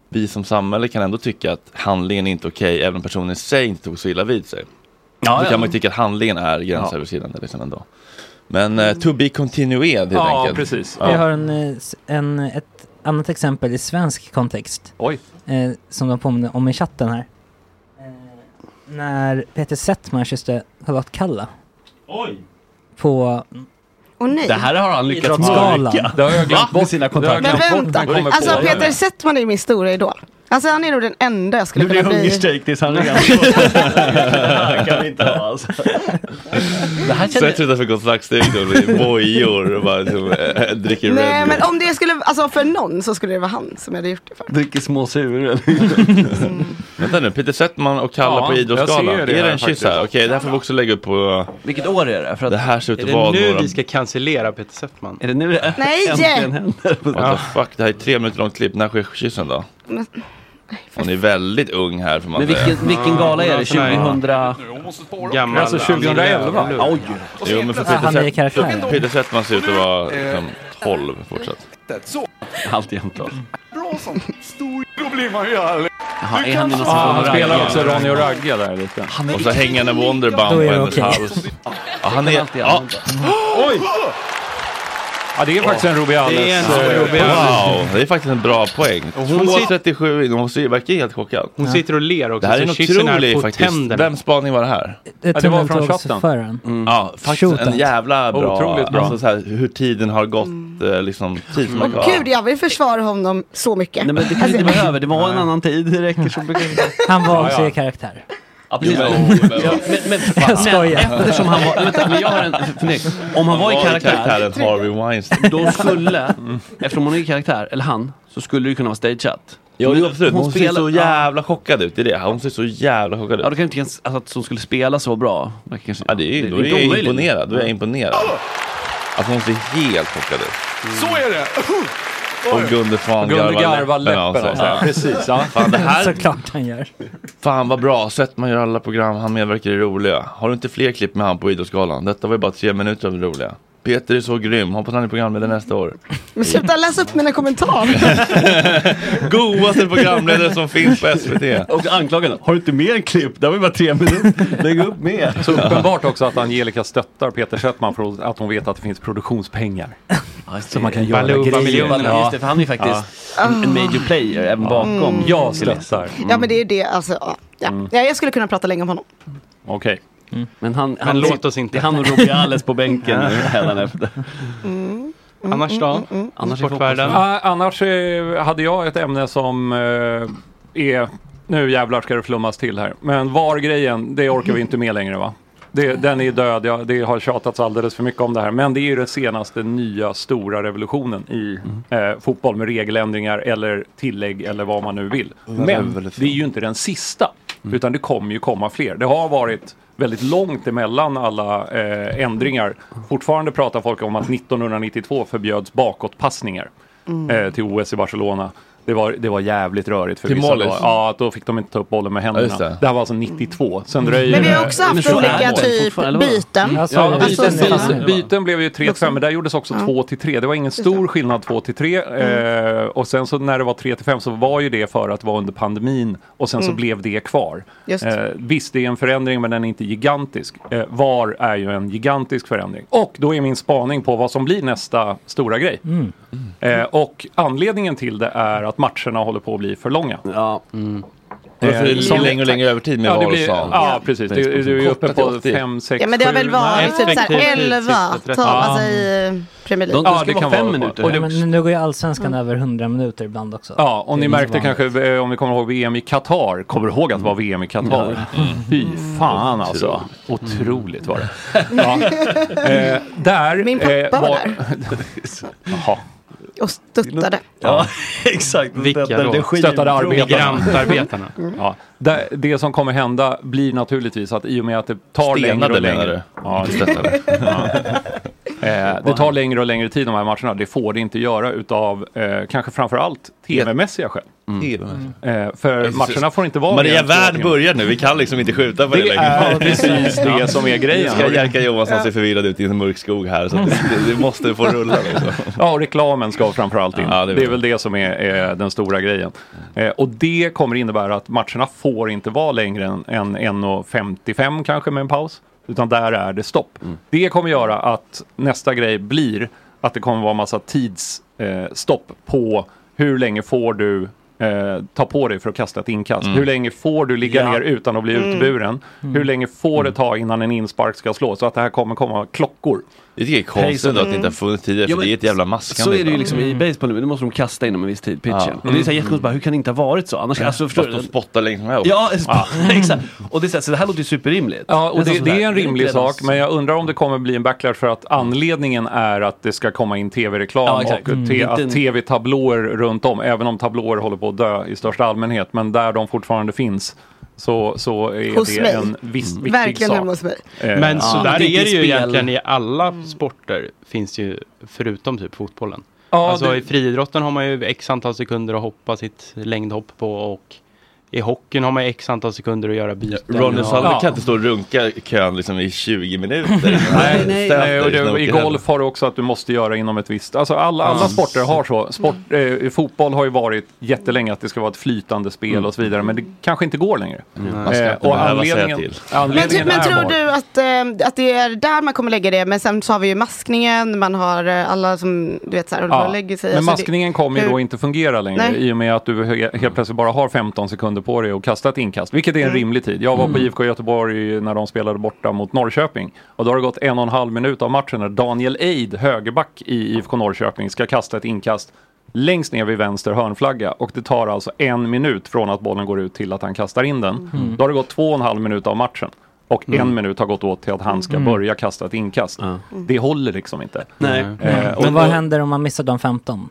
Speaker 1: vi som samhälle kan ändå tycka att handlingen är inte okej, även om personen i sig inte tog så illa vid sig.
Speaker 6: Ja,
Speaker 1: Då
Speaker 6: ja.
Speaker 1: kan man ju tycka att handlingen är gränsöverskridande liksom ändå. Men eh, to be continued helt
Speaker 9: Ja,
Speaker 1: enkelt.
Speaker 9: precis.
Speaker 1: Ja.
Speaker 7: Vi har en, eh, s- en, ett annat exempel i svensk kontext.
Speaker 9: Oj.
Speaker 7: Eh, som de påminner om i chatten här. Eh, när Peter Settman kysste Charlotte Kalla. Oj! På...
Speaker 10: Åh nej.
Speaker 6: Det här har han lyckats
Speaker 7: Idrottsgalan.
Speaker 6: mörka.
Speaker 7: Det har jag glömt
Speaker 6: bort. Med sina kontakter.
Speaker 10: Men vänta, alltså Peter Settman är min stora idol. Alltså han är nog den enda jag skulle
Speaker 6: Nu blir
Speaker 10: kunna
Speaker 6: det
Speaker 10: bli.
Speaker 6: hungerstrejk tills han rentvår. Det kan vi inte ha alltså. Det här
Speaker 1: Sätt
Speaker 6: kände...
Speaker 1: dig utanför Gott Snack-studion i bojor och bara liksom, eh, dricker
Speaker 10: Nej
Speaker 1: Red
Speaker 10: men
Speaker 1: Bull.
Speaker 10: om det skulle, alltså för någon så skulle det vara han som jag hade gjort det för.
Speaker 6: Dricker små suror.
Speaker 1: Vänta nu, Peter Settman och Kalla
Speaker 6: Ja,
Speaker 1: på Idrottsgalan.
Speaker 6: jag ser
Speaker 1: Är
Speaker 6: det
Speaker 1: det
Speaker 6: här
Speaker 1: en kyss
Speaker 6: faktiskt.
Speaker 1: här? Okej, det här får vi också lägga upp på...
Speaker 6: Vilket år är det? För att...
Speaker 1: Det här ser ut
Speaker 5: Är
Speaker 1: att
Speaker 5: det
Speaker 1: vara
Speaker 5: nu
Speaker 1: några...
Speaker 5: vi ska cancellera Peter Settman?
Speaker 6: Är det nu det
Speaker 10: Nej! äntligen händer?
Speaker 1: What the fuck, det här är ett tre minuter långt klipp. När sker kyssen då?
Speaker 10: Men,
Speaker 1: Hon är väldigt ung här får man
Speaker 6: Men vilken-
Speaker 1: säga.
Speaker 6: vilken gala är det? 2000?
Speaker 5: Gammal
Speaker 1: Alltså, 2011?
Speaker 5: Annie
Speaker 6: Oj.
Speaker 5: Lööf.
Speaker 1: Jo men för
Speaker 7: Ah, han är i
Speaker 1: Peter,
Speaker 7: karaktär.
Speaker 1: Sett, Peter Settman ser ut att vara liksom, 12 fortsatt.
Speaker 11: Så
Speaker 6: Alltjämt då.
Speaker 11: bra som stor, då blir man ju ärlig.
Speaker 6: Jaha, är han i någon
Speaker 9: Ah,
Speaker 6: form
Speaker 9: han
Speaker 6: av
Speaker 9: spelar
Speaker 6: ragg?
Speaker 9: också Ronny och Ragge där lite.
Speaker 1: Och så hängande Wonderbomb
Speaker 7: Då
Speaker 1: på
Speaker 7: är det
Speaker 1: hennes
Speaker 7: okej.
Speaker 1: hals. Ja, han är... Ja,
Speaker 9: Oj! Ja, det är faktiskt en Rubiales.
Speaker 1: det är en
Speaker 9: eh,
Speaker 1: wow, det är faktiskt en bra poäng.
Speaker 5: hon sitter-
Speaker 1: 2.37 in, hon ser- verkar helt chockad.
Speaker 5: Hon sitter och ler också.
Speaker 1: Det här är en
Speaker 5: så kyssen
Speaker 1: otrolig
Speaker 5: på
Speaker 1: faktiskt.
Speaker 5: tänderna.
Speaker 1: Vems spaning var det här? Mm.
Speaker 7: Ja, det var från Tunneltågsföraren.
Speaker 1: Ja, faktiskt
Speaker 7: Shootout.
Speaker 1: en jävla bra,
Speaker 9: Otroligt bra.
Speaker 1: Alltså, så här, hur tiden har gått, eh, liksom tid som har
Speaker 10: Åh
Speaker 1: gått.
Speaker 10: gud, jag vill försvara honom så mycket. Alltså,
Speaker 6: Nej men det kanske inte behöver, det var en annan tid, det räcker så mycket.
Speaker 7: Han var också
Speaker 6: ja.
Speaker 7: i karaktär.
Speaker 6: Ja, precis.
Speaker 1: Jo,
Speaker 6: men,
Speaker 1: men-
Speaker 6: men,
Speaker 7: Jag
Speaker 6: men
Speaker 7: skojar.
Speaker 6: eftersom han var, vänta, men jag har en fundering. Om han var i karaktär,
Speaker 1: karaktären Harvey Weinstein.
Speaker 6: då skulle, eftersom hon är i karaktär, eller han, så skulle det ju kunna vara stageat.
Speaker 1: Jo,
Speaker 6: Men
Speaker 1: jo absolut. Hon, ser
Speaker 6: spelar-
Speaker 1: så jävla chockad ut. Det är det. Hon ser så jävla chockad ut.
Speaker 6: Ja, då kan jag inte ens, alltså, att hon skulle spela så bra. verkar Kanske,
Speaker 1: Ja, det är, då är
Speaker 6: inte
Speaker 1: jag
Speaker 6: omöjligt.
Speaker 1: imponerad. Då är jag imponerad. Att hon ser helt chockad ut.
Speaker 11: Så är det.
Speaker 1: Och Gunde Svan
Speaker 9: Gunde garvar
Speaker 1: garvar läppen av
Speaker 9: läppen alltså.
Speaker 1: sig.
Speaker 9: av sig. Precis, ja.
Speaker 1: Fan, det här,
Speaker 7: Såklart han gör.
Speaker 1: fan vad bra. Sett man gör alla program. Han medverkar i roliga. Har du inte fler klipp med han på Idrottsgalan? Detta var ju bara tre minuter av det roliga. Peter är så grym. Hoppas han är programledare nästa år.
Speaker 10: Men sluta läsa upp mina kommentarer.
Speaker 1: Godaste programledare som finns på SVT.
Speaker 6: Och anklagande, har du inte mer klipp? Det var ju bara tre minuter. Lägg upp mer.
Speaker 9: Så uppenbart också att Angelica stöttar Peter Settman för att hon vet att det finns produktionspengar. Så man kan göra
Speaker 5: Baluba
Speaker 9: grejer. Ah.
Speaker 5: miljonerna.
Speaker 6: Ja. Just det, för han är ju faktiskt en, en major player även bakom.
Speaker 9: Mm. Jag stöttar.
Speaker 6: Mm.
Speaker 10: Ja men det är det, alltså. ja. Ja. ja, jag skulle kunna prata länge om honom.
Speaker 9: Okej.
Speaker 6: Men, han, han,
Speaker 5: Men låt oss inte.
Speaker 6: Det är han och Robiales på bänken nu hädanefter.
Speaker 10: mm,
Speaker 5: Annars då?
Speaker 10: mm, mm.
Speaker 5: Annars i sportvärlden?
Speaker 9: Ah, annars eh, hade jag ett ämne som eh, är... Nu jävlar ska det flummas till här. Men VAR-grejen, det orkar vi inte med längre va? Det, den är död, ja, det har tjatats alldeles för mycket om det här. Men det är ju den senaste nya stora revolutionen i
Speaker 6: Mm.
Speaker 9: eh, fotboll med regeländringar eller tillägg eller vad man nu vill.
Speaker 1: Mm.
Speaker 9: Men det är ju inte den sista, utan det kommer ju komma fler. Det har varit väldigt långt emellan alla eh, ändringar. Fortfarande pratar folk om att 1992 förbjöds bakåtpassningar
Speaker 11: Mm.
Speaker 9: eh, till OS i Barcelona. Det var, det var jävligt rörigt för
Speaker 1: Till
Speaker 9: vissa
Speaker 1: målis?
Speaker 9: dagar. Ja, att då fick de inte ta upp bollen med händerna.
Speaker 1: just det. Mm.
Speaker 9: det. här var alltså 92. Sen dröjer
Speaker 10: Men vi har
Speaker 9: det-
Speaker 10: också haft Men så är olika det typ fortfarande, eller vadå? byten.
Speaker 9: Ja,
Speaker 10: Alltså, byten
Speaker 9: byten,
Speaker 10: är-
Speaker 9: byten, byten blev ju 3-5, men där gjordes också 2-3. Det var ingen stor skillnad 2-3.
Speaker 10: Mm.
Speaker 9: Eh, och sen så när det var 3-5 så var ju det för att det var under pandemin och sen så
Speaker 10: Mm.
Speaker 9: blev det kvar.
Speaker 10: Just.
Speaker 9: Eh, visst, det är en förändring, men den är inte gigantisk. Eh, VAR är ju en gigantisk förändring. Och då är min spaning på vad som blir nästa stora grej. Eh, och anledningen till det är att matcherna håller på att bli för långa. Ja.
Speaker 1: Varför det blir längre och längre övertid med
Speaker 9: ja, det
Speaker 1: val och
Speaker 9: blir,
Speaker 1: sånt?
Speaker 9: Ja, precis. Det, det är ju uppe
Speaker 1: Kortat
Speaker 9: på
Speaker 1: till 80.
Speaker 9: 5, 6,
Speaker 10: Ja men det har väl varit typ såhär 11 tar man sig alltså, i Premier League.
Speaker 7: Och det, men nu går ju allsvenskan över 100 minuter ibland också.
Speaker 9: Ja, och
Speaker 7: Det
Speaker 9: ni
Speaker 7: är
Speaker 9: märkte
Speaker 7: vanligt.
Speaker 9: kanske, eh, om ni kommer ihåg VM i Qatar, kommer ihåg att det var VM i Qatar? Mm. Fy fan alltså. Otroligt var det. Ja.
Speaker 7: Mm.
Speaker 9: Eh, där eh,
Speaker 10: Min pappa var där.
Speaker 9: Jaha.
Speaker 10: Och stöttade.
Speaker 9: Ja,
Speaker 6: exakt.
Speaker 9: Vilka
Speaker 6: Stöttade
Speaker 9: då?
Speaker 6: regimen.
Speaker 9: Stöttade arbetarna.
Speaker 5: Migrantarbetarna.
Speaker 10: Mm.
Speaker 9: Ja. Det, det som kommer hända blir naturligtvis att i och med att det tar
Speaker 1: Stenade
Speaker 9: längre och
Speaker 1: menar
Speaker 9: längre.
Speaker 1: du?
Speaker 9: Ja,
Speaker 1: Inte stöttade.
Speaker 9: Ja. Eh, det tar längre och längre tid de här matcherna. Det får det inte göra utav eh, kanske framför allt tv-mässiga skäl.
Speaker 1: Mm.
Speaker 9: Eh, för matcherna får inte vara mer
Speaker 1: Maria
Speaker 9: än två
Speaker 1: Värd
Speaker 9: timmar.
Speaker 1: börjar nu, vi kan liksom inte skjuta på det,
Speaker 9: Det
Speaker 1: längre.
Speaker 9: är precis det som är grejen. Mm.
Speaker 1: Nu ska Jerka Johansson se förvirrad ut i en mörk skog här, så att det, det måste få rulla. Liksom.
Speaker 9: Ja, och reklamen ska framförallt in.
Speaker 1: Ja, det
Speaker 9: det,
Speaker 1: är
Speaker 9: är
Speaker 1: väl
Speaker 9: väl det som är, eh, den stora grejen. Eh, och det kommer innebära att matcherna får inte vara längre än, än 1.55 kanske med en paus. Utan där är det stopp.
Speaker 1: Mm.
Speaker 9: Det kommer göra att nästa grej blir att det kommer vara massa tidsstopp eh, stopp på hur länge får du eh, ta på dig för att kasta ett inkast.
Speaker 1: Mm.
Speaker 9: Hur länge får du ligga
Speaker 1: Ja.
Speaker 9: ner utan att bli
Speaker 1: Mm.
Speaker 9: utburen?
Speaker 1: Mm.
Speaker 9: Hur länge får det ta innan en inspark ska slås? Så att det här kommer komma klockor.
Speaker 1: Jag tycker det är konstigt ändå att det inte har funnits tidigare,
Speaker 9: Ja,
Speaker 1: för
Speaker 9: men
Speaker 1: det är ett jävla maskande. Mm.
Speaker 6: Så är det ju liksom i
Speaker 1: ibland.
Speaker 6: baseball nu, men då måste de kasta inom en viss tid, pitchen.
Speaker 1: Ja.
Speaker 6: Och det är så här
Speaker 1: Mm.
Speaker 6: jättekonstigt, bara, hur kan det inte ha varit så? Annars, alltså, förstår
Speaker 1: Fast
Speaker 6: du?
Speaker 1: de spottar längs med också.
Speaker 6: Ja, exakt. Och det är så, här, så det här låter ju superrimligt.
Speaker 9: Ja, och det,
Speaker 6: Nästan
Speaker 9: det
Speaker 6: Alltså, sådär.
Speaker 9: är en rimlig
Speaker 6: inte
Speaker 9: sak,
Speaker 6: redan-
Speaker 9: men jag undrar om det kommer bli en backlash för att anledningen är att det ska komma in
Speaker 6: Ja,
Speaker 9: tv-reklam
Speaker 6: exakt.
Speaker 9: och
Speaker 6: Mm.
Speaker 9: te,
Speaker 6: Inte en-
Speaker 9: att tv-tablåer runt om, även om tablåer håller på att dö i största allmänhet, men där de fortfarande finns så, så är
Speaker 10: Hos
Speaker 9: det
Speaker 10: mig. Mm.
Speaker 9: en viss, viktig
Speaker 10: Verkligen
Speaker 9: sak.
Speaker 10: hemma hos mig.
Speaker 9: Eh,
Speaker 5: Men
Speaker 9: ja.
Speaker 5: så där är det ju
Speaker 9: Vilket spel-
Speaker 5: egentligen i alla sporter, finns ju förutom typ fotbollen.
Speaker 9: Ja,
Speaker 5: alltså
Speaker 9: det-
Speaker 5: i friidrotten har man ju x antal sekunder att hoppa sitt längdhopp på och i hockeyn har man ju x antal sekunder att göra byten.
Speaker 1: Ronny
Speaker 5: och-
Speaker 1: Salve kan inte stå och runka i kön liksom i 20 minuter.
Speaker 9: Nej, nej,
Speaker 1: Stöter
Speaker 9: nej, och
Speaker 1: liksom
Speaker 9: det,
Speaker 1: åker
Speaker 9: i
Speaker 1: hem.
Speaker 9: golf har du också att du måste göra inom ett visst, alltså alla, alla
Speaker 1: Ja.
Speaker 9: sporter har så. Sport,
Speaker 10: Mm.
Speaker 9: eh, fotboll har ju varit jättelänge att det ska vara ett flytande spel och så vidare, men det kanske inte går längre.
Speaker 1: Mm.
Speaker 9: Eh,
Speaker 1: Man ska inte behöva säga till.
Speaker 10: Men, ty,
Speaker 9: anledningen
Speaker 10: men
Speaker 9: är
Speaker 10: tror
Speaker 9: bara-
Speaker 10: du att, eh, att det är där man kommer lägga det? Men sen så har vi ju maskningen, man har eh, alla som du vet så här, håller på och lägger sig.
Speaker 9: Men
Speaker 10: Alltså, det-
Speaker 9: maskningen kommer ju
Speaker 10: hur-
Speaker 9: då inte fungera längre
Speaker 10: Nej.
Speaker 9: i och med att du he- helt plötsligt bara har 15 sekunder på dig att kasta ett inkast, vilket är en
Speaker 10: Mm.
Speaker 9: rimlig tid. Jag var på
Speaker 1: Mm.
Speaker 9: IFK Göteborg när de spelade borta mot Norrköping och då har det gått en och en halv minut av matchen när Daniel Eid, högerback i IFK Norrköping, ska kasta ett inkast längst ner vid vänster hörnflagga och det tar alltså en minut från att bollen går ut till att han kastar in den.
Speaker 1: Mm.
Speaker 9: Då har det gått två och en halv minut av matchen och en
Speaker 1: Mm.
Speaker 9: minut har gått åt till att han ska
Speaker 7: Mm.
Speaker 9: börja kasta ett inkast. Det håller liksom inte.
Speaker 7: Nej.
Speaker 9: Eh,
Speaker 7: Men vad händer om man missar de 15?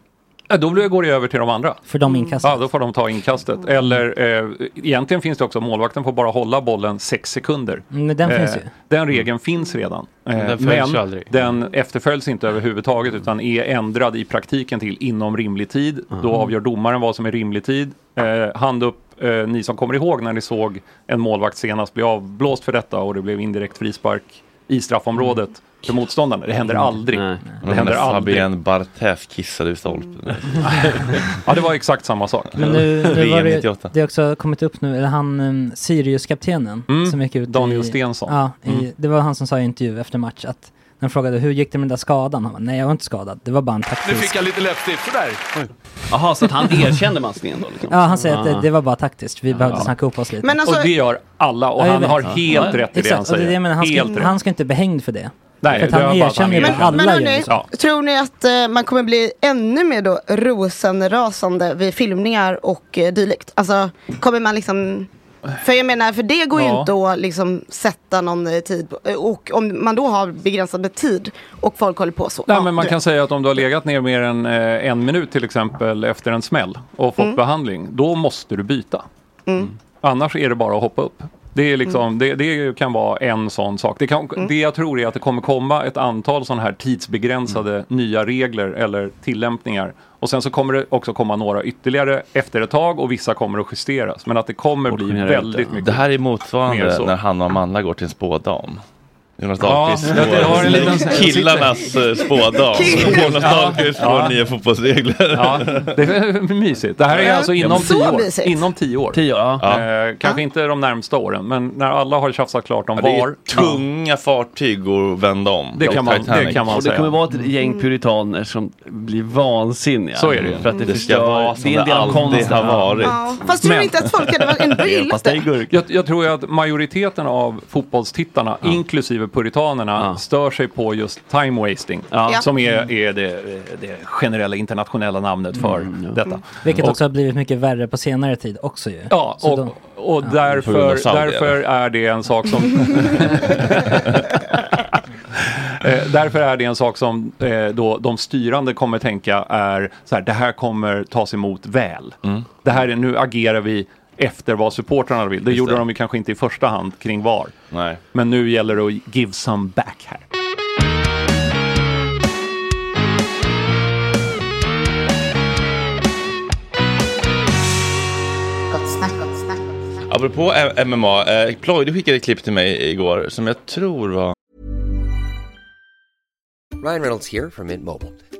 Speaker 9: Ja, då blir- går det över till de andra.
Speaker 7: För de Mm. inkastet?
Speaker 9: Ja, då får de ta inkastet. Eller eh, egentligen finns det också, målvakten får bara hålla bollen sex sekunder. Eh,
Speaker 7: Mm, men den finns ju.
Speaker 9: Den regeln finns redan. Eh,
Speaker 5: Men den följs ju
Speaker 9: men
Speaker 5: aldrig.
Speaker 9: den efterföljs inte överhuvudtaget utan är ändrad i praktiken till inom rimlig tid.
Speaker 5: Mm.
Speaker 9: Då avgör domaren vad som är rimlig tid. Eh, hand upp, eh, ni som kommer ihåg när ni såg en målvakt senast bli avblåst för detta och det blev indirekt frispark i straffområdet
Speaker 5: Mm.
Speaker 9: för motståndarna. Det händer aldrig. Det händer aldrig.
Speaker 1: Fabian Barthez kissade i stolpen.
Speaker 9: Ja, det var exakt samma sak.
Speaker 7: Men nu, nu var
Speaker 1: VM
Speaker 7: det,
Speaker 1: 98.
Speaker 7: det har också kommit upp nu, eller han um, Sirius-kaptenen
Speaker 9: Mm,
Speaker 7: som gick ut
Speaker 9: Daniel
Speaker 7: i,
Speaker 9: Stensson.
Speaker 7: Ja, i,
Speaker 9: Mm.
Speaker 7: det var han som sa i intervju efter match att Den frågade hur gick det med den där skadan? Han bara, nej jag var inte skadad, det var bara en
Speaker 9: Nu
Speaker 7: taktisk...
Speaker 9: fick jag lite läppstift, sådär.
Speaker 6: Jaha, så att han erkände maskningen då? Liksom.
Speaker 7: Ja, han säger att det,
Speaker 6: Ah.
Speaker 7: det var bara taktiskt, vi behövde snacka ihop oss lite.
Speaker 10: Men alltså-
Speaker 9: Och det gör alla och
Speaker 7: Ja, jag
Speaker 9: han
Speaker 7: vet.
Speaker 9: har
Speaker 7: Ja.
Speaker 9: helt rätt i det
Speaker 7: Exakt,
Speaker 9: han
Speaker 7: och är
Speaker 9: säger.
Speaker 7: jag menar, han, ska,
Speaker 9: helt rätt.
Speaker 7: han ska inte bli hängd för det.
Speaker 9: Nej,
Speaker 7: för att
Speaker 9: det var
Speaker 7: han
Speaker 9: bara att han
Speaker 7: erkänner ju
Speaker 9: erkänner.
Speaker 7: att alla
Speaker 9: Men
Speaker 7: gör
Speaker 9: hörni,
Speaker 7: ju liksom. så.
Speaker 10: Tror ni att eh, man kommer bli ännu mer då rosenrasande vid filmningar och eh, dylikt? Alltså kommer man liksom för jag menar, för det går ju
Speaker 12: Ja.
Speaker 10: inte att liksom sätta någon eh, tid på. Eh, Och om man då har begränsad med tid och folk håller på så.
Speaker 9: Nej,
Speaker 10: ja,
Speaker 9: men
Speaker 10: du
Speaker 9: man kan
Speaker 10: vet.
Speaker 9: säga att om du har legat ner mer än eh, en minut till exempel efter en smäll och fått
Speaker 10: Mm.
Speaker 9: behandling, då måste du byta.
Speaker 10: Mm.
Speaker 9: Annars är det bara att hoppa upp. Det, är liksom,
Speaker 10: Mm.
Speaker 9: det, det kan vara en sån sak. Det, kan,
Speaker 10: Mm.
Speaker 9: det jag tror är att det kommer komma ett antal sådana här tidsbegränsade
Speaker 10: Mm.
Speaker 9: nya regler eller tillämpningar. Och sen så kommer det också komma några ytterligare efter ett tag och vissa kommer att justeras. Men att det kommer bli väldigt mycket.
Speaker 1: Det här
Speaker 9: mer
Speaker 1: är motsvarande
Speaker 9: så.
Speaker 1: när Hanna och Amanda går till en spådam. Jonas
Speaker 9: Ja,
Speaker 1: Dahlqvist
Speaker 9: jag
Speaker 1: spår-
Speaker 9: har en liten-
Speaker 1: Killarnas eh, spådam.
Speaker 9: Kill-
Speaker 1: Jonas
Speaker 9: Ja.
Speaker 1: Dahlqvist får
Speaker 9: Ja.
Speaker 1: nya fotbollsregler.
Speaker 9: Ja, det är mysigt. Det här är alltså inom
Speaker 1: Så
Speaker 9: tio år.
Speaker 1: mysigt.
Speaker 9: Inom tio år.
Speaker 6: Tio,
Speaker 1: Ja.
Speaker 9: Eh, kanske inte de närmsta åren, men när alla har tjafsat klart om
Speaker 1: Ja, det är
Speaker 9: var.
Speaker 1: tunga fartyg och vända om.
Speaker 9: Det kan man-
Speaker 1: Titanic.
Speaker 9: det kan man
Speaker 6: Och det kommer vara ett gäng puritaner som blir vansinniga.
Speaker 1: Så är det ju.
Speaker 6: För att det,
Speaker 1: Det ska
Speaker 6: förstör-
Speaker 1: vara som
Speaker 6: är en
Speaker 1: det
Speaker 6: del av
Speaker 1: alltid
Speaker 6: konsten.
Speaker 1: har varit.
Speaker 10: Ja, fast tror ni inte att folk hade varit ändå gillat det?
Speaker 9: Jag, jag tror ju att majoriteten av fotbollstittarna, inklusive puritanerna, stör sig på just time wasting.
Speaker 10: Ja.
Speaker 9: Som är, är det, det generella internationella namnet för
Speaker 1: Mm,
Speaker 9: detta.
Speaker 7: Vilket
Speaker 9: Och-
Speaker 7: också har blivit mycket värre på senare tid också ju.
Speaker 9: Ja,
Speaker 7: Så
Speaker 9: och,
Speaker 7: då-
Speaker 9: och
Speaker 1: På
Speaker 7: ja.
Speaker 1: grund av
Speaker 9: därför,
Speaker 1: Saudi,
Speaker 9: därför
Speaker 1: eller?
Speaker 9: är det en sak som... Eh, därför är det en sak som eh, då de styrande kommer tänka är så här, det här kommer tas emot väl.
Speaker 1: Mm.
Speaker 9: Det här är, nu agerar vi efter vad supportrarna vill. Det
Speaker 1: Just
Speaker 9: gjorde
Speaker 1: det.
Speaker 9: de ju kanske inte i första hand kring VAR.
Speaker 1: Nej.
Speaker 9: Men nu gäller det att give some back här.
Speaker 1: Apropå M- MMA, eh, Ploy du skickade ett klipp till mig igår som jag tror var...
Speaker 2: Ryan Reynolds here from Mint Mobile.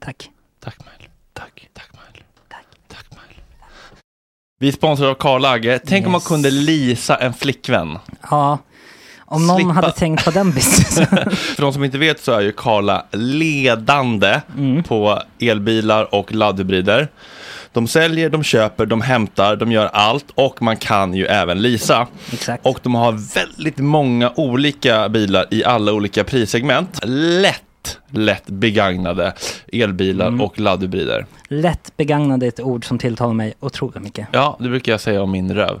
Speaker 7: Tack.
Speaker 1: Tack Mindr. Tack. Tack Mindr. Tack. Tack Mindr. Vi sponsrar av Karl Agge. Tänk om man
Speaker 7: Yes.
Speaker 1: kunde leasa en flickvän.
Speaker 7: Ja, om någon
Speaker 1: Slippa-
Speaker 7: hade tänkt på den businessen.
Speaker 1: För de som inte vet så är ju Karla ledande på elbilar och laddhybrider. De säljer, de köper, de hämtar, de gör allt och man kan ju även leasa. Och de har väldigt många olika bilar i alla olika prissegment. Lätt, lätt begagnade elbilar och laddhybrider.
Speaker 7: Lätt begagnade är ett ord som tilltalar mig otroligt mycket.
Speaker 1: Ja, det brukar jag säga om min röv.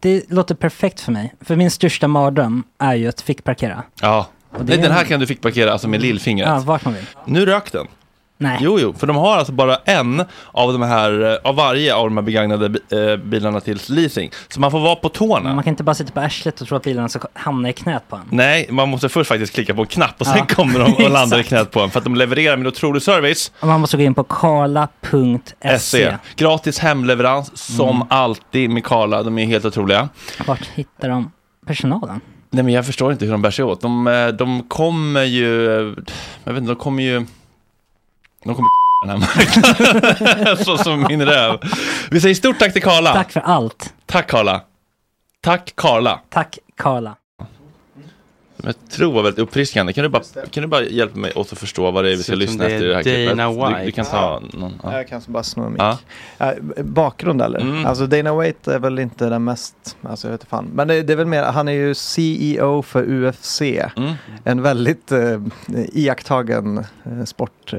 Speaker 7: det låter perfekt för mig. För min största mardröm är ju att fick parkera.
Speaker 1: Ja.
Speaker 7: det
Speaker 1: Nej,
Speaker 7: är-
Speaker 1: den här kan du fick parkera alltså med lillfingret.
Speaker 7: Ja, vart man vill.
Speaker 1: Nu rök den.
Speaker 7: Nej.
Speaker 1: Jo, jo, för de har alltså bara en av de här, eh, av varje av de här begagnade bi- eh, bilarna till leasing. Så man får vara på tårna.
Speaker 7: Man kan inte bara sitta på arslet och tro att bilarna ska hamna i knät på en.
Speaker 1: Nej, man måste först faktiskt klicka på en knapp och sen
Speaker 7: Ja.
Speaker 1: kommer de och landar i
Speaker 7: Exakt.
Speaker 1: knät på en. För att de levererar med otrolig service.
Speaker 7: Och man måste gå in på karla.se.
Speaker 1: SE. Gratis hemleverans som
Speaker 7: E. Mm.
Speaker 1: alltid med Karla. De är helt otroliga.
Speaker 7: Vart hittar de personalen?
Speaker 1: Nej men jag förstår inte hur de bär sig åt. De, eh, de kommer ju, jag vet inte, de kommer ju, de kommer den här marknaden. Så som min röv. Vi säger stort tack till Karla.
Speaker 7: Tack för allt.
Speaker 1: Tack Karla. Tack Karla.
Speaker 7: Tack Karla.
Speaker 1: Som jag tror var väldigt uppfriskande. Kan du bara, kan du bara hjälpa mig åt att förstå vad det är vi ska
Speaker 5: Ser ut som
Speaker 1: lyssna
Speaker 5: det är
Speaker 1: efter i det här klippet?
Speaker 5: Dana
Speaker 1: Du, du
Speaker 5: White.
Speaker 1: kan ta någon. Ja.
Speaker 8: Jag kan bara sno en mick.
Speaker 1: Ja.
Speaker 8: Eh, Bakgrund eller?
Speaker 1: Mm.
Speaker 8: Alltså Dana White är väl inte den mest, alltså jag vet inte fan. Men det, det är väl mer, han är ju CEO för UFC.
Speaker 1: Mm.
Speaker 8: En väldigt eh, iakttagen eh, sport, eh,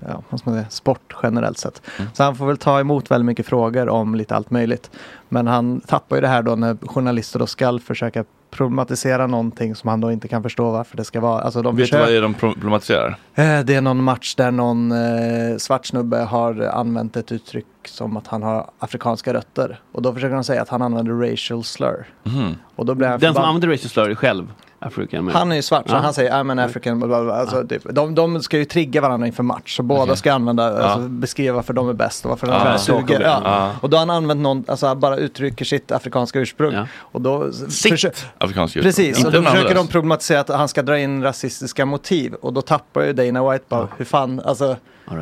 Speaker 8: ja, vad ska man säga, sport generellt sett.
Speaker 1: Mm.
Speaker 8: Så han får väl ta emot väldigt mycket frågor om lite allt möjligt. Men han tappar ju det här då när journalister då ska försöka problematisera någonting som han då inte kan förstå varför det ska vara. Alltså de
Speaker 1: Vet du
Speaker 8: försöker-
Speaker 1: vad det är de problematiserar?
Speaker 8: Eh, Det är någon match där någon eh, svart snubbe har använt ett uttryck som att han har afrikanska rötter. Och då försöker de säga att han använder racial slur.
Speaker 6: Mhm.
Speaker 8: Och då blir han
Speaker 6: Den som
Speaker 8: förbannad.
Speaker 6: använder racial slur är själv African American.
Speaker 8: Han är ju svart så
Speaker 6: Ja.
Speaker 8: han säger I'm an African. Bla, bla, bla. Alltså, typ, de, de ska ju trigga varandra inför match. Så båda ska använda, alltså,
Speaker 6: Ja.
Speaker 8: beskriva varför de är bäst och varför de
Speaker 6: Ja,
Speaker 8: är
Speaker 6: så
Speaker 8: suger.
Speaker 6: kommer
Speaker 8: Ja.
Speaker 6: det. Ja.
Speaker 8: Och då har han använt någon, alltså han bara uttrycker sitt afrikanska ursprung. Och då
Speaker 1: Sitt
Speaker 8: försö-
Speaker 1: afrikanska ursprung.
Speaker 8: Precis, och
Speaker 1: Inte
Speaker 8: då
Speaker 1: den
Speaker 8: försöker de
Speaker 1: andras.
Speaker 8: problematisera att han ska dra in rasistiska motiv. Och då tappar ju Dana White bara, hur fan, alltså.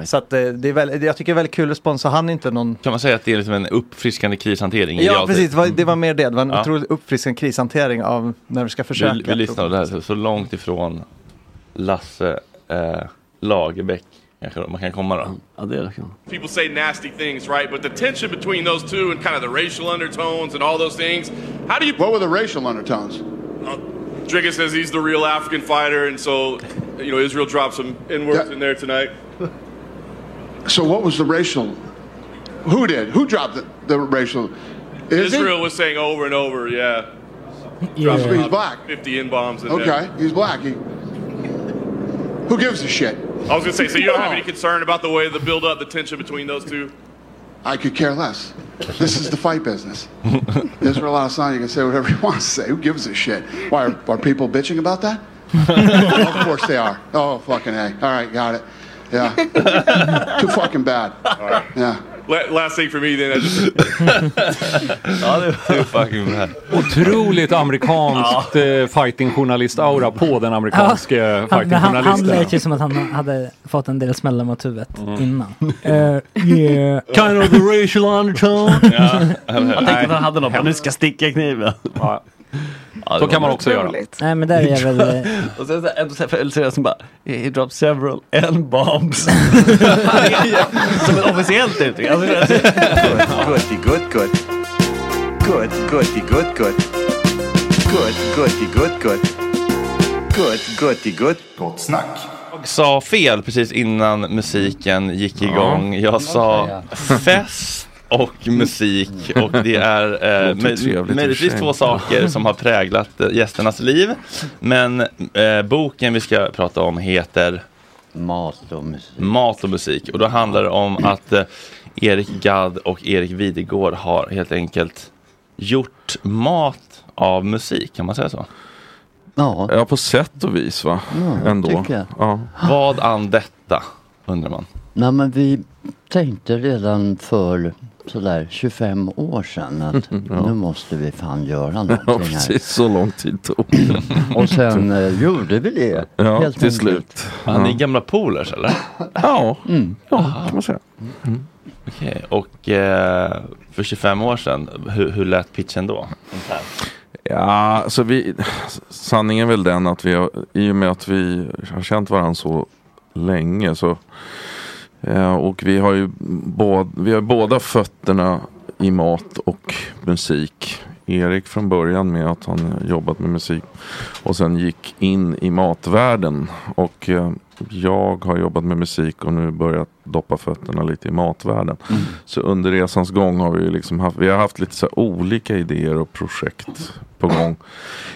Speaker 8: Så att eh, det är väl, jag tycker det är väldigt kul respons och han är inte någon
Speaker 1: Kan man säga att det är liksom en uppfriskande krishantering? i
Speaker 8: Ja,
Speaker 1: realtid?
Speaker 8: precis. Det var, det var mer det. Det var en
Speaker 1: Ja.
Speaker 8: otroligt uppfriskande krishantering av när vi ska försöka.
Speaker 1: Vi, vi lyssnar på det här så- så långt ifrån Lasse eh, Lagerbäck kanske man kan komma då.
Speaker 6: Ja, det kan man.
Speaker 12: People say nasty things, right? But the tension between those two and kind of the racial undertones and all those things, how do you. What were the racial undertones? Drigga says he's the real African fighter, and so, you know, Israel dropped some N words in there tonight.
Speaker 13: So what was the racial? Who did? Who dropped the, the racial? Is it?
Speaker 12: Israel was saying over and over, yeah.
Speaker 13: Yeah. So he's black.
Speaker 12: 50 N bombs in there.
Speaker 13: Okay, he's black. He, who gives a shit?
Speaker 12: I was going to say, so you don't have any concern about the way the build up, the tension between those two?
Speaker 13: I could care less. This is the fight business. Israel Adesanya you can say whatever he wants to say. Who gives a shit? Why are, are people bitching about that? of course they are. Oh fucking hey. All right, got it. Yeah. Too fucking bad. Yeah.
Speaker 12: La- last thing for me, then. I just,
Speaker 1: Ja, det var fucking bad.
Speaker 9: Otroligt amerikanskt eh, fighting-journalist-aura på den amerikanske
Speaker 7: Han, men han, han
Speaker 9: fighting-journalisten.
Speaker 7: lät ju som att han hade fått en del smällar mot huvudet
Speaker 9: Mm.
Speaker 7: innan. Eh, yeah.
Speaker 6: Kind of the racial undertone.
Speaker 7: Ja, eller hur?
Speaker 6: jag tänkte att
Speaker 7: Nej.
Speaker 6: han hade något, nu ska jag sticka kniven.
Speaker 9: Ja.
Speaker 6: det
Speaker 9: Så
Speaker 6: var
Speaker 9: kan man
Speaker 6: bra.
Speaker 9: också göra.
Speaker 7: Nej men där är jag väl... eh,
Speaker 6: Och sen så ändå så här, för- eller så är jag som bara, he dropped several N-bombs. som ett officiellt uttryck. Alltså, jag-
Speaker 14: Goody, good, good. Good, goody, good, good. Good, goody, good, good. Good, goody, good. Gott snack.
Speaker 1: Jag sa fel precis innan musiken gick igång. Jag sa fest och musik och det är eh,
Speaker 15: Låter trevligt i
Speaker 1: möj-
Speaker 15: och för
Speaker 1: möjligtvis
Speaker 15: sig.
Speaker 1: två saker som har präglat eh, gästernas liv. Men eh, boken vi ska prata om heter Mat och musik. Mat och musik. Och då handlar det om att eh, Erik Gadd och Erik Videgård har helt enkelt gjort mat av musik, kan man säga så?
Speaker 14: Ja.
Speaker 15: ja, på sätt och vis va?
Speaker 14: Ja,
Speaker 15: Ändå.
Speaker 14: tycker jag.
Speaker 15: Ja.
Speaker 1: Vad an detta, undrar man.
Speaker 14: Nej, men vi tänkte redan för sådär 25 år sedan att nu måste vi fan göra
Speaker 16: Ja,
Speaker 14: någonting här.
Speaker 16: precis. Så lång tid tog det.
Speaker 14: Och sen eh, gjorde vi det.
Speaker 16: Ja,
Speaker 14: helt
Speaker 16: till
Speaker 14: enkelt.
Speaker 16: slut.
Speaker 1: Ja, Ni är gamla polers eller?
Speaker 16: Ja,
Speaker 8: Mm.
Speaker 16: ja kan man säga.
Speaker 1: Okej, och eh, för 25 år sedan, hur, hur lät pitchen då? Ungefär.
Speaker 16: Ja, så vi, sanningen är väl den att vi har, i och med att vi har känt varandra så länge så eh, och vi har ju båda, vi har båda fötterna i mat och musik. Erik från början med att han jobbat med musik och sen gick in i matvärlden och eh, jag har jobbat med musik och nu börjat doppa fötterna lite i matvärlden. Så under resans gång har vi ju liksom haft, vi har haft lite så här olika idéer och projekt på gång.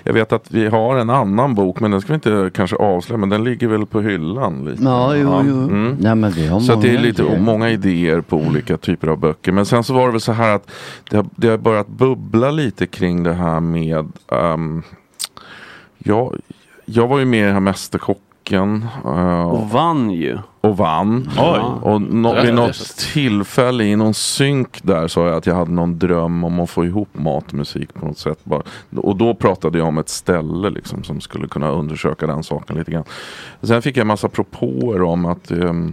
Speaker 16: Jag vet att vi har en annan bok men den ska vi inte kanske avslöja men den ligger väl på hyllan lite.
Speaker 14: Ja, jo,
Speaker 16: Ja.
Speaker 14: jo.
Speaker 16: Mm.
Speaker 14: Nej, men vi har
Speaker 16: Så att det är
Speaker 14: många
Speaker 16: lite
Speaker 14: idéer.
Speaker 16: många idéer på olika typer av böcker. Men sen så var det väl så här att det har, det har börjat bubbla lite kring det här med ehm, jag, jag var ju med i den här Mästerkocken. eh,
Speaker 6: Och vann ju.
Speaker 16: Och vann.
Speaker 6: Oj.
Speaker 16: Och
Speaker 6: Det
Speaker 16: no-
Speaker 6: där
Speaker 16: vid
Speaker 6: är
Speaker 16: något
Speaker 6: trevligt.
Speaker 16: tillfälle i någon synk där sa jag att jag hade någon dröm om att få ihop mat och musik på något sätt. Bara. Och då pratade jag om ett ställe liksom, som skulle kunna undersöka den saken lite grann. Sen fick jag en massa propåer om att ehm,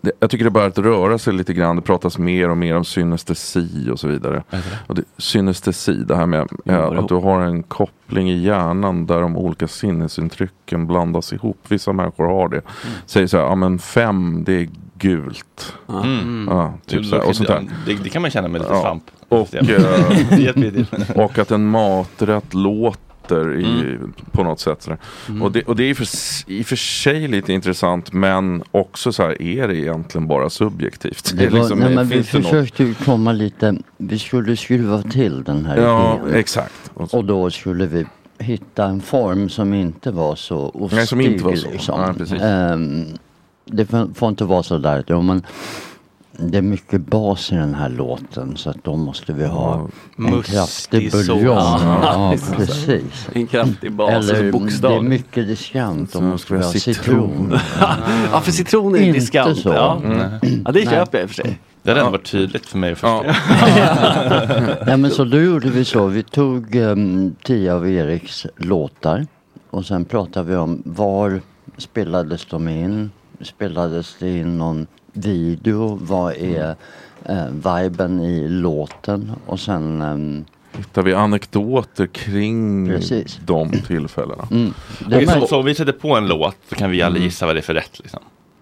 Speaker 16: det, jag tycker det börjat röra sig lite grann. Det pratas mer och mer om synestesi och så vidare. Och det, synestesi, det här med eh,
Speaker 15: går ihop.
Speaker 16: att du har en koppling i hjärnan där de olika sinnesintrycken blandas ihop. Vissa människor har det. Säger så här, ja men fem, det är gult.
Speaker 1: Mm.
Speaker 16: Ja, typ så här, och sånt där.
Speaker 1: Det, det kan man känna med lite
Speaker 16: Ja.
Speaker 1: svamp.
Speaker 16: Och,
Speaker 1: Det hjälper ju till.
Speaker 16: eh, och att en maträtt låter i, på något sätt. Sådär.
Speaker 1: Mm.
Speaker 16: Och, det, och det är i och för, s- i och för sig lite intressant men också så här, är det egentligen bara subjektivt?
Speaker 14: Det
Speaker 16: är
Speaker 14: var,
Speaker 16: liksom,
Speaker 14: nej,
Speaker 16: eh,
Speaker 14: men vi
Speaker 16: finns det något-
Speaker 14: försökte ju komma lite, vi skulle skruva till den här
Speaker 16: Ja,
Speaker 14: idén.
Speaker 16: exakt.
Speaker 14: Och, då skulle vi hitta en form som inte var så ostig.
Speaker 16: Nej, som inte var så.
Speaker 14: Liksom.
Speaker 16: Nej, precis.
Speaker 14: Ehm, det får, får inte vara så där. Jo, men det är mycket bas i den här låten så att då måste vi ha en
Speaker 6: Mustig
Speaker 14: kraftig
Speaker 6: sås.
Speaker 14: buljong.
Speaker 6: Ja,
Speaker 14: Ja,
Speaker 6: precis.
Speaker 14: precis.
Speaker 6: En kraftig bas,
Speaker 14: Eller
Speaker 6: en bokstav.
Speaker 14: det är mycket diskant. Då
Speaker 6: Så
Speaker 14: måste vi ha
Speaker 6: citron.
Speaker 14: citron.
Speaker 6: Ja, för citron är
Speaker 14: Inte
Speaker 6: diskant.
Speaker 14: så.
Speaker 6: Ja.
Speaker 14: Mm.
Speaker 6: ja, det
Speaker 14: Nej.
Speaker 6: köper jag i och för sig.
Speaker 1: Det hade ändå varit tydligt för mig att förstå.
Speaker 14: Nej men så då gjorde vi så, vi tog um, tio av Eriks låtar och sen pratade vi om var spelades de in? Spelades det in någon video? Vad är eh, viben i låten? Och sen ehm,
Speaker 16: Hittar vi anekdoter kring
Speaker 14: Precis.
Speaker 16: de tillfällena?
Speaker 14: Mm.
Speaker 1: Okej, så, så om vi sätter på en låt så kan vi alla gissa vad det är för rätt liksom.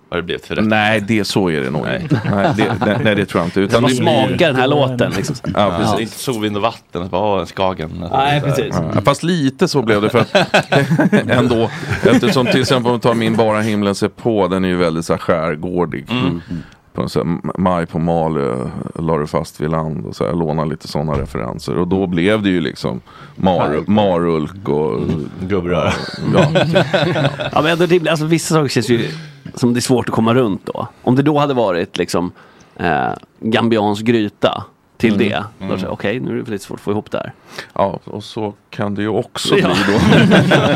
Speaker 1: Vad det blev för rätt.
Speaker 16: Nej, det, så är det nog nej. Nej, det, nej, nej, det tror jag inte.
Speaker 1: Utan man
Speaker 16: det
Speaker 1: smakar
Speaker 16: blir-
Speaker 1: den här låten liksom.
Speaker 16: Ja,
Speaker 1: Ja,
Speaker 16: precis.
Speaker 1: precis. Inte solvind och vatten, att bara, åh, en Skagen.
Speaker 16: Nej, precis. Ja, fast lite så blev det för ändå. Eftersom till exempel om vi tar min Bara himlen ser på, den är ju väldigt så här skärgårdig.
Speaker 5: Mm.
Speaker 16: På en så här, maj på Malö la du fast vid land och så här, låna lite sådana referenser. Och då blev det ju liksom mar, Marulk och...
Speaker 5: Mm.
Speaker 1: Gubbröra.
Speaker 16: Ja,
Speaker 6: ja, men ändå, rimligt. alltså, vissa saker känns ju som det är svårt att komma runt då. Om det då hade varit liksom eh, gambiansk gryta till
Speaker 16: Mm.
Speaker 6: det. Då
Speaker 16: Mm.
Speaker 6: så, Okej, nu är det lite svårt att få ihop det här.
Speaker 16: Ja, och så kan det ju också
Speaker 6: Ja.
Speaker 16: bli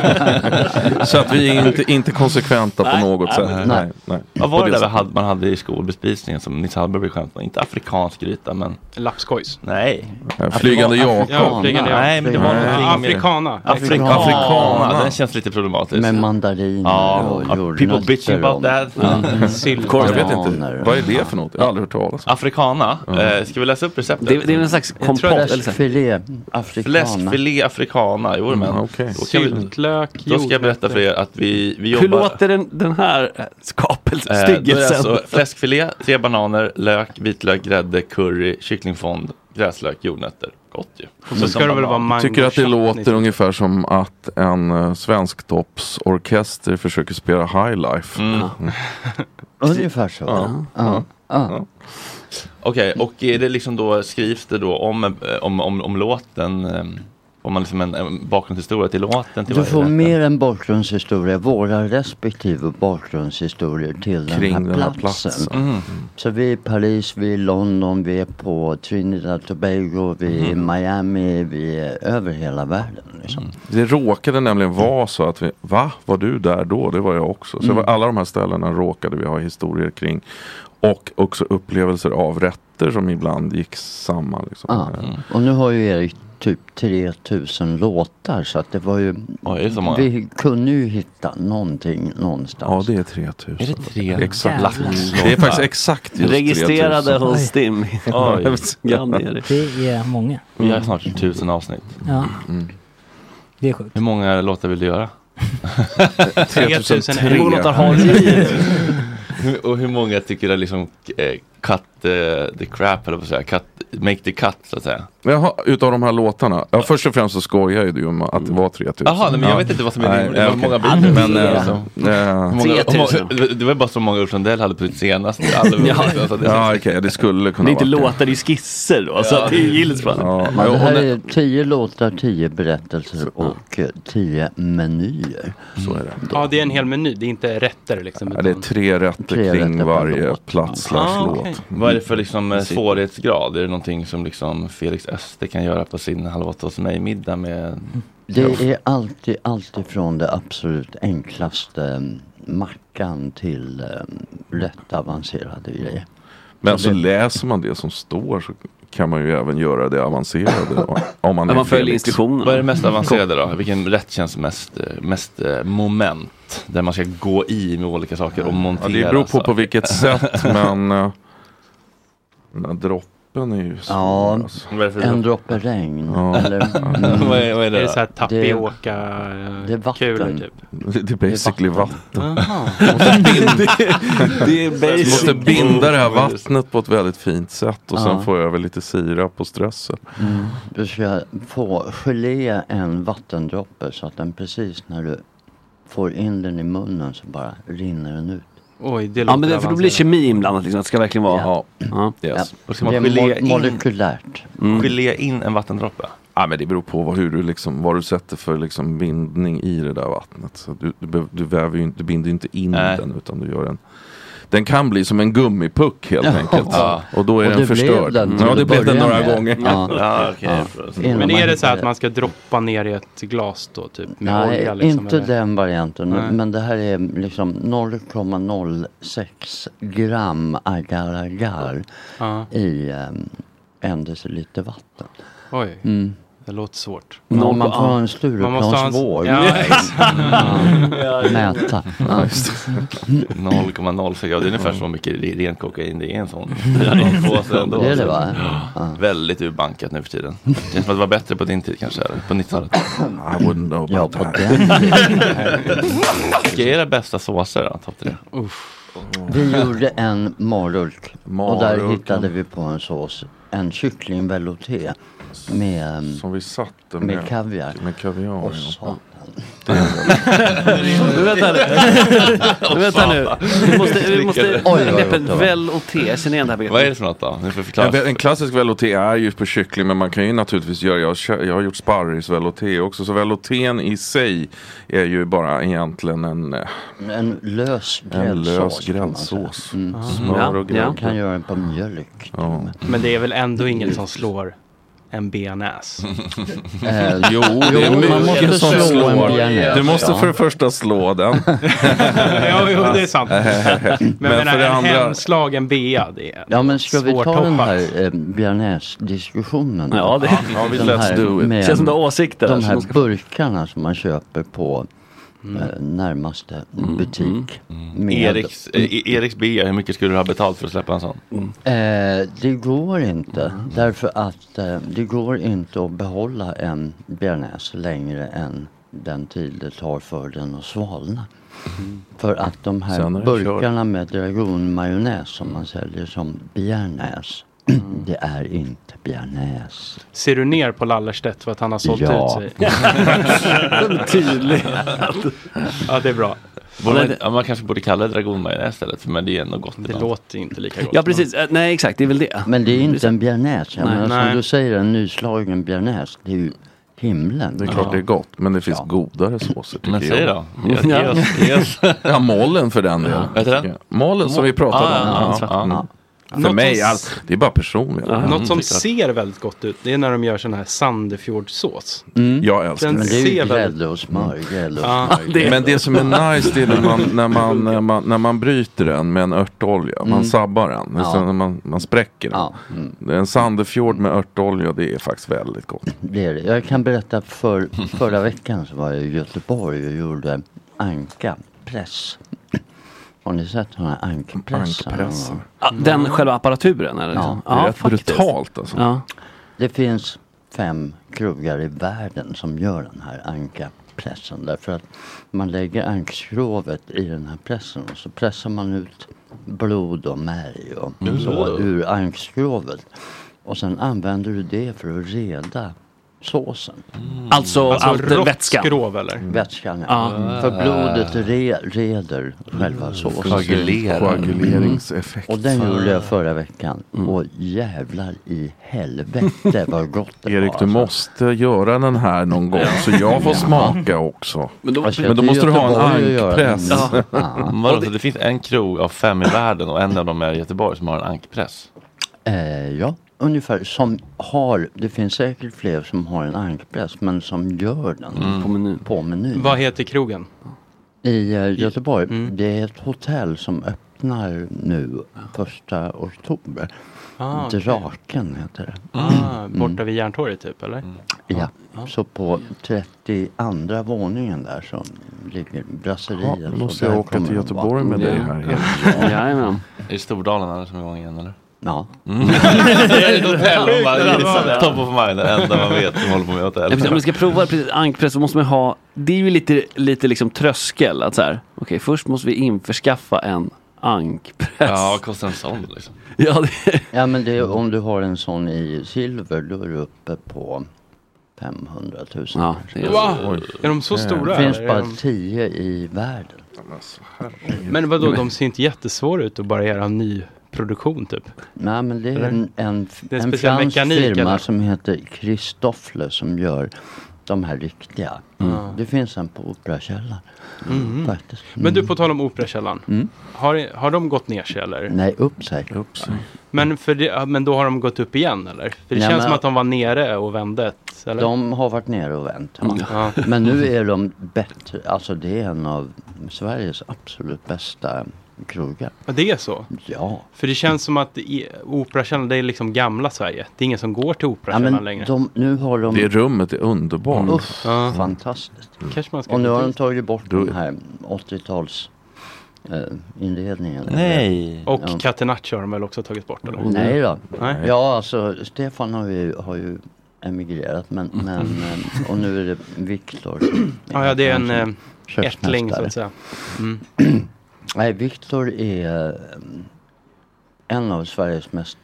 Speaker 16: då. så att vi är inte, inte konsekventa på något sätt.
Speaker 1: Vad var
Speaker 16: På
Speaker 1: det där vi
Speaker 16: sättet.
Speaker 1: hade, man hade i skolbespisningen som Nils Hallberg skämtade om? Inte afrikansk gryta men...
Speaker 5: Lapskojs?
Speaker 1: Nej.
Speaker 16: Ja, flygande
Speaker 1: Att det var
Speaker 16: Jakob.
Speaker 1: afrikana.
Speaker 16: Ja, flygande Jakob.
Speaker 1: Nej, men det var
Speaker 16: Nej.
Speaker 1: någonting med-
Speaker 5: Afrikana.
Speaker 1: Afrikana. Afrikana. Den känns lite problematisk.
Speaker 14: med mandarin
Speaker 1: Ja,
Speaker 14: och
Speaker 1: ja,
Speaker 14: jordnötter.
Speaker 1: people bitching about that.
Speaker 14: Mm.
Speaker 16: Jag vet inte. Vad är det för något? Jag har aldrig hört talas om.
Speaker 1: Afrikana. Eh, ska vi läsa upp receptet?
Speaker 16: Det- det är någon slags
Speaker 1: Jag tror
Speaker 16: kompott
Speaker 1: att-
Speaker 16: eller så. Fläskfilé
Speaker 14: africana.
Speaker 1: Fläskfilé africana. Jo, men.
Speaker 16: Mm,
Speaker 1: Okay.
Speaker 16: okej.
Speaker 5: Syltlök,
Speaker 1: Då ska jag berätta för er
Speaker 16: eh,
Speaker 1: att vi, vi jobbar...
Speaker 6: Hur låter den, den här eh, skapelsen,
Speaker 1: Eh, då är det
Speaker 6: styggelsen?
Speaker 1: alltså fläskfilé, tre bananer, lök, vitlök, grädde, curry, kycklingfond, gräslök, jordnötter. Gott ju.
Speaker 5: så ska det väl
Speaker 1: Mm.
Speaker 5: vara mango
Speaker 16: Tycker att det
Speaker 5: chutney,
Speaker 16: låter
Speaker 5: typ.
Speaker 16: ungefär som att en uh, svensk toppsorkester försöker spela high life.
Speaker 1: Mm.
Speaker 16: Mm.
Speaker 14: Ungefär så.
Speaker 16: Ja.
Speaker 14: Ja.
Speaker 16: Ja.
Speaker 14: Ja.
Speaker 1: Okej, och är det liksom då, skrivs det då om, eh, om, om, om låten? eh, Om man liksom en, en bakgrundshistoria till låten? Till
Speaker 14: Du
Speaker 1: varje
Speaker 14: får
Speaker 1: rätt?
Speaker 14: mer än bakgrundshistoria, våra respektive bakgrundshistorier till den
Speaker 1: Kring
Speaker 14: här
Speaker 1: den här
Speaker 14: platsen.
Speaker 1: platsen. Mm.
Speaker 14: Så vi är i Paris, vi är i London, vi är på Trinidad och Tobago, vi är i
Speaker 1: Mm.
Speaker 14: Miami, vi är över hela världen. Liksom.
Speaker 16: Det råkade nämligen vara så att vi, va? Var du där då? Det var jag också. Så
Speaker 14: Mm.
Speaker 16: alla de här ställena råkade vi ha historier kring. Och också upplevelser av rätter som ibland gick samman. Liksom.
Speaker 1: Ah.
Speaker 14: Ja.
Speaker 1: Mm.
Speaker 14: Och nu har ju Erik typ 3000 låtar så att det var ju...
Speaker 1: Oj, det är så många.
Speaker 14: Vi kunde ju hitta någonting någonstans.
Speaker 16: Ja, det är 3000.
Speaker 1: Är det 3000?
Speaker 14: Exakt.
Speaker 1: Jävlar.
Speaker 16: Det är faktiskt exakt just
Speaker 6: Registrerade
Speaker 16: 3000.
Speaker 6: hos Stim.
Speaker 1: Oj.
Speaker 6: Grann är det.
Speaker 7: Det är många.
Speaker 1: Vi har snart tusen avsnitt.
Speaker 7: Mm. Ja.
Speaker 1: Mm.
Speaker 7: Det är sjukt.
Speaker 1: Hur många låtar vill du göra?
Speaker 16: 3003.
Speaker 1: Hur många låtar har du? Hur- Och hur många tycker du liksom eh, cut eh, the, the crap, eller vad säga, cut, make the cut så att säga?
Speaker 16: Jaha, utav de här låtarna. Ja, först och främst så skojar ju du om att det var 3000.
Speaker 1: Eh. Jaha, nej, men jag
Speaker 16: Ja.
Speaker 1: vet inte vad som är
Speaker 16: Nej,
Speaker 1: din Det var
Speaker 16: okej.
Speaker 1: många bitar. Men,
Speaker 16: Men,
Speaker 1: eh,
Speaker 16: eh,
Speaker 1: så-
Speaker 16: eh,
Speaker 1: Hur många- hur många- det- Det var bara så många Ulf Lundell hade på sitt senaste album.
Speaker 6: Ja.
Speaker 1: Alltså, det-
Speaker 16: Ja, okej, det skulle kunna
Speaker 6: Det är inte
Speaker 16: varit
Speaker 6: låtar, det är skisser då. Så
Speaker 1: Ja.
Speaker 6: att det gills bara.
Speaker 16: Ja,
Speaker 14: Ja, det här är tio låtar, tio berättelser och eh, tio menyer. Mm.
Speaker 16: Så är det.
Speaker 5: Ja, det är en hel meny. Det är inte rätter liksom.
Speaker 16: Ja, det är tre rätter
Speaker 14: Tre
Speaker 16: kring
Speaker 14: rätter per
Speaker 16: varje
Speaker 14: låt.
Speaker 16: plats slash låt.
Speaker 1: Ah,
Speaker 16: Mm.
Speaker 1: Vad är det för liksom, eh,
Speaker 16: Precis.
Speaker 1: svårighetsgrad? Är det någonting som liksom Felix Öster kan göra på sin Halv åtta hos mig-middag med
Speaker 14: Det är alltid, alltid från det absolut enklaste mm, mackan till um, rätt avancerade grejer.
Speaker 16: Men så läser man det som står så kan man ju även göra det avancerade. om- Om man, är Felix. Mm.
Speaker 1: Vad är det mest avancerade då? Vilken rätt känns mest, eh, mest eh, moment? Där man ska gå i med olika saker och
Speaker 16: Ja,
Speaker 1: montera.
Speaker 16: det beror på
Speaker 1: saker.
Speaker 16: på vilket sätt, men eh, den där droppen är ju svår.
Speaker 14: Ja,
Speaker 16: alltså.
Speaker 14: en droppe regn.
Speaker 16: Ja.
Speaker 14: Eller, mm,
Speaker 5: Vad är- vad är det Är det så här
Speaker 14: Det-
Speaker 5: tapioca,
Speaker 14: Det är vatten.
Speaker 5: kulor, typ?
Speaker 16: Det, det är basically vatten.
Speaker 5: Aha.
Speaker 16: det är
Speaker 5: basic.
Speaker 16: Måste binda det här vattnet på ett väldigt fint sätt och
Speaker 14: Ja.
Speaker 16: sen få över lite sirap och strössel.
Speaker 14: Mm. Du ska få gelé en vattendroppe så att den precis när du får in den i munnen så bara rinner den ut.
Speaker 5: Oj, det
Speaker 6: Ja, men det, för då blir kemi inblandat liksom. Det ska verkligen vara...
Speaker 14: Ja.
Speaker 6: Ja.
Speaker 16: Yes.
Speaker 1: Och ska man
Speaker 14: Det är
Speaker 1: gelé
Speaker 14: mo-
Speaker 1: in-
Speaker 14: molekylärt.
Speaker 1: Gelé
Speaker 14: Mm.
Speaker 1: in en vattendroppe?
Speaker 16: Ja, men det beror på vad, hur du liksom, vad du sätter för liksom bindning i det där vattnet. Så du, du, behöver- du, väver ju, inte- du binder ju inte in
Speaker 1: Nej.
Speaker 16: den utan du gör en den kan bli som en gummipuck helt
Speaker 1: Ja.
Speaker 16: enkelt.
Speaker 1: Ja.
Speaker 16: Och då är
Speaker 1: Och
Speaker 16: den
Speaker 1: det blev
Speaker 16: förstörd.
Speaker 1: den till
Speaker 16: ja, det
Speaker 1: att
Speaker 16: blev den
Speaker 1: börja
Speaker 16: några
Speaker 1: med.
Speaker 16: gånger.
Speaker 1: Ja. Ja, okej. Ja. Innan
Speaker 5: Men
Speaker 1: man
Speaker 5: är det så
Speaker 1: hittar
Speaker 5: här att
Speaker 1: det.
Speaker 5: man ska droppa ner i ett glas då, typ? Med
Speaker 14: Nej,
Speaker 5: olja, liksom,
Speaker 14: inte
Speaker 5: eller?
Speaker 14: den varianten.
Speaker 5: Nej.
Speaker 14: Men det här är liksom 0,06 gram agar-agar
Speaker 5: Ja.
Speaker 14: i um, en deciliter vatten.
Speaker 5: Oj,
Speaker 14: Mm.
Speaker 5: det låter svårt.
Speaker 14: Ja, man får ha
Speaker 5: Man
Speaker 14: en
Speaker 5: måste ha en-
Speaker 14: Stureplansvåg.
Speaker 5: Ja, exakt.
Speaker 14: Ja, Mäta.
Speaker 1: Ja, just det. 0,06 det är ungefär så mycket re- rent kokain det är en sån. En påse ändå.
Speaker 14: Det är det, va?
Speaker 1: Ja. Väldigt urbankat nu för tiden. Det känns som att det var bättre på din tid kanske, eller på 90-talet.
Speaker 16: I wouldn't know
Speaker 1: Ja,
Speaker 16: about
Speaker 1: på
Speaker 16: that.
Speaker 1: den tiden. Vilka är era bästa såser då? Topp tre?
Speaker 14: Vi gjorde en marulk och där
Speaker 16: Marulken.
Speaker 14: hittade vi på en sås, en kycklingvelouté med, ehm,
Speaker 16: Som vi satte
Speaker 14: med,
Speaker 16: med-
Speaker 14: kaviar.
Speaker 16: Med kaviar.
Speaker 14: Och
Speaker 16: ja.
Speaker 14: satan.
Speaker 6: Men vänta nu. Men vänta nu. Vi måste, vi måste
Speaker 16: Oj, vad
Speaker 6: begreppet
Speaker 16: gott det var.
Speaker 6: väl och te. Jag känner igen det här begreppet.
Speaker 1: för något då? Nu får
Speaker 16: En, en klassisk velouté är ju på kyckling men man kan ju naturligtvis göra, jag, kö- jag har gjort sparrisvelouté också. Så veloutén i sig är ju bara egentligen en, eh,
Speaker 14: En lös
Speaker 16: en lös
Speaker 14: gräddsås.
Speaker 16: gräddsås.
Speaker 14: Mm.
Speaker 16: Smör och
Speaker 14: Man
Speaker 16: grädde.
Speaker 14: kan göra den på mjölk.
Speaker 16: Ja.
Speaker 5: Men det är väl ändå ingen som slår en bearnaise?
Speaker 14: Eh, Jo, det är mycket som slår.
Speaker 16: Du måste
Speaker 5: Ja.
Speaker 16: för det första slå den.
Speaker 5: jo, jo, det är sant. Men,
Speaker 16: Men
Speaker 5: jag menar,
Speaker 16: för det
Speaker 5: en
Speaker 16: andra-
Speaker 5: hemslagen bea, det är
Speaker 14: Ja men ska vi ta
Speaker 5: svårtoppat.
Speaker 14: den här eh, bearnaise-diskussionen? då?
Speaker 5: Ja, det- Ja, vi-
Speaker 14: Den
Speaker 5: let's
Speaker 14: här
Speaker 5: do it.
Speaker 14: med
Speaker 5: Känns som du har åsikter
Speaker 14: De
Speaker 5: här,
Speaker 14: här
Speaker 5: så ska- Mm.
Speaker 14: burkarna som man köper på eh, närmaste
Speaker 16: Mm.
Speaker 14: butik. Med,
Speaker 1: Eriks, eh, E- Eriks B, hur mycket skulle du ha betalt för att släppa en sån?
Speaker 14: Eh, det går inte. Därför att eh, det går inte att behålla en bearnaise längre än den tid det tar för den att svalna. För att de
Speaker 16: Sen är
Speaker 14: här
Speaker 16: det kört.
Speaker 14: burkarna med dragonmajonnäs som man säljer som bearnaise,
Speaker 6: Mm.
Speaker 14: det är inte bearnaise.
Speaker 5: Ser du ner på Lallerstedt för att han har sålt
Speaker 14: Ja.
Speaker 5: ut sig? ja, det är bra.
Speaker 1: Borde
Speaker 6: Nej,
Speaker 1: man, ja, man kanske borde kalla det dragonmajonnäs istället, för men det är ändå gott. Det låter inte lika
Speaker 6: Ja, precis. Eh, Nej, exakt. Det är väl det.
Speaker 14: Men det är inte en bearnaise. Jag
Speaker 6: Nej.
Speaker 14: menar,
Speaker 6: Nej.
Speaker 14: Som du säger, en nyslagen bearnaise, det är ju himlen.
Speaker 16: Det är klart det är gott, men det finns godare såser tycker
Speaker 14: Men säg
Speaker 16: jag.
Speaker 14: då. Ge- ge oss-
Speaker 16: ja.
Speaker 14: ge oss.
Speaker 16: ja, mollen för den delen.
Speaker 1: Vad heter den?
Speaker 16: Mollen som vi pratade
Speaker 5: Ah,
Speaker 16: om.
Speaker 5: ja,
Speaker 16: Ja,
Speaker 5: ja,
Speaker 16: ja. Mm.
Speaker 5: ja.
Speaker 16: För
Speaker 5: Något
Speaker 16: mig,
Speaker 5: som-
Speaker 16: alltså, det är bara personligt.
Speaker 5: Något som ser väldigt gott ut, det är när de gör sån här Sandefjordsås.
Speaker 16: Jag älskar
Speaker 5: Den
Speaker 16: det.
Speaker 5: ser väldigt...
Speaker 14: och smör, grädde
Speaker 5: och Ja, smör. det-
Speaker 16: Men det som är nice det är när man, när, man, när, man, när man bryter den med en örtolja. Man
Speaker 5: Mm.
Speaker 16: sabbar den.
Speaker 14: Ja. Mm.
Speaker 16: Sen när man, man spräcker den. En Sandefjord med örtolja det är faktiskt väldigt gott.
Speaker 14: Det är det. Jag kan berätta för förra veckan så var jag i Göteborg och gjorde anka, press. Har ni sett de här ankpressarna?
Speaker 6: Ankpressar. Ja, den själva apparaturen, eller?
Speaker 14: Ja,
Speaker 6: Ja, Det är rätt faktiskt. brutalt, alltså. Ja.
Speaker 14: Det finns fem krogar i världen som gör den här ankapressen. Därför att man lägger ankskrovet i den här pressen och så pressar man ut blod och märg och
Speaker 17: Mm.
Speaker 14: så ur ankskrovet. Och sen använder du det för att reda såsen.
Speaker 5: Mm.
Speaker 6: Alltså Alltså allt rått vätskan. skrov,
Speaker 5: eller?
Speaker 14: Mm. Vätskan, ja.
Speaker 6: Ja.
Speaker 14: Mm. För blodet re, reder själva såsen.
Speaker 16: Koagulerar. Koaguleringseffekt.
Speaker 14: Och den gjorde jag förra veckan. Och jävlar i helvete vad gott det alltså.
Speaker 16: Erik, du måste göra den här någon gång så jag får
Speaker 14: Ja.
Speaker 16: smaka också.
Speaker 14: Men då-
Speaker 16: Men då måste du ha en ankpress.
Speaker 1: Vadå, så det finns en krog av fem i världen och en av dem är i Göteborg som har en ankpress?
Speaker 14: Eh, ja, ungefär. Som har, det finns säkert fler som har en ankpress men som gör den
Speaker 5: Mm.
Speaker 14: på, menyn. på menyn.
Speaker 5: Vad heter krogen?
Speaker 14: I eh, Göteborg,
Speaker 5: mm.
Speaker 14: det är ett hotell som öppnar nu första oktober.
Speaker 5: Ah, okej.
Speaker 14: Draken heter det.
Speaker 5: Ah,
Speaker 14: Mm.
Speaker 5: borta Ah, vid Järntorget typ, eller?
Speaker 14: Ja, så på 32 våningen där så ligger brasseriet.
Speaker 16: Ja,
Speaker 14: så
Speaker 16: måste
Speaker 14: där
Speaker 16: jag åka
Speaker 14: kommer
Speaker 16: till
Speaker 14: de
Speaker 16: Göteborg
Speaker 14: vara.
Speaker 16: med dig här igen.
Speaker 14: Jajamän.
Speaker 1: Är det Stordalen han som är igång igen eller?
Speaker 14: Ja.
Speaker 1: Mm. det är ett hotell och bara gissar. Top of mind, det enda man vet som håller på med
Speaker 6: Ja, precis. Om
Speaker 1: hotell.
Speaker 6: man ska prova precis, ankpress så måste man ha, det är ju lite, lite liksom tröskel. Att så här, okej, först måste vi införskaffa en ankpress.
Speaker 1: Ja, vad kostar en sån liksom?
Speaker 6: Ja,
Speaker 14: ja men det är, om du har en sån i silver då är du uppe på 500 000. Ja,
Speaker 5: det är- Va? Oj. Är de så stora,
Speaker 14: Det finns
Speaker 5: eller är
Speaker 14: bara
Speaker 5: de-
Speaker 14: 10 i världen. Mm.
Speaker 5: Men vadå, de ser inte jättesvåra ut att bara göra en ny produktion typ?
Speaker 14: Nej men det är
Speaker 5: Eller?
Speaker 14: en, en,
Speaker 5: Det är en
Speaker 14: en
Speaker 5: speciell
Speaker 14: fransk
Speaker 5: mekanik,
Speaker 14: firma
Speaker 5: eller?
Speaker 14: som heter Christoffle som gör de här riktiga.
Speaker 5: Mm.
Speaker 14: Det finns en på Operakällaren.
Speaker 5: Mhm.
Speaker 14: Faktiskt.
Speaker 5: Men du, på tal om Operakällan. Har, har de gått ner sig eller?
Speaker 14: Mm. Nej, upp sig.
Speaker 16: Upp sig.
Speaker 5: Men, för det, ja, men då har de gått upp igen eller? För det
Speaker 14: Nej,
Speaker 5: känns
Speaker 14: men-
Speaker 5: som att de var nere och vände. ett, Eller?
Speaker 14: De har varit nere och vänt. Ja.
Speaker 5: Ja.
Speaker 14: Men nu är de bättre. Alltså det är en av Sveriges absolut bästa krogar.
Speaker 5: Ja, det är så?
Speaker 14: Ja.
Speaker 5: För det känns som att i- Operakällaren, det är liksom gamla Sverige. Det är ingen som går till Operakällaren längre.
Speaker 14: de, nu har de...
Speaker 16: Det rummet är underbart.
Speaker 14: Uff, Fantastiskt.
Speaker 5: Kanske man ska
Speaker 14: Och nu
Speaker 5: gå
Speaker 14: har de
Speaker 5: dit.
Speaker 14: tagit bort den här 80-tals eh, inredningen.
Speaker 5: Och
Speaker 14: Ja.
Speaker 5: Catenaccio har de väl också tagit bort? Eller?
Speaker 14: Nej då.
Speaker 5: Nej.
Speaker 14: Ja, alltså Stefan har ju, har ju emigrerat men, men eh, och nu är det Viktor. som
Speaker 5: Mm. Ja, ja, det är en
Speaker 14: kanske
Speaker 5: eh,
Speaker 14: köksmästare.
Speaker 5: ättling så att säga. Mm.
Speaker 14: Nej, Viktor är eh, en av Sveriges mest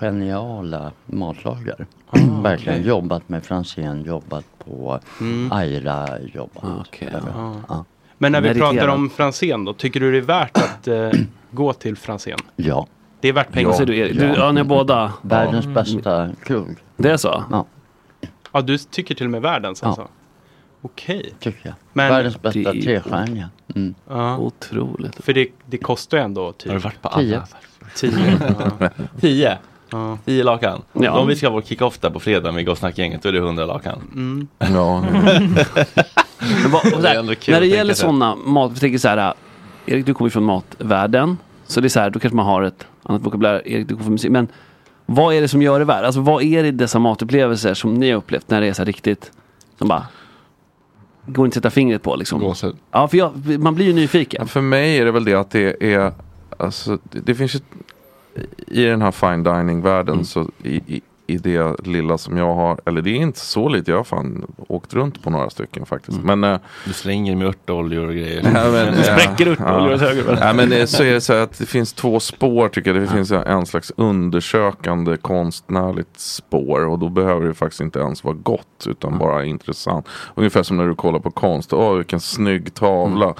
Speaker 14: geniala matlagare. Verkligen
Speaker 5: Ah, okej.
Speaker 14: jobbat med Franzén, jobbat på
Speaker 5: Mm. Ah,
Speaker 14: Aira, jobbat. över-
Speaker 5: Ja.
Speaker 14: ja.
Speaker 5: Men när vi
Speaker 14: Meriterat.
Speaker 5: pratar om Franzén då, tycker du det är värt att eh, gå till Franzén?
Speaker 14: Ja.
Speaker 5: Det Alltså, är värt pengar.
Speaker 14: Ja. Säger du, Erik? Du- ja, ni har båda. Världens
Speaker 5: Ja.
Speaker 14: bästa krog.
Speaker 6: Det är så?
Speaker 14: Ja.
Speaker 5: Ja, du tycker till och med världens
Speaker 14: Ja.
Speaker 5: alltså? Okej.
Speaker 14: Tycker jag.
Speaker 5: Men-
Speaker 14: Världens bästa
Speaker 5: Det är-
Speaker 14: trestjärniga. Mm.
Speaker 5: Ja.
Speaker 6: Otroligt.
Speaker 5: För det, det kostar ju ändå typ...
Speaker 1: Har du varit på
Speaker 14: Tio.
Speaker 1: alla?
Speaker 5: Tio. ja.
Speaker 1: Tio?
Speaker 5: Ja.
Speaker 1: Tio lakan?
Speaker 5: Ja.
Speaker 1: Om vi ska ha vår kick-off där på fredag med Gossnack-gänget, då är det hundra lakan. Mm.
Speaker 5: Mm.
Speaker 16: Ja.
Speaker 6: Men vad, och så
Speaker 1: Det är
Speaker 6: här,
Speaker 1: ändå kul
Speaker 6: när det
Speaker 1: att tänka
Speaker 6: gäller
Speaker 1: sig.
Speaker 6: sådana mat, jag tänker så här, Erik du kommer ju från matvärlden, så det är så här, då kanske man har ett annat vokabulär, Erik du kommer från musik, men vad är det som gör det värt? Alltså vad är det i dessa matupplevelser som ni har upplevt när det är så här riktigt, som bara går inte att sätta fingret på liksom? Ja, för jag, man blir ju nyfiken.
Speaker 16: För mig är det väl det att det är, alltså, det, det finns ju, i den här fine dining-världen
Speaker 6: Mm.
Speaker 16: så i, i, i det lilla som jag har, eller det är inte så lite, jag har fan åkt runt på några stycken faktiskt.
Speaker 6: Mm.
Speaker 16: Men, eh,
Speaker 1: du slänger med örtoljor och grejer.
Speaker 16: Ja, men,
Speaker 1: Du
Speaker 16: eh,
Speaker 1: spräcker örtoljor åt höger och vänster.
Speaker 16: Ja, men eh, så är det så här att det finns två spår tycker jag. Det finns en slags undersökande konstnärligt spår och då behöver det faktiskt inte ens vara
Speaker 1: Mm.
Speaker 16: gott utan bara intressant. Ungefär som när du kollar på konst. Åh, vilken snygg tavla.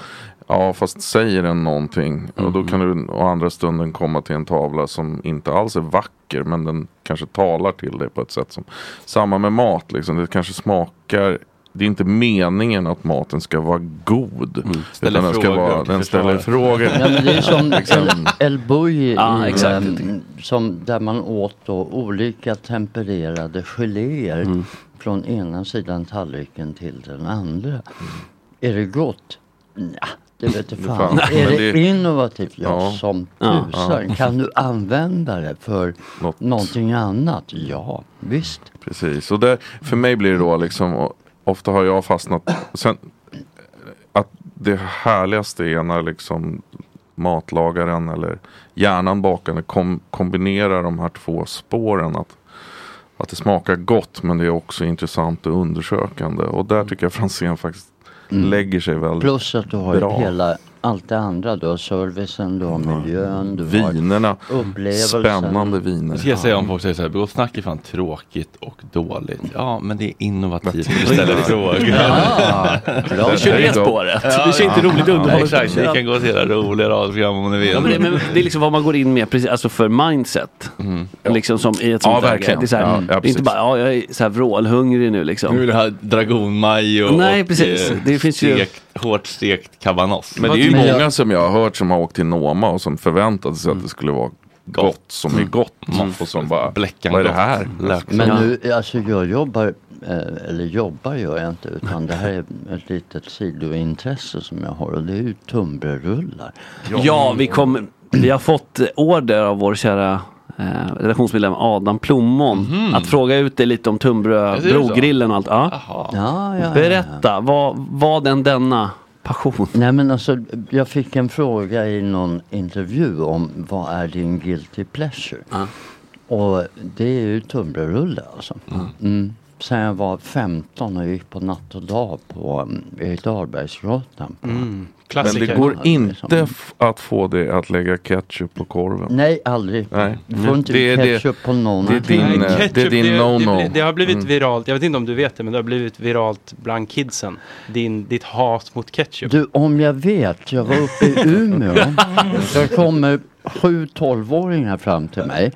Speaker 16: Ja, fast säger den någonting. Och
Speaker 1: Mm-hmm.
Speaker 16: då kan du å andra stunden komma till en tavla som inte alls är vacker. Men den kanske talar till dig på ett sätt som... Samma med mat liksom. Det kanske smakar... Det är inte meningen att maten ska vara god.
Speaker 1: Mm. Ställer
Speaker 16: utan den ska
Speaker 1: frågor
Speaker 16: vara,
Speaker 1: till
Speaker 16: den ställer
Speaker 1: försvarare.
Speaker 16: frågor.
Speaker 1: Ja, men
Speaker 14: Det är som
Speaker 16: Liksom.
Speaker 14: El, El Bulli
Speaker 16: Ja,
Speaker 14: i,
Speaker 16: exakt.
Speaker 14: ehm, som, där man åt då olika tempererade geléer från ena sidan tallriken till den andra. Är det gott? Nja, det vete
Speaker 16: Det
Speaker 14: fan.
Speaker 16: fan.
Speaker 14: Är
Speaker 16: Men
Speaker 14: det,
Speaker 16: det-
Speaker 14: innovativt? Ja,
Speaker 16: Ja.
Speaker 14: som
Speaker 16: Ja.
Speaker 14: tusan.
Speaker 16: Ja.
Speaker 14: Kan du använda det för någonting annat? Ja, visst.
Speaker 16: Precis, och där, för mig blir det då liksom, och ofta har jag fastnat, sen, att det härligaste är när liksom matlagaren eller hjärnan bakande kom, kombinerar de här två spåren. Att, att det smakar gott men det är också intressant och undersökande. Och där tycker jag Franzén faktiskt lägger sig väldigt
Speaker 14: Mm. Plus att du har ju
Speaker 16: bra.
Speaker 14: hela, allt det andra. Du har servicen, du har miljön, du
Speaker 16: Vinerna,
Speaker 14: har upplevelsen.
Speaker 16: spännande viner.
Speaker 1: Nu ska jag säga om folk säger så här, begått snack är fan tråkigt och dåligt. Ja, men det är innovativt. Vi ställer frågor.
Speaker 15: Ja, bra. Vi kör det spåret. Vi kör inte roligt underhåll.
Speaker 1: Exakt, ni kan gå och se det här roliga radioprogram om ni vill.
Speaker 15: Ja,
Speaker 17: men det, men det är liksom vad man går in med precis, alltså för mindset. Liksom som i ett
Speaker 1: Mm. Ja,
Speaker 17: sånt
Speaker 1: verkligen.
Speaker 17: Det är, så
Speaker 6: mm.
Speaker 1: Ja, ja,
Speaker 17: här, det är inte
Speaker 1: precis.
Speaker 17: bara, ja jag är så här vrålhungrig nu liksom.
Speaker 1: Nu är det här dragonmajo
Speaker 17: Nej,
Speaker 1: och
Speaker 17: precis.
Speaker 1: eh,
Speaker 17: Det finns ju-
Speaker 1: stekt, hårt stekt kabanoss.
Speaker 16: Men det är ju många som jag har hört som har åkt till Noma och som förväntade sig att det skulle vara gott som är gott. Mm. Och som bara, vad är det här?
Speaker 14: Mm. Men nu, alltså jag jobbar, eh, eller jobbar gör jag inte, utan det här är ett litet sidointresse som jag har och det är ju tunnbrödsrullar.
Speaker 17: Ja, vi, kom, vi har fått eh, order av vår kära eh, relationsmedlem Adam Plommon att fråga ut dig lite om Tumbrö,
Speaker 14: Är det så?
Speaker 17: Brogrillen och allt. Ja.
Speaker 14: Ja, ja,
Speaker 17: Berätta, vad, vad den denna passion?
Speaker 14: Nej men alltså, jag fick en fråga i någon intervju om vad är din guilty pleasure? Och det är ju tunnbrödsrulle alltså. Mm. Sen jag var 15 och gick på natt och dag på um, Erik Dahlbergsgatan. på-
Speaker 16: Men det går inte f- att få dig att lägga ketchup på korven.
Speaker 14: Nej, aldrig.
Speaker 16: Nej.
Speaker 14: Du får inte ketchup på någon
Speaker 16: Det är din,
Speaker 5: Nej,
Speaker 16: eh,
Speaker 5: ketchup,
Speaker 16: det är din no-no.
Speaker 5: Det, det har blivit
Speaker 16: Mm.
Speaker 5: viralt, jag vet inte om du vet det, men det har blivit viralt bland kidsen. Din, ditt hat mot ketchup.
Speaker 14: Du, om jag vet, jag var uppe i Umeå. Där kommer sju tolvåringar fram till mig.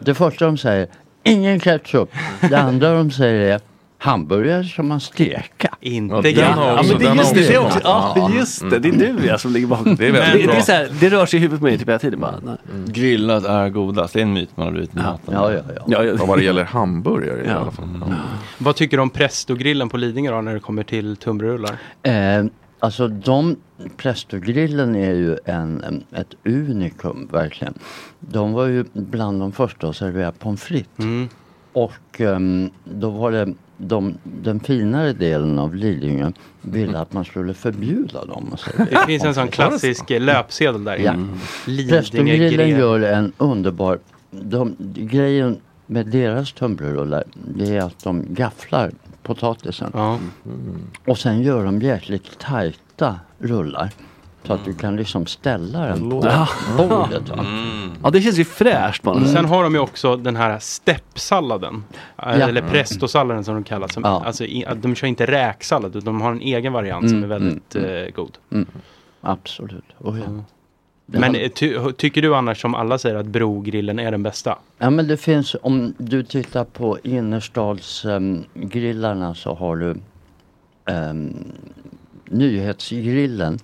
Speaker 14: Det första de säger, ingen ketchup. Det andra de säger är, hamburgare ska man steka.
Speaker 5: Inte
Speaker 14: Och
Speaker 17: Det,
Speaker 14: den har
Speaker 17: ja,
Speaker 14: också-
Speaker 17: men det är
Speaker 14: den
Speaker 17: just
Speaker 14: har
Speaker 17: det,
Speaker 14: också-
Speaker 17: det, är också, ja, det, är just det, det är du ja, som ligger bakom.
Speaker 1: Det är väldigt
Speaker 17: det,
Speaker 1: bra.
Speaker 17: är så här, det rör sig i huvudet på mig typ hela tiden. Bara, nej.
Speaker 1: Mm. Grillat är godast, det är en myt man har blivit med maten.
Speaker 14: Ja, ja,
Speaker 17: Ja, ja.
Speaker 16: Vad det gäller hamburgare i
Speaker 1: Ja.
Speaker 16: alla fall.
Speaker 5: Vad tycker du om Presto-grillen på Lidingö då, när det kommer till tunnbrödsrullar?
Speaker 14: Eh, alltså de, Prestogrillen är ju en, en, ett unikum verkligen. De var ju bland de första att servera pommes frites. Och ehm, då var det de, den finare delen av Lidingö ville att man skulle förbjuda dem att servera
Speaker 5: Det finns en
Speaker 14: pommes
Speaker 5: sån
Speaker 14: frites.
Speaker 5: klassisk eh, löpsedel där.
Speaker 14: Ja. Prästogrillen
Speaker 5: Lidingö-grill.
Speaker 14: gör en underbar... De, grejen med deras tunnbrödsrullar det är att de gafflar potatisen.
Speaker 17: Mm.
Speaker 14: Och sen gör de jäkligt tajta rullar. Så att du
Speaker 17: Mm.
Speaker 14: kan liksom ställa den på
Speaker 17: Ja.
Speaker 14: bordet. Va? Mm.
Speaker 17: Ja, det känns ju fräscht. Man.
Speaker 5: Mm. Sen har de ju också den här steppsalladen. eh,
Speaker 17: Ja.
Speaker 5: Eller prestosalladen som de kallar som,
Speaker 14: Ja.
Speaker 5: alltså, i, att De kör inte räksallad, utan de har en egen variant som är
Speaker 14: Mm,
Speaker 5: väldigt
Speaker 14: mm,
Speaker 5: eh, god.
Speaker 14: Mm. Absolut. Oh, ja.
Speaker 17: Mm.
Speaker 5: Men eh, ty, tycker du annars som alla säger att brogrillen är den bästa?
Speaker 14: Ja men det finns, om du tittar på innerstadsgrillarna så har du ehm, nyhetsgrillen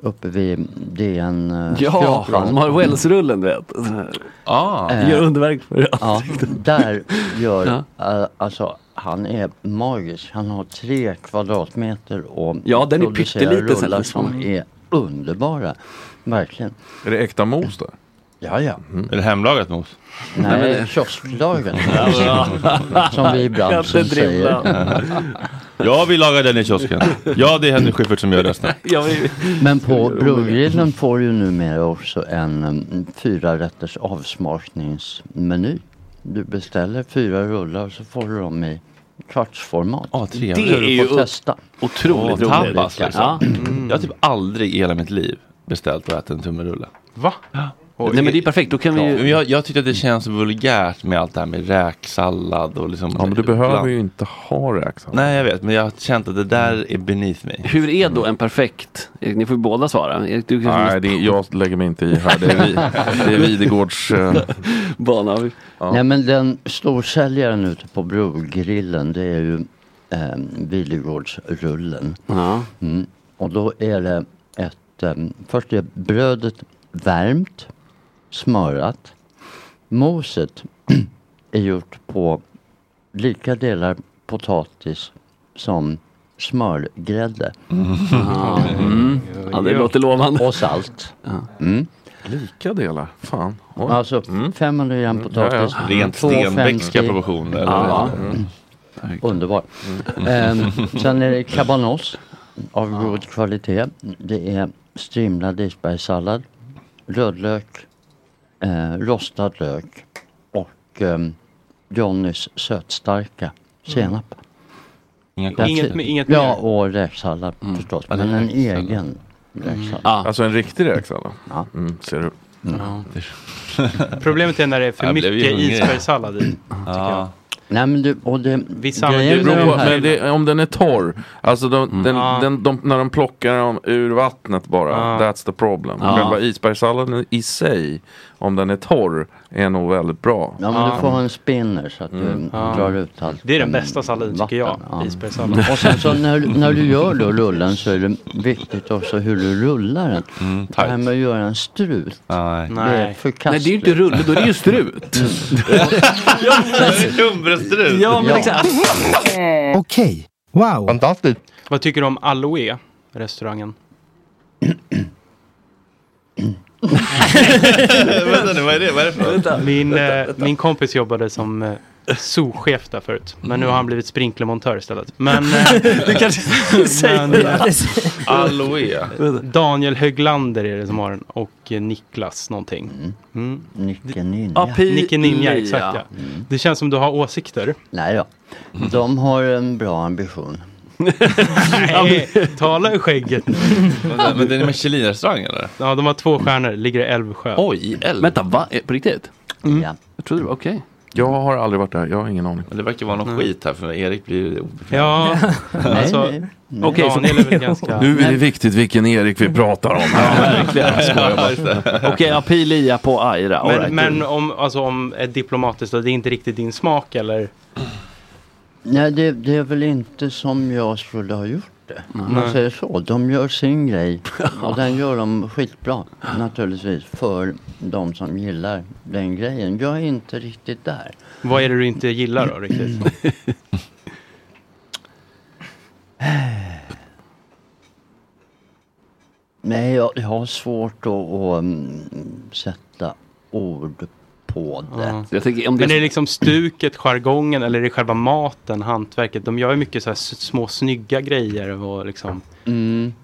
Speaker 14: uppe vid DN eh,
Speaker 17: Mm. Ja,
Speaker 14: Skrapan.
Speaker 17: de har Wells-rullen du vet.
Speaker 14: Eh,
Speaker 17: Gör underverk för det.
Speaker 14: Ja, där gör,
Speaker 17: Ja.
Speaker 14: eh, alltså han är magisk. Han har tre kvadratmeter och
Speaker 17: Ja, den är
Speaker 14: producerar
Speaker 17: pytteliten sen,
Speaker 14: rullar
Speaker 17: liksom.
Speaker 14: som är underbara. Verkligen.
Speaker 16: Är det äkta mos där?
Speaker 14: Ja, ja.
Speaker 1: Är det hemlagat mos?
Speaker 14: Nej,
Speaker 1: Mm. Nej, men-
Speaker 14: kiosklagen.
Speaker 1: Ja, bra.
Speaker 14: som vi i branschen
Speaker 1: Kattedribblan.
Speaker 14: säger.
Speaker 1: Ja, vi lagar den i kiosken. Ja, det är Henrik Schyffert som gör resten.
Speaker 14: Men på Brogrillen får du ju numera också en um, fyra rätters avsmakningsmeny. Du beställer fyra rullar så får du dem i kvartsformat.
Speaker 1: Ah, trevligt.
Speaker 14: Så du får testa.
Speaker 1: Åh, tapas, liksom.
Speaker 14: Ja.
Speaker 1: Jag har typ aldrig i hela mitt liv beställt och ätit en tummerulle.
Speaker 5: Va?
Speaker 1: Och-
Speaker 17: Nej men det är perfekt, då kan
Speaker 1: Ja,
Speaker 17: vi
Speaker 1: men
Speaker 17: ju...
Speaker 1: jag, jag tycker att det känns vulgärt med allt det här med räksallad och liksom...
Speaker 16: Ja, men du behöver ju inte ha räksallad.
Speaker 1: Nej, jag vet, men jag har känt att det där är beneath mig.
Speaker 17: Hur är då en perfekt? Erik, ni får ju båda svara. Erik, du kanske
Speaker 16: Nej, det är, jag lägger mig inte i här. Det är, vi, det är Videgårds... Eh,
Speaker 17: bana.
Speaker 14: Nej men den storsäljaren ute på Brogrillen det är ju eh, Vilegårdsrullen. Mm. Och då är det ett, eh, först är brödet värmt, smörat. Moset är gjort på lika delar potatis som smörgrädde.
Speaker 17: Ah, mm. Ja, det låter lovande.
Speaker 14: Och salt. Mm.
Speaker 16: Lika delar? Fan. Oj.
Speaker 14: Alltså 500 gram
Speaker 16: Mm,
Speaker 14: potatis.
Speaker 16: ja, ja. Rent
Speaker 14: 250.
Speaker 16: Stenbeckska proportioner, eller?
Speaker 14: Ja.
Speaker 16: Mm.
Speaker 14: Underbar.
Speaker 16: Mm.
Speaker 14: Ehm, sen är det cabanos av god kvalitet. Det är strimlad isbergssallad, rödlök, eh, rostad lök och ehm, Johnnys sötstarka
Speaker 16: Mm.
Speaker 14: senap. That's
Speaker 5: Inget
Speaker 14: it.
Speaker 5: med- inget
Speaker 14: Ja,
Speaker 5: mer?
Speaker 14: och räksallad
Speaker 16: Mm.
Speaker 14: förstås.
Speaker 16: Ja, det är
Speaker 14: Men en
Speaker 16: räksallad.
Speaker 14: egen räksallad.
Speaker 16: Alltså en riktig räksallad?
Speaker 14: Ja.
Speaker 16: Mm, ser du.
Speaker 5: Problemet är när det är för
Speaker 16: Jag blev ju
Speaker 5: mycket
Speaker 16: hungrig.
Speaker 5: isbergssallad i.
Speaker 1: Ja.
Speaker 14: Nej men du, och det...
Speaker 5: Vissa
Speaker 14: grejen
Speaker 16: Det
Speaker 14: med
Speaker 16: beror på,
Speaker 14: de här-
Speaker 16: men det, om den är torr. Alltså de,
Speaker 5: Mm.
Speaker 16: den,
Speaker 14: Ja.
Speaker 16: den, de, när de plockar dem ur vattnet bara. That's the problem.
Speaker 14: Ja.
Speaker 16: Själva isbergssalladen i sig, om den är torr, är nog väldigt bra.
Speaker 14: Ja, men du får ha en spinner så att du
Speaker 16: Mm. Ja.
Speaker 14: drar ut allt.
Speaker 16: Det är den
Speaker 14: Mm,
Speaker 16: bästa salladen,
Speaker 5: tycker jag,
Speaker 14: vatten,
Speaker 5: isbergssallad.
Speaker 14: Och sen så när, när du gör då rullen så är det viktigt också hur du rullar den. det här med att göra en strut. Det är
Speaker 17: Nej. Nej,
Speaker 14: förkastligt. Mm.
Speaker 17: det är ju inte rulle, då är det ju strut.
Speaker 1: Tumrestrut!
Speaker 17: Ja, men
Speaker 14: Ja.
Speaker 17: exakt.
Speaker 5: Okej. Wow. Fantastiskt. Vad tycker du om Aloe, restaurangen?
Speaker 1: Vänta nu, vad är det? Vad är det för något?
Speaker 5: Min, eh, min kompis jobbade som eh, souschef där förut. Men nu har han blivit sprinklermontör istället. Men... eh,
Speaker 17: Du kanske säger det.
Speaker 1: Aloe.
Speaker 5: Daniel Höglander är det som har den. Och eh, Niklas någonting. Mm.
Speaker 14: Nicke Ninja. Mm.
Speaker 5: Nicke Ninja, exakt ja. Det känns som du har åsikter.
Speaker 14: Nej då. De har en bra ambition.
Speaker 5: Nej, tala ur skägget nu.
Speaker 1: Vänta, Men det är en Michelin-restaurang eller?
Speaker 5: Ja, de har två stjärnor. Ligger i Älvsjö.
Speaker 1: Oj, i Älv?
Speaker 5: Vänta,
Speaker 17: va? Eh, På riktigt?
Speaker 14: Ja.
Speaker 17: Mm. Jag trodde det var okej.
Speaker 16: Jag har aldrig varit där, jag har ingen aning.
Speaker 1: Men det verkar vara någon skit här för mig. Erik blir obekväm.
Speaker 5: Mm. Ja, alltså,
Speaker 1: Nej,
Speaker 16: nej.
Speaker 5: Okej, så Daniel är väl ganska...
Speaker 16: Nu är det viktigt vilken Erik vi pratar om. Ja,
Speaker 17: verkligen. Jag skojar bara. Okej, Apilia på Aira. All
Speaker 5: Men,
Speaker 17: right.
Speaker 5: men om, alltså, om ett diplomatiskt, då, det är inte riktigt din smak eller?
Speaker 14: Nej, det, det är väl inte som jag skulle ha gjort det. Om man
Speaker 5: Nej.
Speaker 14: säger så. De gör sin grej och den gör de skitbra naturligtvis för de som gillar den grejen. Jag är inte riktigt där.
Speaker 5: Vad är det du inte gillar då riktigt?
Speaker 14: Nej, jag, jag har svårt att, att mm, sätta ord på det.
Speaker 5: Ja. Men är det liksom stuket, jargongen eller är det själva maten, hantverket? De gör ju mycket så här s- små snygga grejer och liksom
Speaker 14: Mm.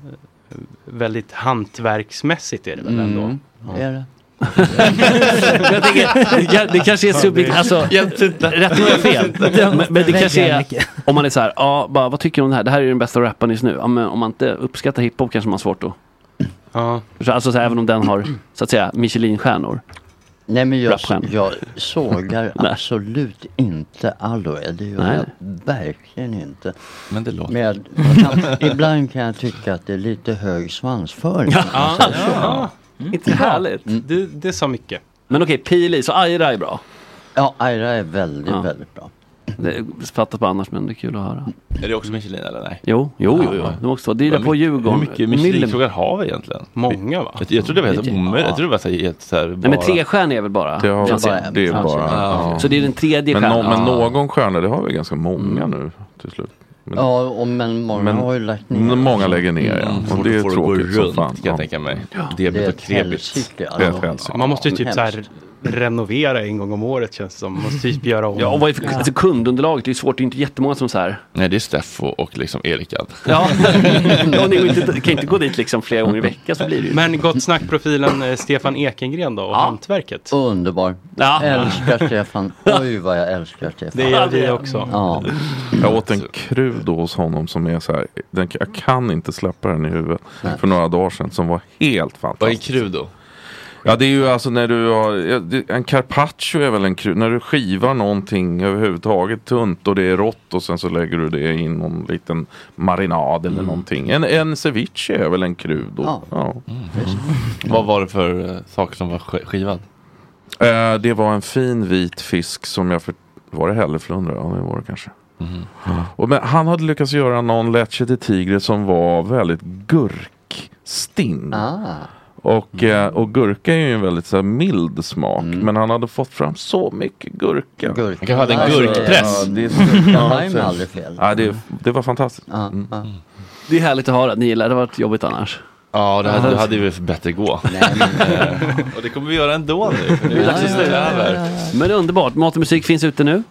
Speaker 5: väldigt hantverksmässigt är det väl ändå?
Speaker 14: Mm. Är det?
Speaker 17: jag tänker, det, kan- det kanske är subjektivt. Alltså, rätt mig fel. Men, men det kanske är, om man är så här, ja, bara, vad tycker du om det här? Det här är ju den bästa rappen just nu. Ja, men om man inte uppskattar hiphop kanske man har svårt att...
Speaker 5: Ja.
Speaker 17: Alltså så här, även om den har, så att säga, Michelinstjärnor.
Speaker 14: Nej men jag,
Speaker 17: Rapstjärnor.
Speaker 14: jag sågar absolut inte Aloe. Det gör
Speaker 17: Nej.
Speaker 14: jag verkligen inte.
Speaker 1: Men det låter...
Speaker 14: Men jag, jag kan, ibland kan jag tycka att det är lite hög svansföring. om man
Speaker 5: Ja.
Speaker 14: säger så.
Speaker 17: Inte härligt.
Speaker 5: Det, det sa mycket.
Speaker 17: Men okej, Pili, så Aira är bra.
Speaker 14: Ja, Aira är väldigt, väldigt bra.
Speaker 17: Det fattas på annars, men det är kul att höra.
Speaker 1: Är det också Michelin eller nej?
Speaker 17: Jo, jo, jo, jo.
Speaker 1: Ja.
Speaker 17: Det var också, det är där på Djurgården.
Speaker 1: Hur mycket Michelin-frågar har vi egentligen?
Speaker 5: Många va?
Speaker 1: Jag, jag trodde det var helt
Speaker 17: Ja.
Speaker 1: omöjligt. Jag trodde det var så här, helt så här bara...
Speaker 17: Nej men trestjärnig är väl bara?
Speaker 16: Det, har,
Speaker 17: Franzén.
Speaker 16: det är bara...
Speaker 17: Ja.
Speaker 16: ja.
Speaker 17: Så det är den tredje
Speaker 16: men,
Speaker 17: stjärnan?
Speaker 16: nå- men
Speaker 17: Ja.
Speaker 16: någon stjärna, det har vi ganska många nu till slut. Men-
Speaker 14: Ja, och, men många
Speaker 16: Men-
Speaker 14: har ju lagt ner. Mm.
Speaker 16: men många lägger ner, ja. Och det är
Speaker 1: Får gå
Speaker 16: tråkigt som
Speaker 1: runt,
Speaker 16: fan.
Speaker 1: kan jag
Speaker 16: Ja.
Speaker 1: tänka mig.
Speaker 16: Ja.
Speaker 1: Debet
Speaker 14: Det är
Speaker 1: och
Speaker 14: ett
Speaker 1: krebit.
Speaker 14: helsike, alltså.
Speaker 16: Det är ett helsike.
Speaker 5: Man måste ju typ så här renovera en gång om året känns det som. Man måste typ göra om.
Speaker 17: Ja, och vad är för, alltså, kundunderlaget? Det är ju svårt, det är inte jättemånga som så här.
Speaker 1: Nej, det är Steffo och liksom Erikad.
Speaker 17: Ja, ja ni går inte, kan inte gå dit liksom flera gånger i veckan så blir det ju.
Speaker 5: Men Gott Snack-profilen eh, Stefan Ekengren då och hantverket?
Speaker 14: Underbar.
Speaker 5: Ja.
Speaker 14: Älskar Stefan. Oj vad jag älskar Stefan.
Speaker 5: Det gör vi också.
Speaker 14: Ja.
Speaker 16: Jag åt en krud då hos honom som är så här, den, jag kan inte släppa den i huvudet. För några dagar sedan som var helt fantastisk.
Speaker 1: Vad är Crudo?
Speaker 16: Ja, det är ju alltså när du har, ja, det- en carpaccio är väl en kru, när du skivar någonting överhuvudtaget tunt och det är rått och sen så lägger du det i någon liten marinad eller någonting. En, en ceviche är väl en krud då?
Speaker 1: Ja.
Speaker 16: Mm. Vad var det för eh, saker som var skivad? Eh, det var en fin vit fisk som jag för, var det hälleflundra? Ja, det var det kanske. Och men han hade lyckats göra någon leche de tigre som var väldigt gurkstinn.
Speaker 14: Ah.
Speaker 16: Och, eh, och gurka är ju en väldigt så här, mild smak. Men han hade fått fram så mycket gurka.
Speaker 14: Gurka. Alltså, Han kanske hade en gurkpress.
Speaker 16: Ja, det, är
Speaker 14: Gurka
Speaker 16: så,
Speaker 14: lime är aldrig fel.
Speaker 16: Ja, det, det var fantastiskt.
Speaker 14: Mm.
Speaker 17: Det är härligt att höra att ni gillar det. Det har varit jobbigt annars.
Speaker 1: Ja, det hade,
Speaker 17: Ja.
Speaker 1: det hade ju bättre gå. Eh, och det kommer vi göra ändå nu. för Nu är
Speaker 17: Ja,
Speaker 1: det dags att
Speaker 17: ja,
Speaker 1: sluta
Speaker 17: ja, ja,
Speaker 1: över.
Speaker 17: ja, ja. Men det är underbart. Mat och musik finns ute nu.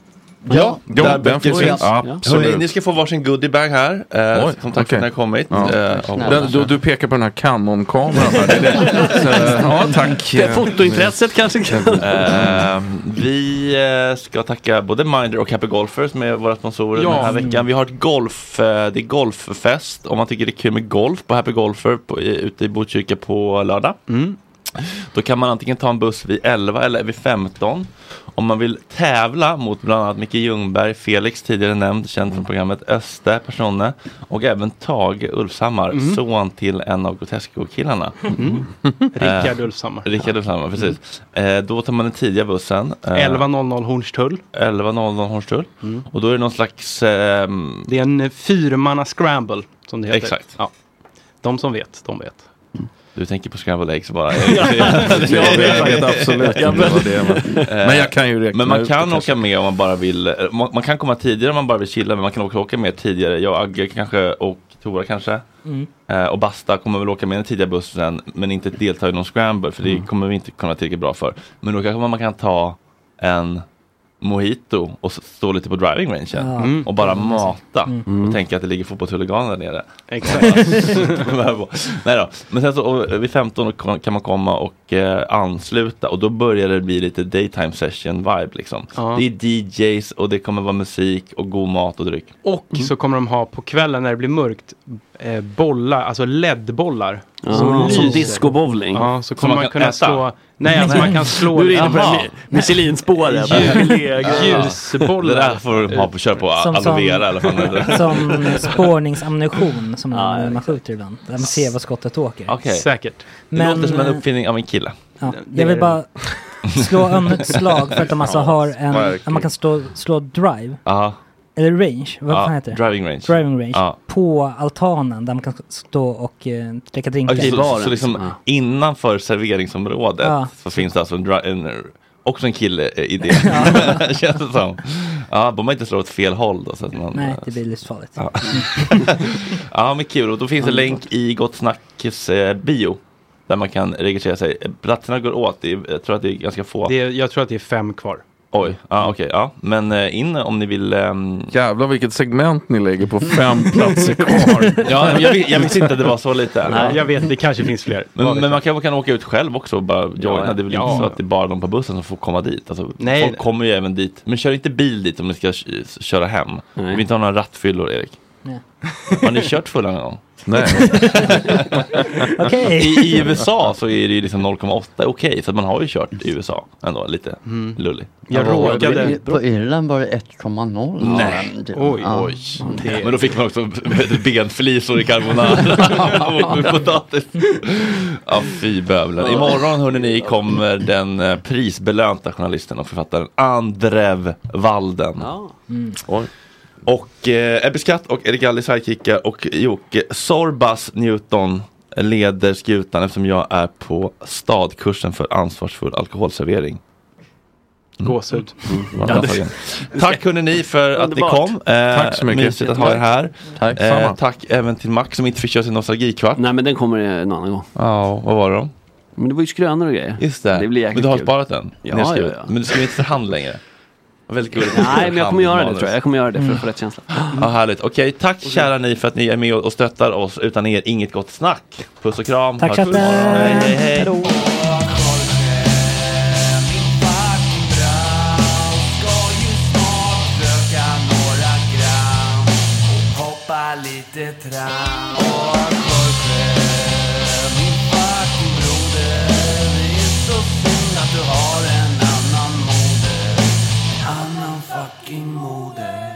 Speaker 1: Ja, där böcker finns. Hörrni,
Speaker 16: Absolut.
Speaker 1: ni ska få varsin goodiebag här. Eh,
Speaker 16: Oj,
Speaker 1: som tack
Speaker 16: okej.
Speaker 1: för att ni har kommit.
Speaker 16: Ja.
Speaker 1: Eh, och-
Speaker 16: Den, du, du pekar på den här Canon-kameran. här. Det är det. Så, ja, tack.
Speaker 1: Det fotointresset
Speaker 17: kanske
Speaker 1: Eh, vi eh, ska tacka både Minder och Happy Golfers som är våra sponsorer
Speaker 9: Ja.
Speaker 1: den här veckan. Vi har ett golf, eh, det är golffest om man tycker det är kul med golf på Happy Golfer på, i, ute i Botkyrka på lördag. Då kan man antingen ta en buss vid 11 eller vid 15. Om man vill tävla mot bland annat Micke Ljungberg, Felix tidigare nämnd, känd från programmet Öste Personne och även Tage Ulfshammar,
Speaker 5: Mm.
Speaker 1: son till en av Grotesco-killarna.
Speaker 5: Rickard
Speaker 1: Eh,
Speaker 5: Ulfshammar. Mm.
Speaker 1: Rickard Ulfshammar, precis. Eh, då tar man den tidiga bussen. Eh,
Speaker 5: 11.00 Hornstull. Mm.
Speaker 1: 11.00 Hornstull. Och då är det någon slags... ehm,
Speaker 5: Det är en eh, fyrmanna scramble som det heter.
Speaker 1: Exakt.
Speaker 5: Ja. De som vet, de vet.
Speaker 1: Du tänker på scrambled eggs bara.
Speaker 5: Jag vet absolut inte vad det är, men-
Speaker 1: Eh,
Speaker 5: men jag kan ju räkna
Speaker 1: Men man
Speaker 5: ut det
Speaker 1: kan
Speaker 5: kanske.
Speaker 1: åka med om man bara vill. eh, Man, man kan komma tidigare om man bara vill chilla. Men man kan också åka med tidigare. Jag, Agge kanske och Tora kanske.
Speaker 9: Mm.
Speaker 1: Eh, och Basta kommer väl åka med den tidiga bussen. Men inte delta i någon scramble. För det
Speaker 5: Mm.
Speaker 1: kommer vi inte kunna tillräckligt bra för. Men då kanske man, man kan ta en mojito och s- stå lite på driving range
Speaker 5: Ja. Mm.
Speaker 1: och bara mata
Speaker 5: Mm.
Speaker 1: och tänka att det ligger fotbollshuliganer där nere.
Speaker 5: Exakt.
Speaker 1: Nej då. Men sen så och, vid 15 då kan man komma och eh, ansluta och då börjar det bli lite daytime session vibe liksom.
Speaker 5: Ja.
Speaker 1: Det är DJs och det kommer vara musik och god mat och dryck.
Speaker 5: Och så kommer de ha på kvällen när det blir mörkt eh, bollar, alltså LED-bollar.
Speaker 1: Ah, som
Speaker 5: lyser.
Speaker 1: discobowling.
Speaker 5: Ja, så
Speaker 1: Som
Speaker 5: kommer
Speaker 1: man
Speaker 5: man,
Speaker 1: kan
Speaker 5: kunna
Speaker 1: äta.
Speaker 5: slå... Nej, alltså man kan slå...
Speaker 17: Nu är du inne på
Speaker 5: Jaha.
Speaker 17: Mi- Michelinspåret.
Speaker 1: Ljusbollar. Det där får de ha på, kör på
Speaker 7: Som-
Speaker 1: aloe
Speaker 7: som-
Speaker 1: vera eller vad fan det heter.
Speaker 7: Som spårningsammunition som man, man skjuter ibland. Där man ser var skottet åker.
Speaker 1: Okej. Det
Speaker 7: Men,
Speaker 1: låter som en
Speaker 7: eh,
Speaker 1: uppfinning av en kille.
Speaker 7: Ja, jag vill bara slå an ett slag för att de alltså
Speaker 1: Ja,
Speaker 7: har en,
Speaker 1: verkligen.
Speaker 7: att man kan slå, slå drive,
Speaker 1: Ja.
Speaker 7: eller range, vad
Speaker 1: Ja,
Speaker 7: fan heter det?
Speaker 1: driving range.
Speaker 7: Driving range,
Speaker 1: Ja.
Speaker 7: på altanen där man kan stå och eh, dricka drinkar.
Speaker 1: Okej, så, så, så liksom innanför serveringsområdet
Speaker 7: Ja.
Speaker 1: så finns det alltså en, dra- en också en kille eh, i det. Känns det som. Ja, borde man inte slå åt fel håll då. Så att man,
Speaker 7: Nej, det blir livsfarligt.
Speaker 1: Ja. ja, men kul. Och då finns en länk i Gott Snacks eh, bio. Där man kan registrera sig. Eh, Platserna går åt. Det är, jag tror att det är ganska få.
Speaker 5: Det är, jag tror att det är fem kvar.
Speaker 1: Oj, ja, okej. ja. Men eh, in om ni vill... Um...
Speaker 16: Jävlar vilket segment ni lägger på fem platser kvar.
Speaker 1: ja, men jag, vis- jag visste inte att det var så lite.
Speaker 5: Nej, jag vet, det kanske finns fler. Vad
Speaker 1: Men,
Speaker 5: vet
Speaker 1: men man kan, kan åka ut själv också och bara joina.
Speaker 5: ja.
Speaker 1: Det är väl
Speaker 5: Ja.
Speaker 1: inte så att det är bara de på bussen som får komma dit. Alltså,
Speaker 5: Nej.
Speaker 1: Folk kommer ju även dit. Men kör inte bil dit om ni ska k- köra hem. Vi vill inte ha några rattfyllor, Erik.
Speaker 7: Nej.
Speaker 1: Har ni kört fulla någon gång?
Speaker 16: Nej.
Speaker 7: Okej.
Speaker 1: I, I USA så är det ju liksom 0,8 okej, så att man har ju kört i USA ändå, lite
Speaker 5: Mm.
Speaker 1: lullig.
Speaker 14: Ja, på- På Irland var det 1,0.
Speaker 1: Nej.
Speaker 14: Ja, det-
Speaker 1: Oj,
Speaker 14: ja.
Speaker 1: oj. Men då fick man också benflisor i carbonara och potatis. Ja, fy bövelen. Imorgon, hörni, ni, kommer den eh, prisbelönta journalisten och författaren Andrev Walden. Oj. Och eh, Ebbe Skatt och Erik Alli sidekickar och Jocke Sorbas Newton leder skutan eftersom jag är på stadkursen för ansvarsfull alkoholservering.
Speaker 5: Gåshud.
Speaker 1: Man har tagit. Tack hörni ni för att ni
Speaker 5: Underbart.
Speaker 1: kom. Eh,
Speaker 5: Tack så mycket.
Speaker 1: Mysigt att ha er här.
Speaker 5: Tack.
Speaker 1: eh,
Speaker 5: Samma.
Speaker 1: tack även till Max som inte fick köra sin nostalgikvart.
Speaker 17: Nej men den kommer en annan gång.
Speaker 1: Ja, vad var det då?
Speaker 17: Men det var ju skrönor och grejer.
Speaker 1: Just det.
Speaker 17: Det blir jäkligt
Speaker 1: men du har
Speaker 17: kul.
Speaker 1: sparat den?
Speaker 17: Ja,
Speaker 1: nedskriven.
Speaker 17: ja, ja.
Speaker 1: Men du skriver inte för hand längre? Vad Väldigt gulligt.
Speaker 17: Nej men jag kommer göra det
Speaker 1: Handmanus.
Speaker 17: tror jag. Jag kommer göra det för
Speaker 1: Mm.
Speaker 17: att få rätt känsla.
Speaker 1: Ja, härligt. Okej, tack kära ni för att ni är med och stöttar oss. Utan er, inget gott snack. Puss och kram.
Speaker 7: Tack
Speaker 1: Hörs
Speaker 7: chatten!
Speaker 1: imorgon. Hej, hej, hej.
Speaker 18: Hoppa lite tram Och Jorge, min fucking broder, vi är min fucking moder.